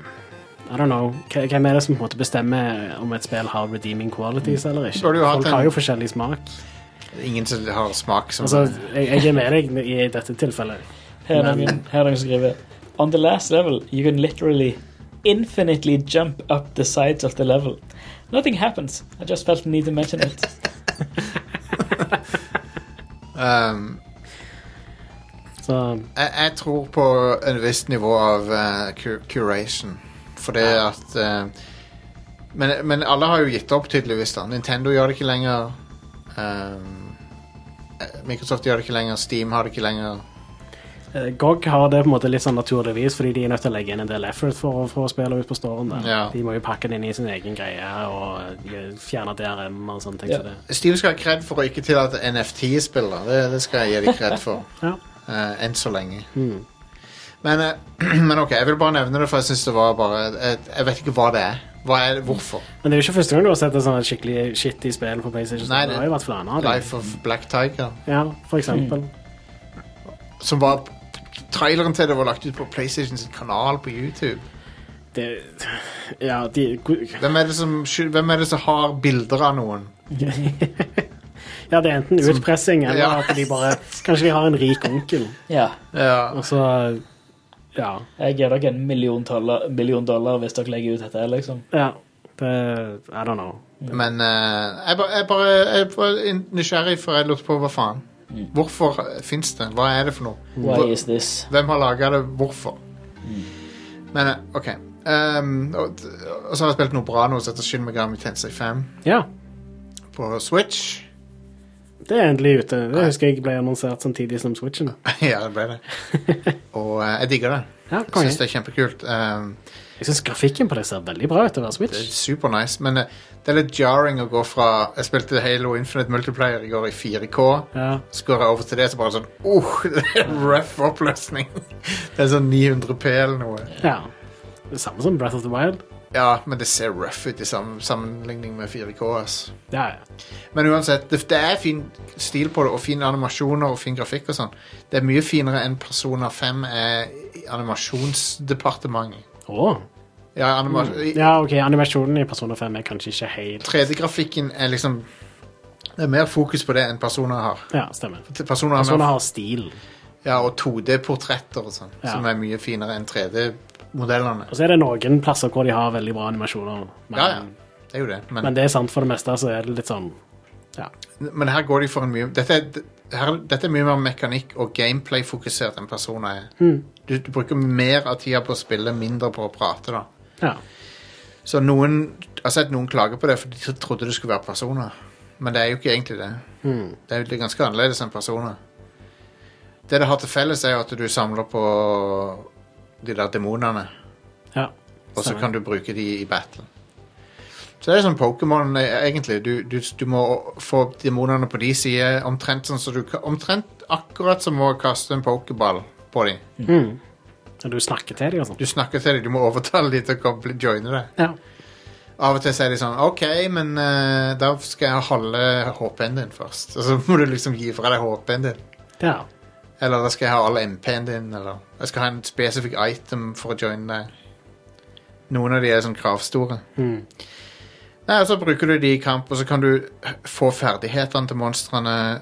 [SPEAKER 2] I don't know. Hva- Hvem er det som på en måte bestemmer om et spill har redeeming qualities eller ikke?
[SPEAKER 1] Så har du Mm. jo hatt
[SPEAKER 2] Folk har
[SPEAKER 1] en-
[SPEAKER 2] jo forskjellig smak.
[SPEAKER 1] Ingen som har smak som
[SPEAKER 2] Altså, jeg, jeg er med deg i dette tilfellet.
[SPEAKER 3] Her er noen, her er noen som skriver On the last level, you can literally infinitely jump up the sides of the level. Nothing happens. I just felt the need to mention it.
[SPEAKER 1] Ehm,
[SPEAKER 2] Så
[SPEAKER 1] jeg, jeg tror på en visst nivå av eh, cu- curation. Fordi at eh, men, men alle har jo gitt opp, tydeligvis. da Nintendo gjør det ikke lenger. Ehm, eh, Microsoft gjør det ikke lenger. Steam har det ikke lenger.
[SPEAKER 2] eh, GOG har det på en måte litt sånn naturligvis fordi de er nødt til å legge inn en del effort for å få spillet ut på storen. der.
[SPEAKER 1] Ja.
[SPEAKER 2] De må jo pakke det inn i sin egen greie og eh, fjerne DRM og sånne ting.
[SPEAKER 3] Ja.
[SPEAKER 2] som det.
[SPEAKER 1] Steam skal ha kred for å ikke tillate NFT-spill. da. Det, det skal jeg gi dem kred for.
[SPEAKER 2] Ja.
[SPEAKER 1] eh, enn så lenge.
[SPEAKER 2] Hmm.
[SPEAKER 1] Men, eh, men ok, jeg vil bare nevne det, for jeg synes det var bare Jeg, jeg vet ikke hva det er. Hva er det, hvorfor?
[SPEAKER 2] Men det er jo ikke første gang du har sett et sånt skikkelig shitty spill på PlayStation.
[SPEAKER 1] Nei,
[SPEAKER 2] det,
[SPEAKER 1] det-
[SPEAKER 2] har jo vært flere av dem.
[SPEAKER 1] Life of Black Tiger.
[SPEAKER 2] Ja, for eksempel.
[SPEAKER 1] Som var Traileren til det var lagt ut på PlayStation sin kanal på YouTube.
[SPEAKER 2] Det, ja, de
[SPEAKER 1] Hvem er det som, sky- hvem er det som har bilder av noen?
[SPEAKER 2] Ja, det er enten utpressing eller
[SPEAKER 1] Ja.
[SPEAKER 2] at de bare Kanskje de har en rik onkel,
[SPEAKER 3] Ja.
[SPEAKER 1] Ja.
[SPEAKER 2] og så Ja.
[SPEAKER 3] Jeg gir dere en million dollar, million dollar hvis dere legger ut dette. her, liksom.
[SPEAKER 2] ja det, I don't know.
[SPEAKER 1] Men eh, jeg, ba, jeg bare jeg var in- nysgjerrig, for jeg lurte på hva faen. Hvorfor fins det? Hva er det for noe?
[SPEAKER 3] Why is this?
[SPEAKER 1] Hvem har laga det? Hvorfor? Men eh, OK. Ehm, og, og så har jeg spilt noe bra nå, som heter Shin Megami Tensei 5
[SPEAKER 2] Ja,
[SPEAKER 1] på Switch.
[SPEAKER 2] det er endelig ute. Det husker jeg ble annonsert samtidig som Switchen.
[SPEAKER 1] ja, det ble det. Og eh, jeg digger det.
[SPEAKER 2] Ja,
[SPEAKER 1] Jeg
[SPEAKER 2] konge.
[SPEAKER 1] syns det er kjempekult. Ehm,
[SPEAKER 2] Jeg syns grafikken på det ser veldig bra ut til å være
[SPEAKER 1] Det er
[SPEAKER 2] Switch.
[SPEAKER 1] super nice, men eh, det er litt jarring å gå fra Jeg spilte Halo Infinite Multiplayer i går i 4K.
[SPEAKER 2] Ja.
[SPEAKER 1] Så går jeg over til det, så bare sånn uh, Det er røff oppløsning. Det er sånn 900P eller noe.
[SPEAKER 2] ja. Det samme som Breath of the Wild.
[SPEAKER 1] Ja, men det ser røff ut i sam sammenligning med 4K. ass.
[SPEAKER 2] Ja, ja.
[SPEAKER 1] Men uansett, det, det er fin stil på det, og fine animasjoner og fin grafikk og sånn. Det er mye finere enn Persona 5 er i animasjonsdepartementet.
[SPEAKER 2] Å.
[SPEAKER 1] Ja, anima i-
[SPEAKER 2] Ja, OK, animasjonen i Persona 5 er kanskje ikke helt
[SPEAKER 1] 3D-grafikken er liksom Det er mer fokus på det enn Persona har.
[SPEAKER 2] Ja, stemmer.
[SPEAKER 1] Personer har mer
[SPEAKER 2] Persona har stil.
[SPEAKER 1] Ja, og 2D-portretter og sånn,
[SPEAKER 2] Ja.
[SPEAKER 1] som er mye finere enn 3D-modellene.
[SPEAKER 2] Og så er det noen plasser hvor de har veldig bra animasjoner, men,
[SPEAKER 1] Ja, ja, det er jo det, men,
[SPEAKER 2] men det er sant for det meste, så er det litt sånn Ja.
[SPEAKER 1] men, her går de for en mye Dette er, her, dette er mye mer mekanikk og gameplay-fokusert enn personer er. Du, du bruker mer av tida på å spille, mindre på å prate, da.
[SPEAKER 2] ja.
[SPEAKER 1] Så noen Jeg har sett noen klage på det, for de trodde det skulle være personer. Men det er jo ikke egentlig det. Det er jo ganske annerledes enn personer. Det det har til felles, er jo at du samler på de der demonene.
[SPEAKER 2] ja.
[SPEAKER 1] Og så
[SPEAKER 2] Stemmer.
[SPEAKER 1] kan du bruke de i battle. Så det er sånn Pokémon, eh, egentlig. Du, du, du må få demonene på de side, omtrent sånn som du ka- Omtrent akkurat som å kaste en pokéball på dem.
[SPEAKER 2] Og du snakker til dem og sånn.
[SPEAKER 1] Du snakker til dem, du må overtale dem til å komme, bli- joine deg.
[SPEAKER 2] Ja.
[SPEAKER 1] Av og til sier de sånn OK, men eh, da skal jeg holde HP-en din først. Og så må du liksom gi fra deg HP-en din.
[SPEAKER 2] ja.
[SPEAKER 1] Eller da skal jeg ha alle MP-en din, eller jeg skal ha en spesifikk item for å joine deg. Noen av de er sånn kravstore. Nei, og så bruker du de i kamp, og så kan du få ferdighetene til monstrene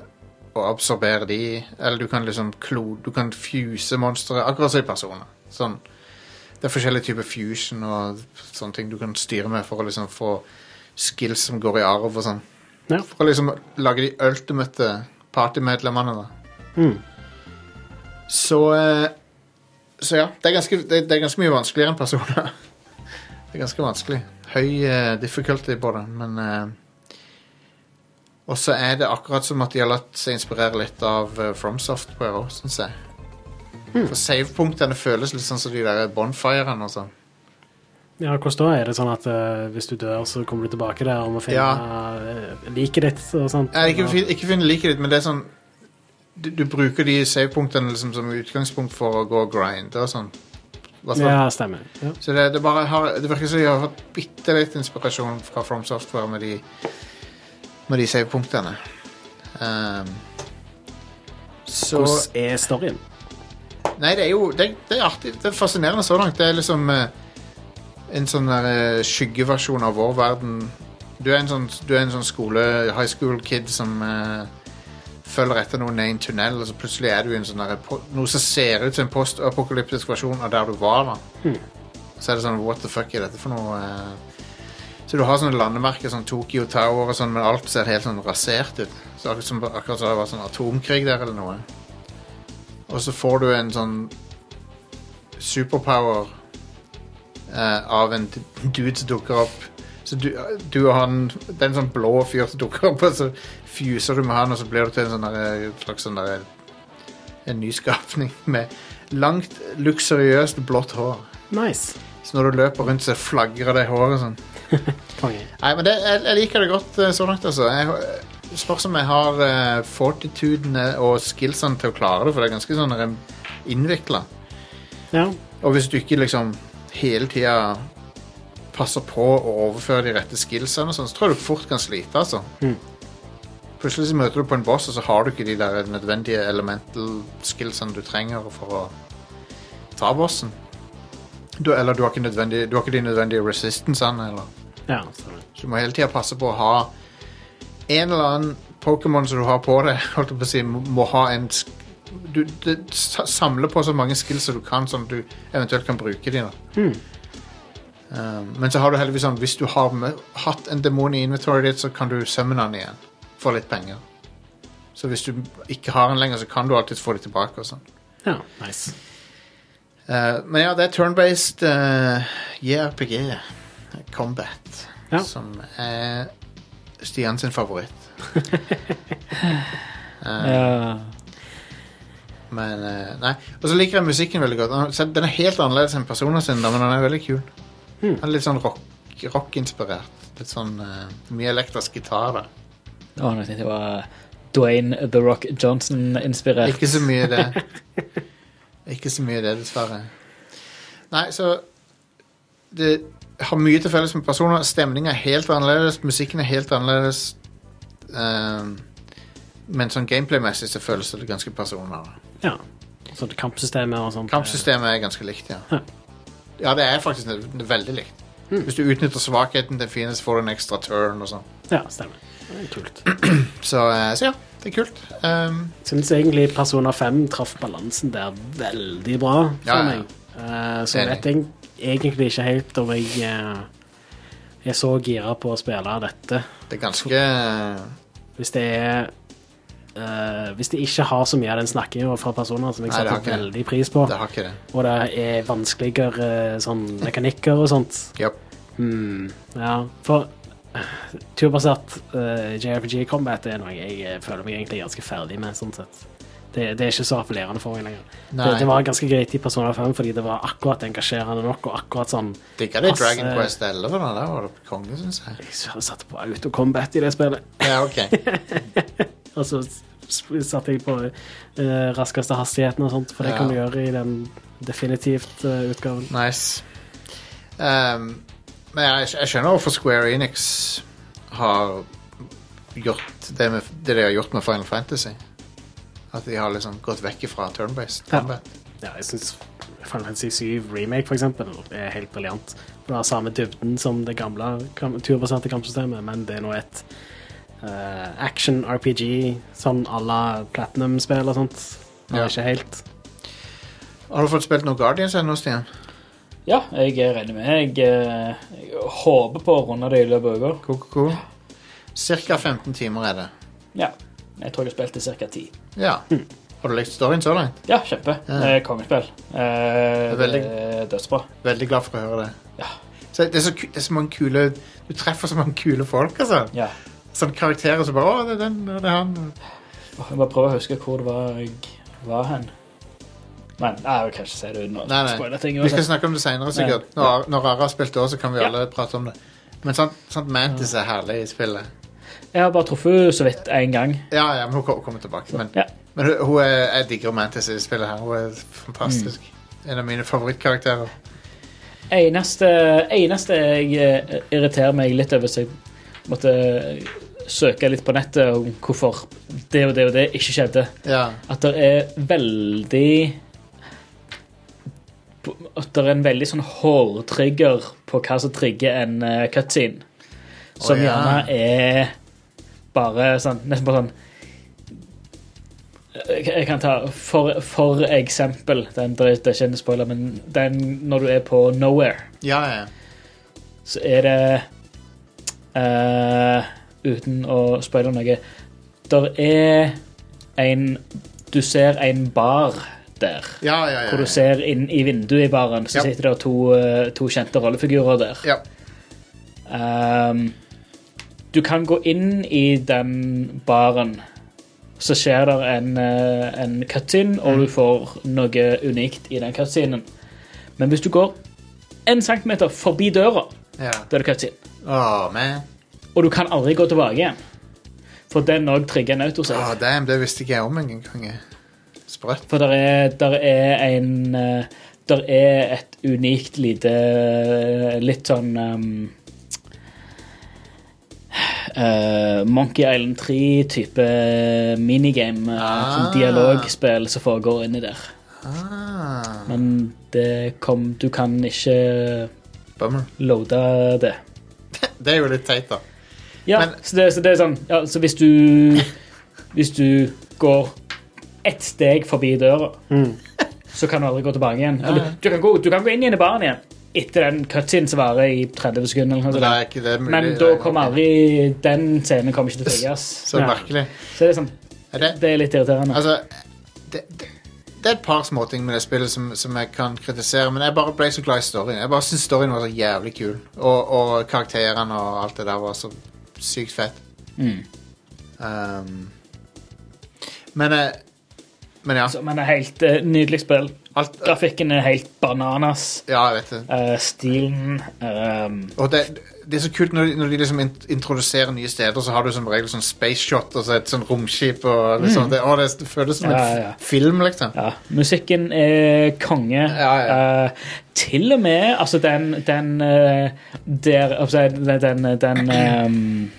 [SPEAKER 1] og absorbere de, eller du kan liksom klo, du kan fuse monstre, akkurat som i personer. Sånn. Det er forskjellige typer fusion og sånne ting du kan styre med for å liksom få skills som går i arv og sånn.
[SPEAKER 2] Ja.
[SPEAKER 1] For å liksom lage de ultimate partymedlemmene, da. Så eh, Så ja, det er ganske, det, det er ganske mye vanskeligere enn personer. det er ganske vanskelig. Høy eh, difficulty på det, men eh, Og så er det akkurat som at de har latt seg inspirere litt av eh, FromSoft på òg, syns jeg. For savepunktene føles litt sånn som de der bonfirene og sånn.
[SPEAKER 2] ja, hvordan da? Er det sånn at eh, hvis du dør, så kommer du tilbake der og må finne
[SPEAKER 1] Ja.
[SPEAKER 2] eh, liket ditt og sånt?
[SPEAKER 1] Nei, ikke, fin- ikke finn liket ditt, men det er sånn du, du bruker de savepunktene liksom som utgangspunkt for å gå og grinde og sånn. Hva slags-
[SPEAKER 2] Ja, stemmer. Ja.
[SPEAKER 1] Så det, det, bare har, det virker som de har hatt bitte litt inspirasjon fra From Software med de, med de savepunktene. Ehm, så
[SPEAKER 2] Hvordan er storyen?
[SPEAKER 1] Nei, det er jo det, det er artig. Det er fascinerende så langt. Det er liksom eh, en sånn der eh, skyggeversjon av vår verden. Du er en sånn, du er en sånn skole, high school kid som eh, følger etter noen ned i en tunnel, og så plutselig er du i en sånn der, po- noe som ser ut som en postapokalyptisk versjon av der du var. da. Så er det sånn What the fuck er dette for noe? eh? Så du har sånne landemerker, sånn Tokyo Tower og sånn, men alt ser helt sånn rasert ut. Så akkurat som akkurat som det har vært sånn atomkrig der eller noe. Og så får du en sånn superpower eh, av en d- dude som dukker opp. Så du, du og han Det er en sånn blå fyr som dukker opp, og så fuser du med han, og så blir du til en sånn der- en slags sånn der- En nyskapning med langt, luksuriøst blått hår.
[SPEAKER 2] Nice.
[SPEAKER 1] Så når du løper rundt, så flagrer det håret sånn.
[SPEAKER 2] Konge.
[SPEAKER 1] Nei, men det, jeg, jeg liker det godt eh, så langt, altså. Jeg, det spørs om jeg har eh, fortitudene og skillsene til å klare det, for det er ganske sånn innvikla.
[SPEAKER 2] Ja.
[SPEAKER 1] Og hvis du ikke liksom hele tida passer på å overføre de rette skillsene, og sånn, så tror jeg du fort kan slite, altså. Plutselig så møter du på en boss, og så har du ikke de der nødvendige elemental skillsene du trenger for å ta bossen. Du, eller du har ikke, nødvendig, du har ikke de nødvendige resistancene, eller
[SPEAKER 2] Ja, stemmer.
[SPEAKER 1] Så du må hele tida passe på å ha en eller annen Pokémon som du har på deg, holdt jeg på å si, må- må ha en sk- du, du sa- samler på så mange skills som du kan, sånn at du eventuelt kan bruke de. Da. Um, men så har du heldigvis sånn hvis du har mø- hatt en demon i inventoryet ditt, så kan du summone den igjen for litt penger. Så hvis du ikke har den lenger, så kan du alltid få det tilbake. og sånn.
[SPEAKER 2] ja nice.
[SPEAKER 1] Eh, men ja, det er turn-based eh, JRPG. Combat.
[SPEAKER 2] Ja.
[SPEAKER 1] Som er Stian sin favoritt.
[SPEAKER 3] Ja.
[SPEAKER 1] Men eh, nei. Og så liker jeg musikken veldig godt. Han- så Den er helt annerledes enn personen sin, da, men den er veldig kul. Han er litt sånn rock, rock-inspirert. Litt sånn eh, mye elektrisk gitar der.
[SPEAKER 3] Å, nå tenkte jeg det var uh, Dwayne The Rock Johnson-inspirert.
[SPEAKER 1] Ikke så mye det. Ikke så mye det, dessverre. Nei, så Det har mye til felles med personer. Stemninga er helt annerledes, musikken er helt annerledes. Ehm, men sånn gameplay-messig så føles det ganske personlig.
[SPEAKER 2] Ja. Så det kampsystemet og sånt.
[SPEAKER 1] Kampsystemet er ganske likt, ja.
[SPEAKER 2] Ja.
[SPEAKER 1] Ja, det er faktisk ne- veldig likt. Hvis du utnytter svakheten til fienden, så får du en ekstra turn og sånn.
[SPEAKER 2] Ja, stemmer. Det er kult.
[SPEAKER 1] Så, eh, så ja, det er kult. Ehm,
[SPEAKER 2] Syns egentlig Persona 5 traff balansen der veldig bra for
[SPEAKER 1] Ja, ja.
[SPEAKER 2] meg. Eh, så
[SPEAKER 1] Enig.
[SPEAKER 2] vet jeg egentlig ikke helt om jeg eh, er så gira på å spille dette.
[SPEAKER 1] det er ganske
[SPEAKER 2] Hvis det er eh, Hvis det ikke har så mye av den snakkinga fra personer som jeg
[SPEAKER 1] Nei, det har
[SPEAKER 2] setter
[SPEAKER 1] ikke
[SPEAKER 2] veldig pris på,
[SPEAKER 1] Det har ikke det.
[SPEAKER 2] og det er vanskeligere eh, sånn mekanikker og sånt
[SPEAKER 1] Japp.
[SPEAKER 2] hmm, Ja, for eh, turbasert eh, JRPG Combat er noe jeg eh, føler meg egentlig ganske ferdig med, sånn sett. Det, det er ikke så appellerende for meg lenger. Det,
[SPEAKER 1] Nei.
[SPEAKER 2] det var ganske greit i Persona 5, fordi det var akkurat engasjerende nok, og akkurat sånn
[SPEAKER 1] Digga det i
[SPEAKER 2] Passe-
[SPEAKER 1] Dragon Quest 11, da. Der var det konge, syns jeg.
[SPEAKER 2] Jeg satte på autocombat i det spillet,
[SPEAKER 1] Ja, ok.
[SPEAKER 2] og så s- satte jeg på eh, raskeste hastigheten og sånt, for det
[SPEAKER 1] Ja.
[SPEAKER 2] kan du gjøre i den definitivt eh, utgaven.
[SPEAKER 1] Nice. Ehm, men jeg, jeg skjønner hvorfor Square Enix har gjort det, med, det de har gjort med Final Fantasy. At de har liksom gått vekk fra turn-based
[SPEAKER 2] Ja.
[SPEAKER 1] combat.
[SPEAKER 2] Ja, jeg syns Final Fantasy 7 Remake, for eksempel, er helt briljant. Det har samme dybden som det gamle kam- turbaserte kampsystemet, men det er nå et eh, action RPG, sånn à la Platinum-spill og sånt. Det
[SPEAKER 1] Ja.
[SPEAKER 2] er ikke helt.
[SPEAKER 1] Har du fått spilt noe Guardians ennå, Stian?
[SPEAKER 3] Ja, jeg regner med Jeg, eh, jeg håper på å runde det i løpet av uka.
[SPEAKER 1] Koko? Cirka 15 timer er det.
[SPEAKER 3] Ja. Jeg tror jeg har spilt i ca. ti.
[SPEAKER 1] Ja. Har du likt storyen så langt?
[SPEAKER 3] Ja, kjempe.
[SPEAKER 1] Ja.
[SPEAKER 3] Eh, Kongespill. Eh,
[SPEAKER 1] Det er veldig-
[SPEAKER 3] det er Dødsbra.
[SPEAKER 1] Veldig glad for å høre det.
[SPEAKER 3] Ja.
[SPEAKER 1] Så det, er så, ku- det er så mange kule Du treffer så mange kule folk, altså.
[SPEAKER 3] Ja.
[SPEAKER 1] Sånn karakterer som bare Å, det er den, og det er han.
[SPEAKER 3] Åh, Jeg må prøve å huske hvor det var jeg var hen. Men nei, jeg kan ikke si det uten å
[SPEAKER 1] Nei, nei.
[SPEAKER 3] spoile ting.
[SPEAKER 1] Vi skal
[SPEAKER 3] uansett.
[SPEAKER 1] snakke om det senere, sikkert.
[SPEAKER 3] Ja.
[SPEAKER 1] Når, når Ara har spilt år, så kan vi
[SPEAKER 3] Ja.
[SPEAKER 1] alle prate om det. Men sånt, sånt Mantis er herlig i spillet.
[SPEAKER 3] Jeg har bare truffet så vidt én gang.
[SPEAKER 1] Ja, ja, men hun ko- kommer tilbake. Men,
[SPEAKER 3] Ja.
[SPEAKER 1] men hun, hun er, jeg digger Mantis i spillet her. Hun er fantastisk.
[SPEAKER 3] Mm.
[SPEAKER 1] En av mine favorittkarakterer.
[SPEAKER 3] Eneste, eneste jeg eh, irriterer meg litt over, så jeg måtte søke litt på nettet om hvorfor det og det og det ikke skjedde.
[SPEAKER 1] Ja,
[SPEAKER 3] At det er veldig At det er en veldig sånn hårtrigger på hva som trigger en eh, cutscene. Som
[SPEAKER 1] Å, ja.
[SPEAKER 3] gjerne er bare sånn Nesten bare sånn eh, jeg jeg kan ta for, for eksempel den, Det er ikke en spoiler, men den når du er på Nowhere
[SPEAKER 1] ja. ja.
[SPEAKER 3] så er det eh, Uten å spoile noe Der er en Du ser en bar der.
[SPEAKER 1] ja, ja, ja,
[SPEAKER 3] Hvor du
[SPEAKER 1] ja.
[SPEAKER 3] ser inn i vinduet i baren,
[SPEAKER 1] Ja.
[SPEAKER 3] så sitter det to, eh, to kjente rollefigurer der.
[SPEAKER 1] ja.
[SPEAKER 3] Ehm, du kan gå inn i den baren. Så skjer det en, eh, en cutscene, og du får noe unikt i den cutscenen. Men hvis du går en centimeter forbi døra,
[SPEAKER 1] ja.
[SPEAKER 3] da er det cutscene.
[SPEAKER 1] Åh, man.
[SPEAKER 3] Og du kan aldri gå tilbake igjen. For den òg trigger en autosave.
[SPEAKER 1] Åh, damn, det visste ikke jeg om engang. jeg. Sprøtt.
[SPEAKER 3] For der er, der er en eh, Der er et unikt lite eh, Litt sånn ehm, eh, Monkey Island 3-type minigame. eh,
[SPEAKER 1] Ah.
[SPEAKER 3] Sånn dialogspill som foregår inni der.
[SPEAKER 1] Ah.
[SPEAKER 3] Men det kom Du kan ikke
[SPEAKER 1] Bummer.
[SPEAKER 3] loade det.
[SPEAKER 1] Det er jo litt teit, da.
[SPEAKER 3] Ja,
[SPEAKER 1] Men-
[SPEAKER 3] så, det, så det er sånn ja, Så hvis du Hvis du går ett steg forbi døra,
[SPEAKER 1] Mm.
[SPEAKER 3] så kan du aldri gå tilbake igjen. Eller, du, kan gå, du kan gå inn igjen i baren igjen etter den cutscenen som varer i 30 sekunder. Eller noe
[SPEAKER 1] Men
[SPEAKER 3] sånt.
[SPEAKER 1] da er ikke det mulig.
[SPEAKER 3] Altså, Men da kommer aldri Den scenen kommer ikke til å trigges.
[SPEAKER 1] Så
[SPEAKER 2] Ja.
[SPEAKER 1] merkelig.
[SPEAKER 3] Så det er, sånn,
[SPEAKER 1] Er det,
[SPEAKER 3] det er litt irriterende.
[SPEAKER 1] altså, det, det, det er et par småting med det spillet som, som jeg kan kritisere, men jeg bare ble så glad i storyen. Jeg bare synes storyen var så jævlig kul. Og, og karakterene og alt det der var så sykt fett.
[SPEAKER 3] Mm.
[SPEAKER 1] Um, men, eh, men ja.
[SPEAKER 3] Så, men det er helt eh, nydelig spill.
[SPEAKER 1] Alt,
[SPEAKER 3] Grafikken er helt bananas.
[SPEAKER 1] ja, jeg vet det.
[SPEAKER 3] Eh, stilen ehm,
[SPEAKER 1] Og det, det er så kult når, de- når de liksom int- introduserer nye steder, så har du som regel sånn space shot og så et sånn romskip og liksom det, å, det, det føles som
[SPEAKER 3] Mm. Ja,
[SPEAKER 1] en f-
[SPEAKER 3] ja.
[SPEAKER 1] film, liksom.
[SPEAKER 3] Ja, musikken er konge.
[SPEAKER 1] Ja, ja.
[SPEAKER 3] Eh, til og med altså den, den eh, der altså, Den, den, den ehm,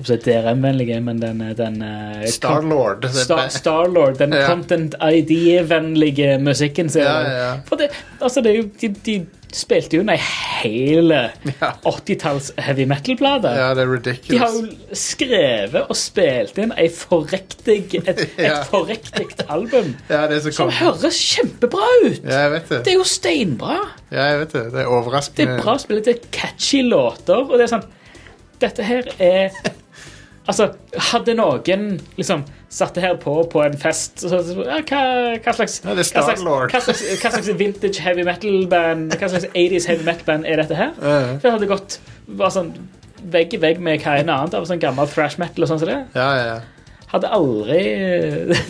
[SPEAKER 3] altså, DRM-vennlige, men den, eh, den eh,
[SPEAKER 1] Starlord. det er
[SPEAKER 3] Star,
[SPEAKER 1] be-
[SPEAKER 3] Starlord, den
[SPEAKER 1] Ja.
[SPEAKER 3] Content ID-vennlige musikken sin.
[SPEAKER 1] Ja, ja, ja.
[SPEAKER 3] For det, altså, det er jo, de, de spilte jo under ei hele
[SPEAKER 1] Ja.
[SPEAKER 3] 80-talls heavy metal-plate.
[SPEAKER 1] ja, det er
[SPEAKER 3] De har
[SPEAKER 1] ridiculous.
[SPEAKER 3] jo skrevet og spilt inn ei forrektig, et,
[SPEAKER 1] Ja.
[SPEAKER 3] et forrektig album
[SPEAKER 1] Ja, det er så
[SPEAKER 3] som
[SPEAKER 1] kult.
[SPEAKER 3] høres kjempebra ut.
[SPEAKER 1] Ja, jeg vet
[SPEAKER 3] Det
[SPEAKER 1] det.
[SPEAKER 3] er jo steinbra.
[SPEAKER 1] Ja, jeg vet det. Det er
[SPEAKER 3] Det er
[SPEAKER 1] overraskende.
[SPEAKER 3] bra spillet, det er catchy låter. Og det er sånn Dette her er Altså, hadde noen liksom satt det her på på en fest så, så, ja, hva, hva slags
[SPEAKER 1] Ja, det er
[SPEAKER 3] hva slags,
[SPEAKER 1] Star-Lord.
[SPEAKER 3] hva slags, hva slags vintage heavy metal-band Hva slags 80s heavy metal-band er dette her?
[SPEAKER 1] Ja, ja.
[SPEAKER 3] Det hadde gått bare sånn vegg i vegg med hva enn annet av sånn gammel thrash metal og sånn som det.
[SPEAKER 1] Ja, ja, ja.
[SPEAKER 3] Hadde aldri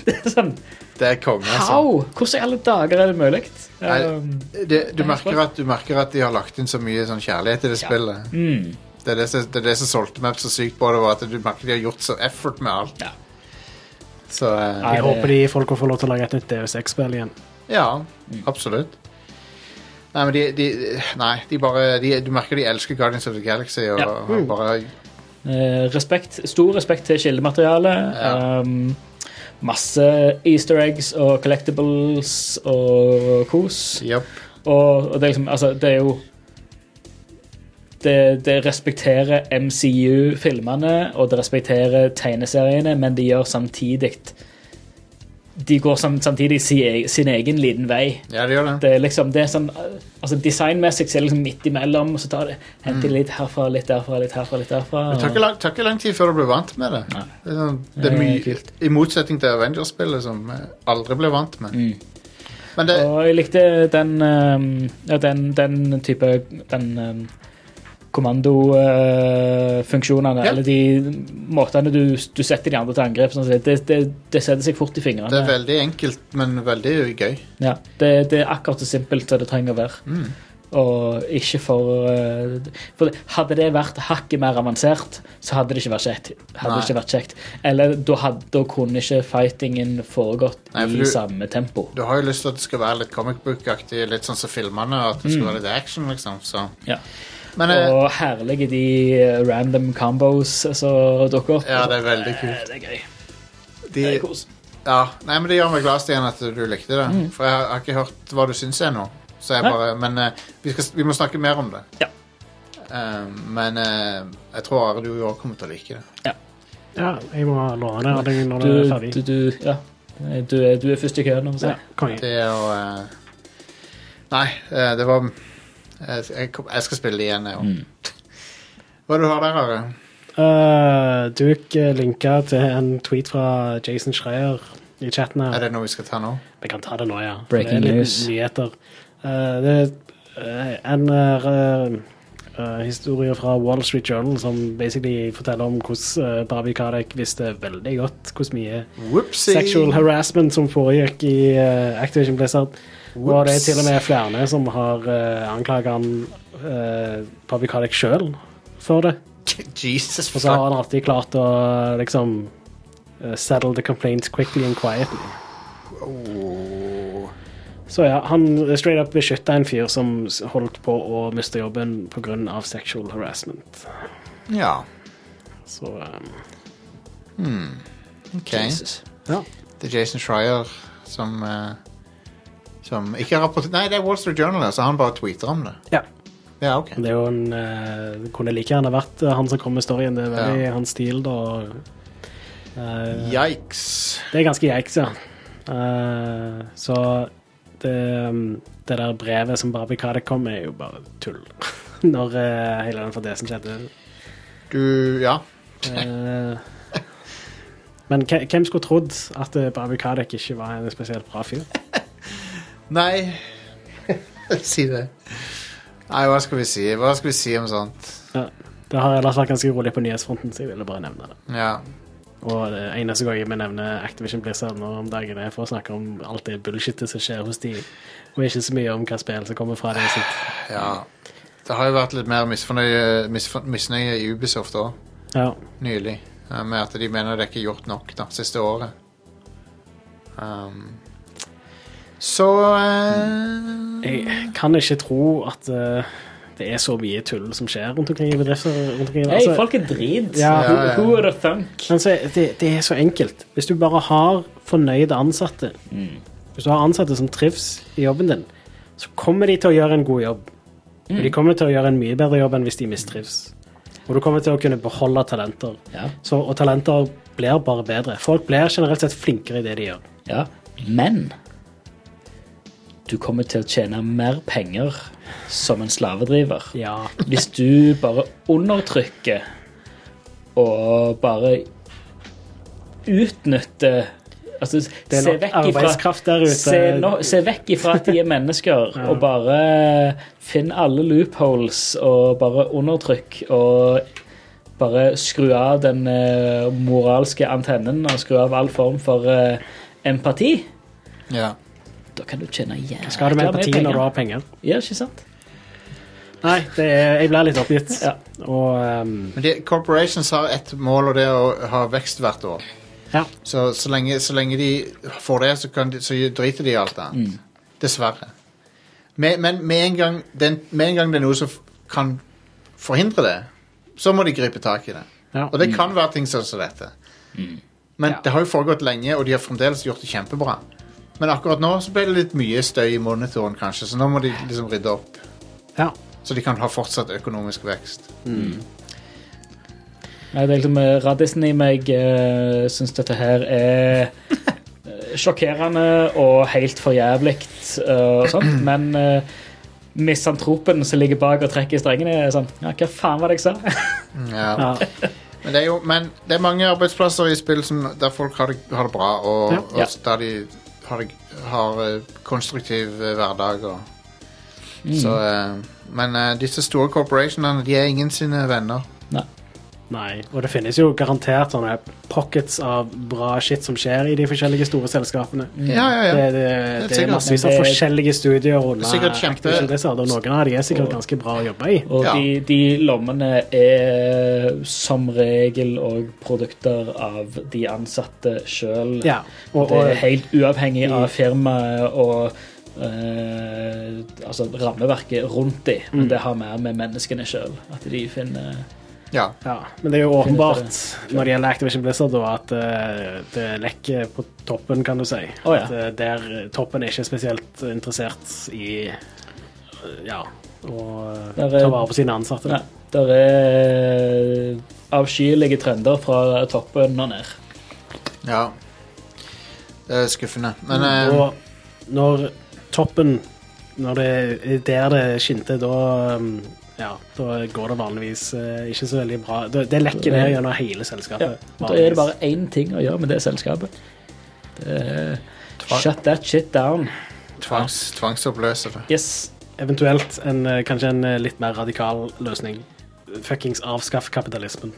[SPEAKER 3] Det er sånn
[SPEAKER 1] Det er konge, altså.
[SPEAKER 3] How? Hvordan i alle dager er det mulig?
[SPEAKER 1] Nei,
[SPEAKER 3] Um,
[SPEAKER 1] Det, du, merker at, du merker at de har lagt inn så mye sånn kjærlighet i det spillet.
[SPEAKER 3] mm.
[SPEAKER 1] Det er det, som- det er det som solgte meg så sykt på det, var at du merker de har gjort så effort med alt.
[SPEAKER 3] Ja.
[SPEAKER 1] Så eh,
[SPEAKER 3] Nei,
[SPEAKER 2] Jeg
[SPEAKER 3] det-
[SPEAKER 2] håper de folka får lov til å lage et nytt DV6-spill igjen.
[SPEAKER 1] Ja, absolutt. Nei, men de, de Nei, de bare de, Du merker de elsker Guardians of the Galaxy og,
[SPEAKER 3] Ja.
[SPEAKER 1] og bare
[SPEAKER 3] Eh, respekt, stor respekt til kildematerialet.
[SPEAKER 1] Ja.
[SPEAKER 3] Um, masse easter eggs og collectibles og kos.
[SPEAKER 1] Jepp.
[SPEAKER 3] Og, og det, er liksom, altså, det er jo det, det respekterer MCU-filmene og det respekterer tegneseriene, men de gjør samtidig De går sam, samtidig si, sin egen liten vei.
[SPEAKER 1] Ja, de gjør det.
[SPEAKER 3] Det er liksom, det er sånn, altså Designmessig så er det liksom midt imellom, og så tar det henter litt herfra, litt derfra, litt herfra. litt derfra.
[SPEAKER 1] Det Mm. tar ikke, lang, tar ikke lang tid før du blir vant med det.
[SPEAKER 3] Nei.
[SPEAKER 1] Det er, sånn- det er
[SPEAKER 3] Det er
[SPEAKER 1] mye,
[SPEAKER 3] kult.
[SPEAKER 1] I motsetning til Avengers-spillet, som jeg aldri ble vant med.
[SPEAKER 3] Mm.
[SPEAKER 1] Men det
[SPEAKER 3] Og jeg likte den, ehm, ja, den, den type den ehm, kommandofunksjonene,
[SPEAKER 1] Ja.
[SPEAKER 3] eller de måtene du, du setter de andre til angrep sånn, sett. det, det, det setter seg fort i fingrene.
[SPEAKER 1] det er veldig enkelt, men veldig gøy.
[SPEAKER 3] Ja, det, det er akkurat så simpelt som det trenger å være.
[SPEAKER 1] Mm.
[SPEAKER 3] Og ikke for eh, For det- hadde det vært hakket mer avansert, så hadde det ikke vært kjekt. Hadde
[SPEAKER 1] Nei.
[SPEAKER 3] det ikke vært kjekt. Eller da, hadde, da kunne ikke fightingen foregått
[SPEAKER 1] Nei, for
[SPEAKER 3] i
[SPEAKER 1] du-
[SPEAKER 3] samme tempo.
[SPEAKER 1] Du har jo lyst til at det skal være litt comic book-aktig, litt sånn som filmene, og at det skal være litt action, liksom. Så.
[SPEAKER 3] Ja.
[SPEAKER 1] Men eh,
[SPEAKER 3] Mm. Og herlige de eh, random combos som dukker opp.
[SPEAKER 1] ja, det er veldig
[SPEAKER 3] Eh,
[SPEAKER 1] kult.
[SPEAKER 3] det er gøy.
[SPEAKER 1] De,
[SPEAKER 3] Det er kos.
[SPEAKER 1] Ja, nei, men det gjør meg glad, Stian, at du likte det. For jeg har, har ikke hørt hva du syns ennå. Så jeg
[SPEAKER 3] Mm. Nei.
[SPEAKER 1] bare, men eh, vi, skal, vi må snakke mer om det.
[SPEAKER 3] Ja.
[SPEAKER 1] Eh, men eh, jeg tror Are, du òg kommer til å like det.
[SPEAKER 2] Ja, jeg må låne det av deg når
[SPEAKER 3] Du,
[SPEAKER 2] det er
[SPEAKER 3] du,
[SPEAKER 2] ferdig.
[SPEAKER 3] du, ja. Eh, du, er- du er først i køen. om å si.
[SPEAKER 2] Ja, konge.
[SPEAKER 1] Det er jo eh, Nei, eh, det var jeg, jeg, kom- jeg skal spille det igjen, jeg òg. Hva du har der, Are?
[SPEAKER 2] Eh, Duke linka til en tweet fra Jason Schreier i chatten her.
[SPEAKER 1] Er det noe vi skal ta nå?
[SPEAKER 2] Vi kan ta det nå, ja.
[SPEAKER 3] Breaking
[SPEAKER 2] det er litt
[SPEAKER 3] news.
[SPEAKER 2] Nyheter. Eh, det er eh, en eh, eh, historie fra Wall Street Journal som basically forteller om hvordan uh, Babi Kadek visste veldig godt hvor mye
[SPEAKER 1] Whoopsie!
[SPEAKER 2] sexual harassment som foregikk i eh, Activision Blizzard. Og det er til og med flere som har uh, anklaget han uh, Babi Kadek sjøl for det.
[SPEAKER 1] Jesus,
[SPEAKER 2] Og så har
[SPEAKER 1] fuck.
[SPEAKER 2] han alltid klart å liksom eh, settle the complaints quickly and quietly.
[SPEAKER 1] Oh.
[SPEAKER 2] Så ja, han straight up beskytta en fyr som s- holdt på å miste jobben pga. sexual harassment.
[SPEAKER 1] Ja,
[SPEAKER 2] Så um,
[SPEAKER 1] OK.
[SPEAKER 3] Jesus.
[SPEAKER 2] ja.
[SPEAKER 1] Det er Jason Schreier som eh, Som ikke har rapportert Nei, det er Wall Street Journal, så han bare tweeter om det.
[SPEAKER 2] Ja.
[SPEAKER 1] Ja, ok.
[SPEAKER 2] Det er jo en, eh, det kunne like gjerne vært eh, han som kom med storyen. Det er veldig
[SPEAKER 1] Ja.
[SPEAKER 2] hans stil, da. og, eh,
[SPEAKER 1] Yikes.
[SPEAKER 2] Det er ganske yikes, ja. Eh, så det, um, det der brevet som Barbie Kadek kom med, er jo bare tull. Når eh, hele den fadesen skjedde.
[SPEAKER 1] Du Ja.
[SPEAKER 2] Eh, men hve- hvem skulle trodd at eh, Barbie Kadek ikke var en spesielt bra fyr?
[SPEAKER 1] Nei Si det. Nei, hva skal vi si? Hva skal vi si om sånt?
[SPEAKER 2] Ja. Det har ellers vært ganske rolig på nyhetsfronten, så jeg ville bare nevne det.
[SPEAKER 1] Ja.
[SPEAKER 2] Og det eneste gang vi nevner Activision Blizzard nå om dagen, er for å snakke om alt det bullshitet som skjer hos de, og ikke så mye om hva spill som kommer fra det. sitt.
[SPEAKER 1] ja. Det har jo vært litt mer misfornøye, misfor- misnøye i Ubisoft òg,
[SPEAKER 2] Ja.
[SPEAKER 1] nylig. eh, Med at de mener det er ikke er gjort nok det siste året. Um, så eh,
[SPEAKER 2] Jeg kan ikke tro at eh, det er så mye tull som skjer rundt omkring i bedrifter. Rundt omkring i
[SPEAKER 3] Hei,
[SPEAKER 2] verden.
[SPEAKER 3] folk er drit.
[SPEAKER 2] altså- Ja.
[SPEAKER 3] Who, who would have thunk?
[SPEAKER 2] Men så, er- det, det er så enkelt. Hvis du bare har fornøyde ansatte,
[SPEAKER 3] Mm.
[SPEAKER 2] hvis du har ansatte som trives i jobben din, så kommer de til å gjøre en god jobb.
[SPEAKER 3] Mm.
[SPEAKER 2] Og de kommer til å gjøre en mye bedre jobb enn hvis de mistrives. Og du kommer til å kunne beholde talenter.
[SPEAKER 3] Ja.
[SPEAKER 2] Så, og talenter blir bare bedre. Folk blir generelt sett flinkere i det de gjør.
[SPEAKER 3] Ja. Men du kommer til å tjene mer penger som en slavedriver.
[SPEAKER 2] Ja.
[SPEAKER 3] Hvis du bare undertrykker og bare utnytter Altså,
[SPEAKER 2] Det er
[SPEAKER 3] se
[SPEAKER 2] nok
[SPEAKER 3] vekk ifra
[SPEAKER 2] arbeidskraft der ute.
[SPEAKER 3] se, nå- se vekk ifra at de er mennesker, og bare finn alle loopholes og bare undertrykk. Og bare skru av den eh, moralske antennen og skru av all form for eh, empati.
[SPEAKER 1] Ja.
[SPEAKER 3] Da kan du tjene jævla
[SPEAKER 2] Skal du med empati når du
[SPEAKER 3] penger.
[SPEAKER 2] har penger?
[SPEAKER 3] Ja, ikke sant?
[SPEAKER 2] Nei, det er, jeg blir litt oppgitt.
[SPEAKER 3] Ja.
[SPEAKER 2] Og ehm,
[SPEAKER 1] Men de, corporations har ett mål, og det er å ha vekst hvert år.
[SPEAKER 2] ja.
[SPEAKER 1] Så, så, lenge, så lenge de får det, så, kan de, så driter de i alt annet. Dessverre. Med, men med en, gang, den, med en gang det er noe som f- kan forhindre det, så må de gripe tak i det.
[SPEAKER 2] Ja.
[SPEAKER 1] Og det kan være ting sånn som dette. Men
[SPEAKER 2] Ja.
[SPEAKER 1] det har jo foregått lenge, og de har fremdeles gjort det kjempebra. Men akkurat nå så ble det litt mye støy i monitoren, kanskje, så nå må de liksom rydde opp.
[SPEAKER 2] ja.
[SPEAKER 1] Så de kan ha fortsatt økonomisk vekst.
[SPEAKER 3] Nei, det er liksom eh, Radisen i meg uh, syns dette her er eh, sjokkerende og helt for jævlig og sånt, men eh, misantropen som ligger bak og trekker i strengene, er sånn Ja, hva faen var det jeg sa?
[SPEAKER 1] Ja.
[SPEAKER 2] ja.
[SPEAKER 1] Men det er jo men det er mange arbeidsplasser i spill som, der folk har det, har det bra, og,
[SPEAKER 2] Ja.
[SPEAKER 1] og der de har, det, har eh, konstruktiv eh, hverdag. Og, så, eh, men eh, disse store corporationene de er ingen sine venner.
[SPEAKER 3] Nei.
[SPEAKER 2] Nei, og det finnes jo garantert sånne pockets av bra shit som skjer i de forskjellige store selskapene.
[SPEAKER 1] Ja, ja, ja.
[SPEAKER 2] Det, det,
[SPEAKER 1] er
[SPEAKER 2] det er
[SPEAKER 1] sikkert.
[SPEAKER 2] massevis av
[SPEAKER 3] Det er-
[SPEAKER 2] forskjellige studier under
[SPEAKER 1] Det er sikkert kjempe-
[SPEAKER 2] Activision Blizzard, og noen av de er sikkert ganske bra å jobbe i.
[SPEAKER 3] Og
[SPEAKER 1] Ja.
[SPEAKER 3] de, de lommene er eh, som regel òg produkter av de ansatte sjøl.
[SPEAKER 2] Ja, og,
[SPEAKER 3] det er
[SPEAKER 2] og,
[SPEAKER 3] helt uavhengig
[SPEAKER 2] Mm.
[SPEAKER 3] av firmaet og eh, altså rammeverket rundt de, men det har mer med menneskene sjøl. At de finner
[SPEAKER 1] ja.
[SPEAKER 2] ja, men det er jo åpenbart når det gjelder Activision Blizzard, da, at eh, det lekker på toppen, kan du si.
[SPEAKER 3] Å, ja.
[SPEAKER 2] At, eh, der eh, toppen er ikke spesielt interessert i eh, ja, å eh,
[SPEAKER 3] Der er-
[SPEAKER 2] ta vare på sine ansatte.
[SPEAKER 3] Nei, der er avskyelige trender fra toppen og ned.
[SPEAKER 1] ja. Det er skuffende. Men eh,
[SPEAKER 2] Mm. Og når toppen Når det er der det skinte, da um, Ja, da går det vanligvis eh, ikke så veldig bra. Da- Det lekker ned gjennom hele
[SPEAKER 3] Ja.
[SPEAKER 2] selskapet.
[SPEAKER 3] Da er
[SPEAKER 2] vanligvis.
[SPEAKER 3] det bare én ting å gjøre med det selskapet. Det er, shut that shit down.
[SPEAKER 1] tvangs, tvangsoppløse det.
[SPEAKER 3] Yes.
[SPEAKER 2] Eventuelt en, eh, kanskje en eh, litt mer radikal løsning. Fuckings avskaff kapitalismen.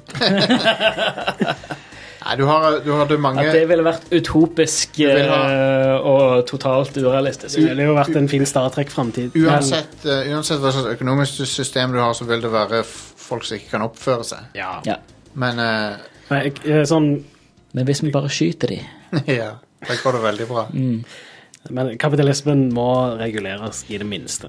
[SPEAKER 1] Nei, du har, du har det mange
[SPEAKER 3] At det ville vært utopisk
[SPEAKER 1] Du vil ha-
[SPEAKER 3] eh, og totalt urealistisk.
[SPEAKER 2] Det ville jo vært en fin Star Trek-framtid.
[SPEAKER 1] Uansett, eh, uansett hva slags økonomisk system du har, så vil det være f folk som ikke kan oppføre seg.
[SPEAKER 2] Ja.
[SPEAKER 3] Ja.
[SPEAKER 1] Men eh,
[SPEAKER 2] Nei, jeg- eh, sånn,
[SPEAKER 3] Men hvis vi bare skyter de
[SPEAKER 1] ja, da går det veldig bra.
[SPEAKER 2] Mm. men kapitalismen må reguleres i det minste.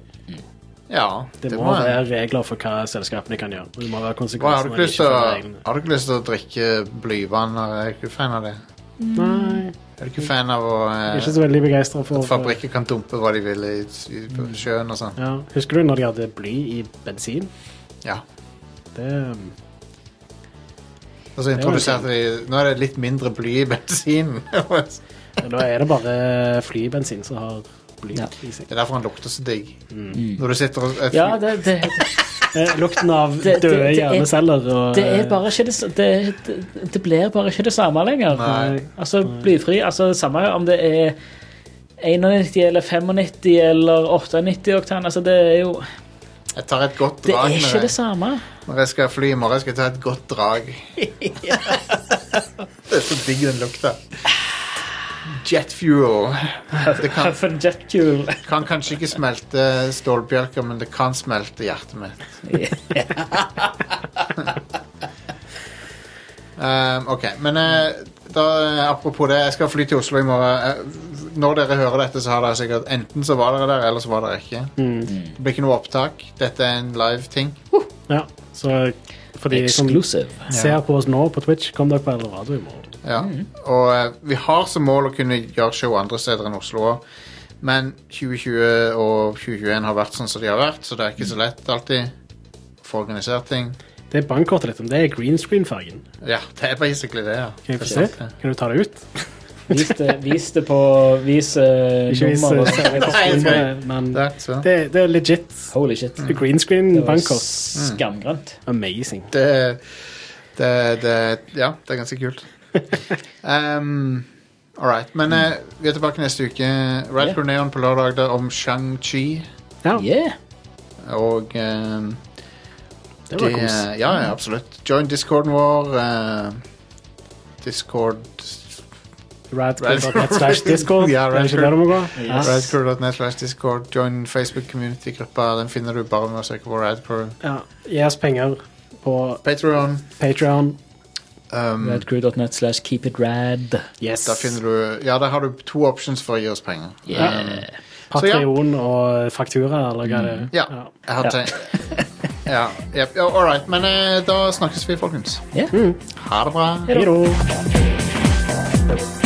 [SPEAKER 1] Ja,
[SPEAKER 2] Det, må,
[SPEAKER 1] en-
[SPEAKER 2] være regler for hva selskapene kan gjøre. Det må være
[SPEAKER 1] Hva, har,
[SPEAKER 2] konsekvenser
[SPEAKER 1] du
[SPEAKER 2] når
[SPEAKER 1] ikke
[SPEAKER 2] de
[SPEAKER 1] lyst til å,
[SPEAKER 2] følger reglene.
[SPEAKER 1] har du ikke lyst til å drikke blyvann? Er du fan av det?
[SPEAKER 2] Nei.
[SPEAKER 1] Er du ikke fan av å, eh,
[SPEAKER 2] Mm. Ikke så veldig begeistra for
[SPEAKER 1] at fabrikker kan dumpe hva de vil i, i på
[SPEAKER 2] Mm.
[SPEAKER 1] sjøen og sånn?
[SPEAKER 2] Ja. Husker du når de hadde bly i bensin?
[SPEAKER 1] Ja.
[SPEAKER 2] Det
[SPEAKER 1] Og så introduserte de Nå er det litt mindre bly i bensinen. det
[SPEAKER 2] Da er det bare flybensin som har bly
[SPEAKER 3] Ja.
[SPEAKER 2] i seg.
[SPEAKER 1] er derfor han lukter så digg. Når du sitter og et,
[SPEAKER 3] Mm. Ja, det, det,
[SPEAKER 2] Eh, Lukten av
[SPEAKER 3] det- det
[SPEAKER 2] døde
[SPEAKER 3] er-
[SPEAKER 2] hjerneceller og eh,
[SPEAKER 3] det er bare ikke det, s- det, det, det blir bare ikke det samme lenger.
[SPEAKER 1] Nei.
[SPEAKER 3] Altså, blyfri altså det Samme om det er 91 eller 95 eller 98 oktan. Altså, det er jo
[SPEAKER 1] Jeg tar et godt
[SPEAKER 3] Det
[SPEAKER 1] drag
[SPEAKER 3] er
[SPEAKER 1] med
[SPEAKER 3] ikke
[SPEAKER 1] det.
[SPEAKER 3] det samme.
[SPEAKER 1] Når jeg skal fly i morgen, skal jeg ta et godt drag. det er så digg den lukta. Jet fuel. Det kan,
[SPEAKER 3] Huff and jet fuel.
[SPEAKER 1] kan kanskje ikke smelte eh, stålbjelker, men det kan smelte hjertet mitt. Um, ok, men eh, da, eh, apropos det, jeg skal fly til Oslo i morgen. Eh, når dere hører dette, så har dere sikkert enten så var dere der, eller så var dere ikke. Det blir ikke noe opptak. Dette er en live ting.
[SPEAKER 2] Ja, så for de som
[SPEAKER 3] Exclusive.
[SPEAKER 2] ser på oss nå på Twitch, kom dere på Eldre Radio i morgen.
[SPEAKER 1] Ja. Og eh, vi har som mål å kunne gjøre show andre steder enn Oslo òg. Men 2020 og 2021 har vært sånn som de har vært, så det er ikke så lett alltid å få organisert ting.
[SPEAKER 2] Det er bankkortet ditt, men det er green screen-fargen.
[SPEAKER 1] Ja, det er basically det, ja.
[SPEAKER 2] Kan jeg få
[SPEAKER 1] Det
[SPEAKER 2] se?
[SPEAKER 1] er sant,
[SPEAKER 2] Kan du ta det ut?
[SPEAKER 3] Vis det, vis det på Vis eh,
[SPEAKER 2] Ikke vis
[SPEAKER 3] nummer. og-
[SPEAKER 2] selve
[SPEAKER 1] Nei,
[SPEAKER 2] kostymet, men
[SPEAKER 1] det. Der, så.
[SPEAKER 2] det, det er legit.
[SPEAKER 3] Holy shit. Det
[SPEAKER 2] Green
[SPEAKER 3] var
[SPEAKER 2] screen-bankkort.
[SPEAKER 3] skamgrønt.
[SPEAKER 2] Amazing.
[SPEAKER 1] det, det, det Ja, det er ganske kult. Um, All right. Men eh, vi er tilbake neste uke. Red
[SPEAKER 3] Ja.
[SPEAKER 1] Crew Neon på lørdag det er om Shang-Chi
[SPEAKER 2] Ja,
[SPEAKER 3] Yeah.
[SPEAKER 1] og um,
[SPEAKER 2] det var
[SPEAKER 1] Det-
[SPEAKER 2] kos.
[SPEAKER 1] Ja, ja, absolutt. Join discorden vår. eh, Discord
[SPEAKER 2] Radcrew.net slash discord.
[SPEAKER 1] Ja,
[SPEAKER 2] Det er
[SPEAKER 1] Radcrew.
[SPEAKER 2] ikke der du må gå.
[SPEAKER 3] Ja.
[SPEAKER 2] Ja.
[SPEAKER 1] Radcrew.net slash discord. Join Facebook community-gruppa. Den finner du bare med å søke på Radcrew.
[SPEAKER 2] Ja. Gi oss penger på
[SPEAKER 1] Patreon.
[SPEAKER 2] Patreon.
[SPEAKER 1] Um,
[SPEAKER 3] Radcrew.net slash keep it rad.
[SPEAKER 2] Yes.
[SPEAKER 1] der finner du Ja, der har du to options for å gi oss penger.
[SPEAKER 3] Yeah.
[SPEAKER 1] Så ja.
[SPEAKER 2] Eh, Patreon og faktura, eller hva det er.
[SPEAKER 1] Ja. Jeg har
[SPEAKER 3] Ja.
[SPEAKER 1] tenkt Ja. Yep. ja All right. Men eh, da snakkes vi, folkens.
[SPEAKER 3] Yeah.
[SPEAKER 1] Ha det bra.
[SPEAKER 2] Hei da.
[SPEAKER 1] Hei